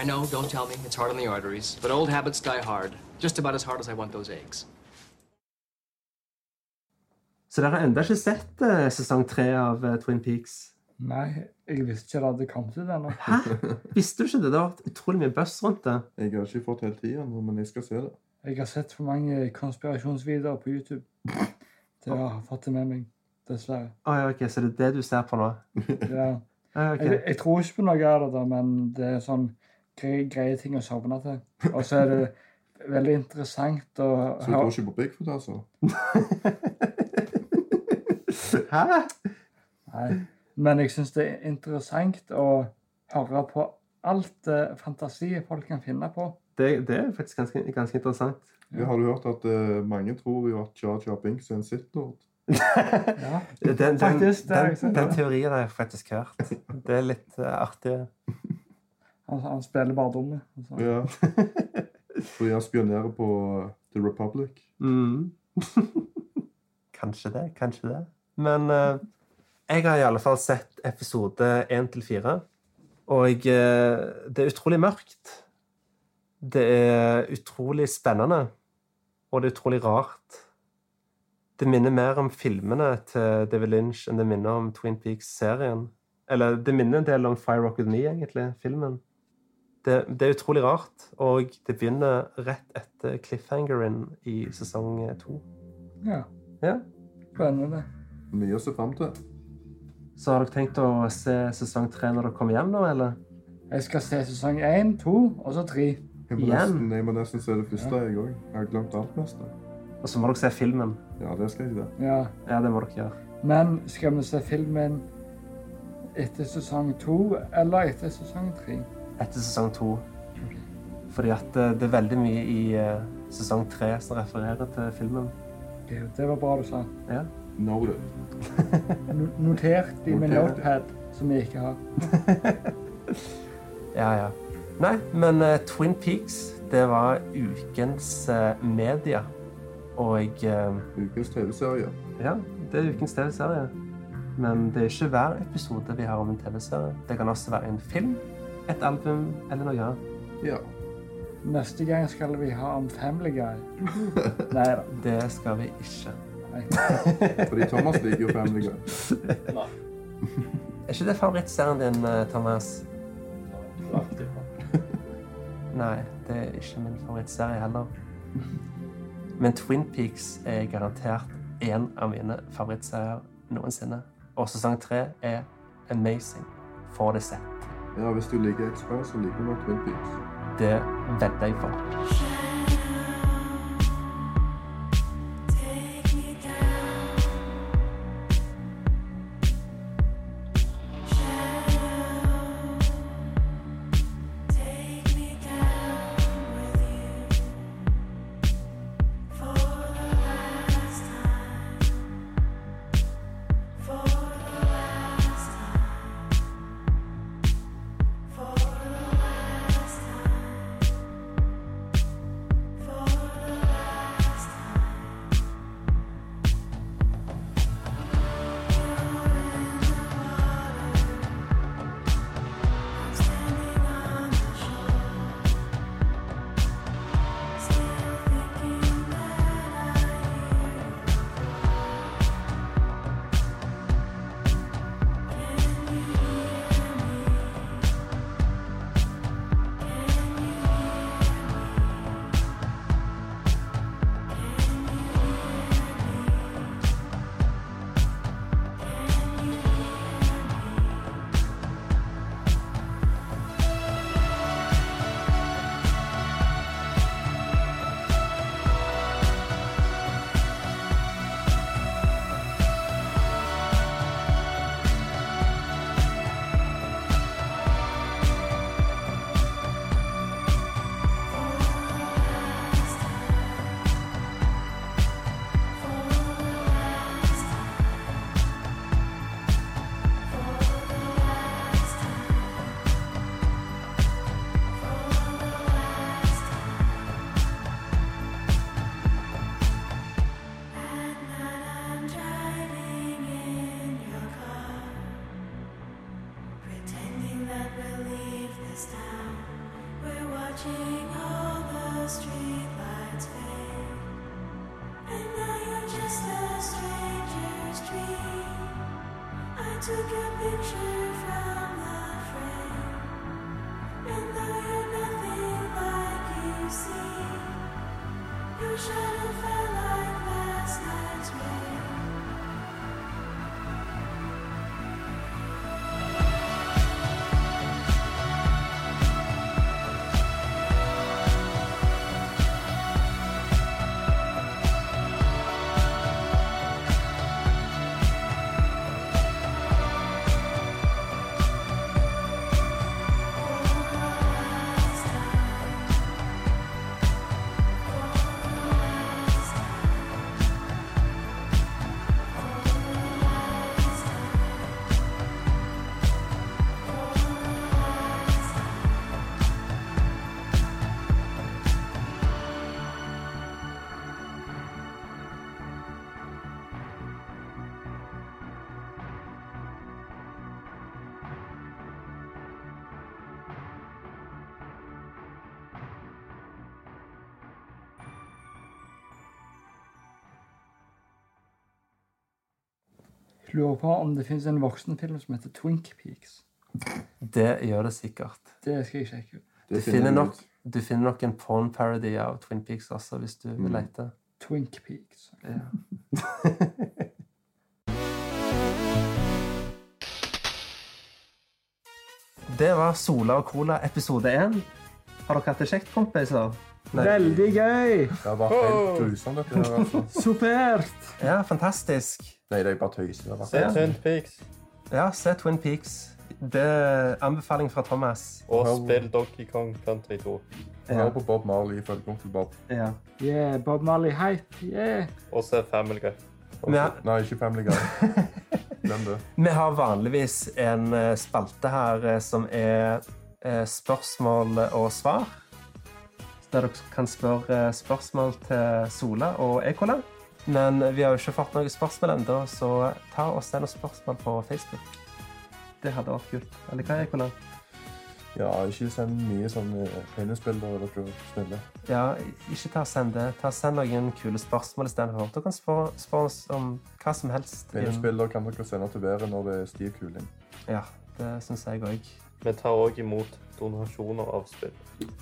H: I know, don't tell me, it's hard on the arteries, but old habits die hard. Just about as hard as I want those eggs.
A: Så dere har ennå ikke sett eh, sesong tre av eh, Twin Peaks?
C: Nei, jeg visste ikke det hadde kommet ut ennå.
A: Hæ? Visste du ikke det? Det har vært utrolig mye buzz rundt det.
D: Jeg har ikke fått hele tida nå, men jeg skal se det.
C: Jeg har sett for mange konspirasjonsvideoer på YouTube til å ha fått det med meg, dessverre.
A: Å, ja, ok, Så det er det du ser på nå?
C: Ja.
A: Ja, ok.
C: Jeg, *laughs* jeg tror ikke på noe av det, da, men det er sånn greie, greie ting å sovne til. Og så er
A: *laughs*
C: det veldig interessant å
D: Så du tror
C: høre
D: ikke på Bigfoot, altså?
A: Hæ?
C: Nei. Men jeg syns det er interessant å høre på alt det fantasiet folk kan finne på.
A: Det, det er faktisk ganske, ganske interessant. *laughs*
D: Ja, har du hørt at eh, mange tror jo at Jar Jar Binks er en sittlord?
C: Ja.
A: Den, den,
C: Faktisk, det liksom- har jeg
A: den,
C: sett,
A: den
C: ja.
A: teorien har jeg faktisk hørt. Det er litt eh, artig.
C: *laughs* Han, han spiller bare dumme. Altså.
D: Ja. Fordi han spionerer på eh, The Republic.
A: Mm. *laughs* kanskje det, kanskje det. Men eh, jeg har i alle fall sett episode 1 til 4. Og eh, det er utrolig mørkt. Det er utrolig spennende. Og det er utrolig rart. Det minner mer om filmene til David Lynch enn det minner om Twin Peaks-serien. Eller det minner en del om Fire Rock With Me, egentlig, filmen. det, det er utrolig rart, og det begynner rett etter cliffhangeren i sesong to.
C: Ja.
A: Ja.
C: Spennende.
D: Mye å se fram til.
A: Så har dere tenkt å se sesong tre når dere kommer hjem nå, eller?
C: Jeg skal se sesong én, to og så tre.
D: Jeg må,
A: Igjen?
D: nesten, jeg må nesten se det første, jeg òg. Jeg har glemt alt meste.
A: Og så må dere se filmen.
D: Ja, det skal jeg det.
C: Ja.
A: Ja, det må dere gjøre.
C: Men skal vi se filmen etter sesong to eller etter sesong tre?
A: Etter sesong to. Fordi at eh, det er veldig mye i eh, sesong tre som refererer til filmen. *laughs*
C: Det det var bra du sa.
A: Ja.
D: Noted.
C: No- Notert i
D: Notert,
C: min
D: ja.
C: notepad, som jeg ikke har.
A: Ja, ja. Nei, men eh, Twin Peaks, det var ukens eh, media. Og eh,
D: Ukens TV-serie.
A: Ja, det er ukens TV-serie. Men det er ikke hver episode vi har om en TV-serie. Det kan også være en film, et album eller noe annet.
D: Ja.
C: Neste gang skal vi ha om Family
A: *laughs*
C: Guy. Nei da.
A: Det skal vi ikke.
C: Nei.
D: Fordi Thomas liker jo Family Guy.
A: Er ikke det favorittserien din, eh, Thomas?
I: Langt ifra.
A: *laughs* Nei, det er ikke min favorittserie heller. Men Twin Peaks er garantert én av mine favorittserier noensinne. Og sesong tre er amazing. Få det sett.
D: Ja, Hvis du liker X-Files, så liker du nok Twin Peaks.
A: Det vedder jeg på.
J: For the last time. Watching all the streetlights fade, and now you're just a stranger's dream. I took a picture from the frame, and though you're nothing like you seem, your shadow fell like last night's rain.
G: Lurer på om det finnes en voksenfilm som heter Twink Peaks.
A: Det gjør det sikkert.
G: Det skal jeg sjekke ut.
A: Du finner nok, du finner nok en porn parody av Twin Peaks også, hvis du vil lete.
G: Twink Peaks.
A: Det var Sola og Cola episode én. Har dere hatt det kjekt, kompiser? Nei.
G: Veldig gøy!
D: Det var helt grusomt, dette her. altså.
G: Supert!
A: Ja, fantastisk.
D: Nei, det er bare tøys. Det var
B: Se Twin Peaks
A: Ja, se Twin Peaks. Det er anbefaling fra Thomas.
B: og spill Donkey Kong Country 2.
D: Hør på Bob Marley i følgerom til Bob.
A: Ja.
G: Yeah, Bob Marley hype. Yeah.
B: Og se Family Guy.
A: Vi, har,
D: Nei, ikke Family
A: *laughs*
D: Guy. Glem det.
A: vi har vanligvis en eh, spalte her eh, som er eh, spørsmål og svar. Så Der dere kan spørre eh, spørsmål til Sola og Ekola. Men vi har jo ikke fått noen spørsmål ennå, så ta og send oss spørsmål på Facebook. Det hadde vært kult. Eller hva, Ekola?
D: Ja, ikke send mye sånn, eh, sånne penisbilder av dere snille.
A: Ja, ikke ta og send det. Ta og Send noen kule spørsmål istedenfor. Du kan spørre, spørre oss om hva som helst.
D: Penisbilder kan dere sende til været når det er stiv kuling.
A: Ja, det syns jeg òg.
B: Vi tar òg imot donasjoner av spill.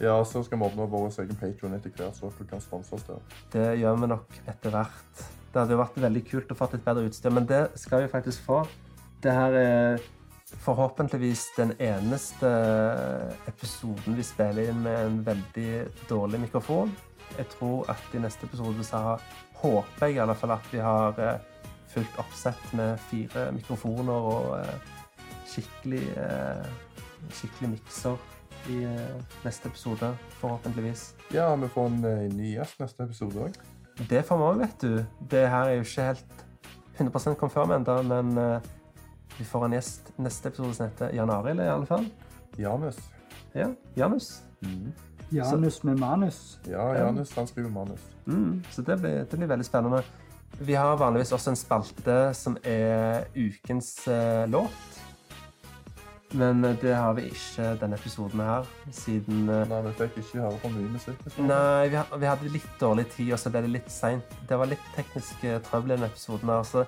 D: Ja, så skal vi åpne vår egen Patreon etter hvert, så dere kan sponse oss der.
A: Det gjør vi nok etter hvert. Det hadde jo vært veldig kult å få litt bedre utstyr, men det skal vi faktisk få. Det her er forhåpentligvis den eneste episoden vi spiller inn med en veldig dårlig mikrofon. Jeg tror at i neste episode så har- håper jeg i alle fall at vi har eh, fullt oppsett med fire mikrofoner og eh, skikkelig eh, skikkelig mikser i eh, neste episode, forhåpentligvis.
D: Ja, vi får en eh, ny gjest neste episode òg.
A: Det får vi òg, vet du. Det her er jo ikke helt 100 confirm ennå, men eh, vi får en gjest neste episode som heter Jan Arild, i alle fall.
D: Janus.
A: Ja, Janus.
G: Janus med manus.
D: Ja, Janus, han skriver manus.
A: Mm, så det blir, det blir veldig spennende. Vi har vanligvis også en spalte som er ukens eh, låt. Men eh, det har vi ikke denne episoden her, siden eh,
D: Nei, vi fikk ikke høre for mye musikk. liksom.
A: Nei, vi, ha- vi hadde litt dårlig tid, og så ble det litt seint. Det var litt teknisk eh, trøbbel i denne episoden. her, så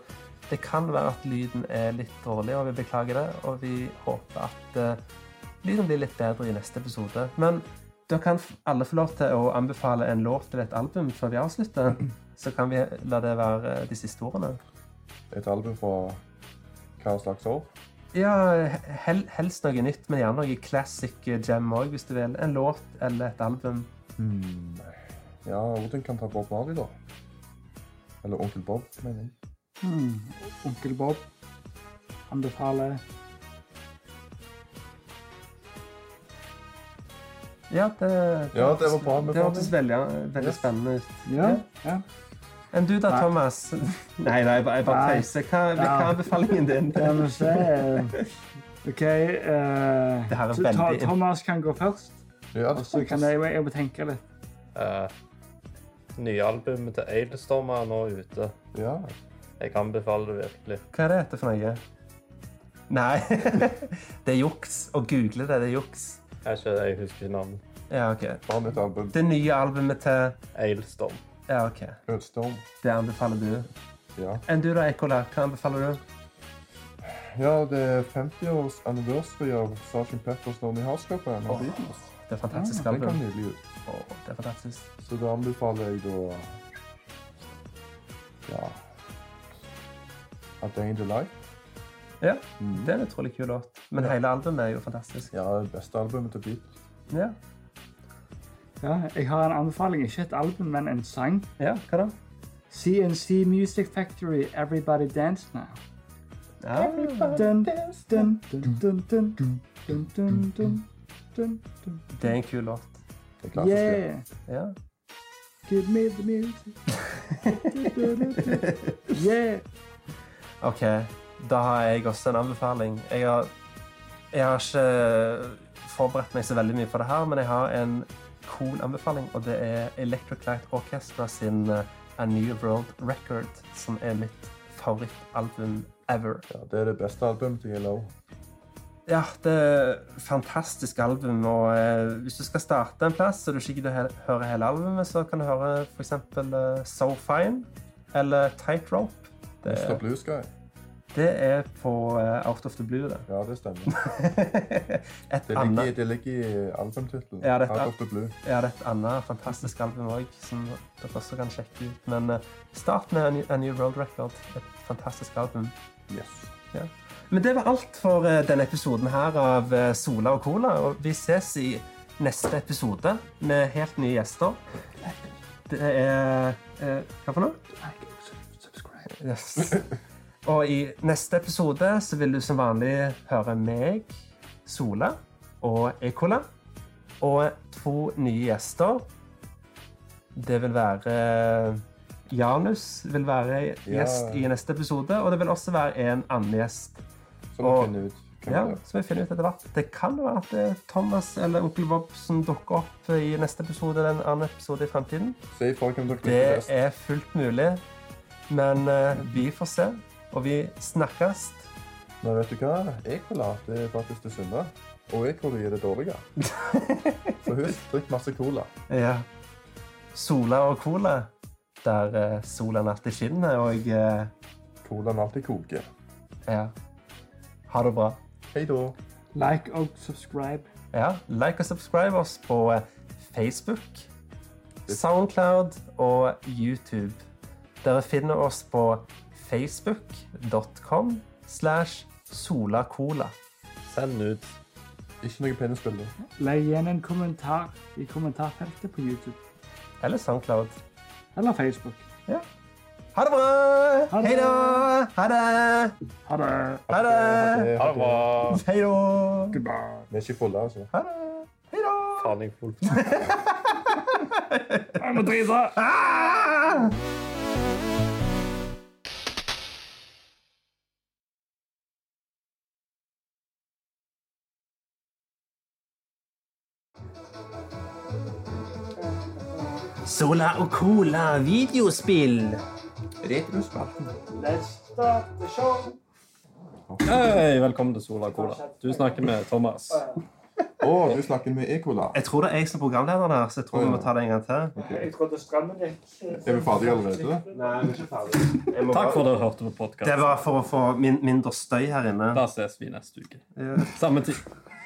A: det kan være at lyden er litt dårlig, og vi beklager det. Og vi håper at eh, lyden blir litt bedre i neste episode. Men da kan f- alle få lov til å anbefale en låt eller et album før vi avslutter. Så kan vi la det være eh, de siste ordene.
D: Et album fra hva slags år?
A: Ja, hel, helst noe nytt, men gjerne noe classic eh, gem òg, hvis du vil. En låt eller et album.
D: Ja, Odin kan ta Bob Marley, da. Eller Onkel Bob, mener jeg.
G: Hmm. Onkel Bob anbefaler
A: Ja, det,
D: Ja, det var bra med
A: Det hørtes
D: Bob.
A: veldig, veldig spennende ut.
G: Ja. ja.
A: Enn du da,
G: Nei.
A: Thomas? Nei, nei, jeg bare jeg bare
G: Nei.
A: tøyser. Hva, hva er
G: Ja.
A: anbefalingen din?
G: Det må vi
A: *laughs*
G: se. OK eh,
A: Det her er
G: så ta,
A: veldig-
G: Thomas kan gå først,
D: Ja,
G: og så Altså, kan jeg, jeg må tenke litt.
B: Eh, nye albumet til Ailstorm er nå ute.
D: ja.
B: Jeg anbefaler det virkelig.
A: Hva er det dette for noe? Nei, *laughs* det er juks. Å google det, det er juks.
B: Jeg, er ikke, jeg husker ikke navnet.
A: Ja, ok.
D: Har vi et album?
A: Det nye albumet til
B: Ailstorm.
A: Ja, ok.
D: Bloodstorm.
A: Det anbefaler du.
D: Ja.
A: Enn du da, Ekola? Hva anbefaler du?
D: ja, det er 50-års anniversary av Sgt. Peppers Lonely Hearts Club Band av Beatles.
A: Det er fantastisk
D: altså. Den kom
A: album.
D: nylig ut.
A: Åh, det er fantastisk.
D: Så da anbefaler jeg da Ja A Day in the Life.
A: Ja, det er en utrolig kul låt. Men hele albumet er jo fantastisk.
D: Ja, det beste albumet til Beatles.
A: Ja,
G: Ja, jeg har en anbefaling. Ikke et album, men en sang.
A: ja hva da?
G: CNC Music Factory, Everybody Dance Now.
A: Ja,
G: Dun, dun, dun, dun, dun, dun, dun, dun, dun, dun.
A: det er en kul låt.
D: Det er klassisk. det.
G: Yeah,
A: Ja.
G: give me the music. Yeah.
A: OK, da har jeg også en anbefaling. Jeg har, jeg har ikke eh, forberedt meg så veldig mye på det her, men jeg har en cool anbefaling, og det er Electric Light Orchestra sin eh, A New World Record, som er mitt favorittalbum ever.
D: Ja, det er det beste albumet til Yellow.
A: Ja, det er et fantastisk album, og eh, hvis du skal starte en plass og du ikke gidder å he- høre hele albumet, så kan du høre for eksempel eh, So Fine eller Tightrope. Det,
D: Mr. Blue Sky.
A: det er på eh, Out of the Blue, det.
D: Ja, det
A: *laughs*
D: stemmer.
A: et
D: Det ligger, i-
A: annet,
D: det ligger i albumtittelen.
A: Ja, dette-
D: Out of the Blue.
A: ja, det er et annet fantastisk album òg, som dere også kan sjekke ut. Men eh, start med A New, A New World Record. Et fantastisk album.
D: Yes.
A: Ja. Men det var alt for eh, denne episoden her av eh, Sola og Cola. Og vi ses i neste episode med helt nye gjester. Det er eh, Hva for noe?
G: Like, sub- subscribe.
A: Yes. Og i neste episode så vil du som vanlig høre meg, Sola og Ekola. Og to nye gjester. Det vil være eh, Janus vil være gjest i neste episode, og det vil også være en annen gjest.
D: Så må
A: Og-
D: vi finne ut hvem
A: Ja,
D: det er.
A: så vi finner ut etter hvert. Det kan jo være at det er Thomas eller onkel Bob som dukker opp i neste episode eller en annen episode i fremtiden.
D: Se ifra hvem dere liker
A: Det
D: best.
A: er fullt mulig, men eh, vi får se. Og vi snakkes.
D: Men vet du hva? Ekola det er faktisk det sunne. Og Ekola er det
A: *laughs*
D: dårlige. Så husk, drikk masse cola.
A: Ja. Sola og cola, der eh, solen alltid skinner, og eh,
D: Colaen alltid koker.
A: ja. Ha det bra.
D: Hei da.
G: Like og subscribe.
A: Ja, like og subscribe oss på eh, Facebook, Soundcloud og YouTube. Dere finner oss på facebook.com slash solacola.
B: Send nudes.
D: Ikke noe penisbilder.
G: Legg igjen en kommentar i kommentarfeltet på YouTube
A: Eller Soundcloud.
G: eller Facebook.
A: Ha det bra!
G: Ha det!
A: Hei da! Ha det!
G: Ha det.
A: Ha det!
D: Ha det.
A: Hei da!
G: Goodbye.
D: Vi er ikke fulle, altså.
A: Ha det! Hei da!
B: Faen, jeg fulgte.
G: Jeg må drite!
A: Ah! Sola og Cola videospill.
C: Let's start the show.
B: Hei, velkommen til Sola Cola. Du snakker med Thomas.
D: Å, du snakker med E. Ekola.
A: Jeg tror det er jeg som er programlederen her, så jeg tror vi må ta det en gang til.
C: Jeg trodde strømmen gikk.
D: Er vi ferdige allerede?
A: Nei, vi er ikke ferdig.
B: Takk for at dere hørte på
A: Det
B: podkasten.
A: var for å få min mindre støy her inne.
B: Da ses vi neste uke. Samme tid.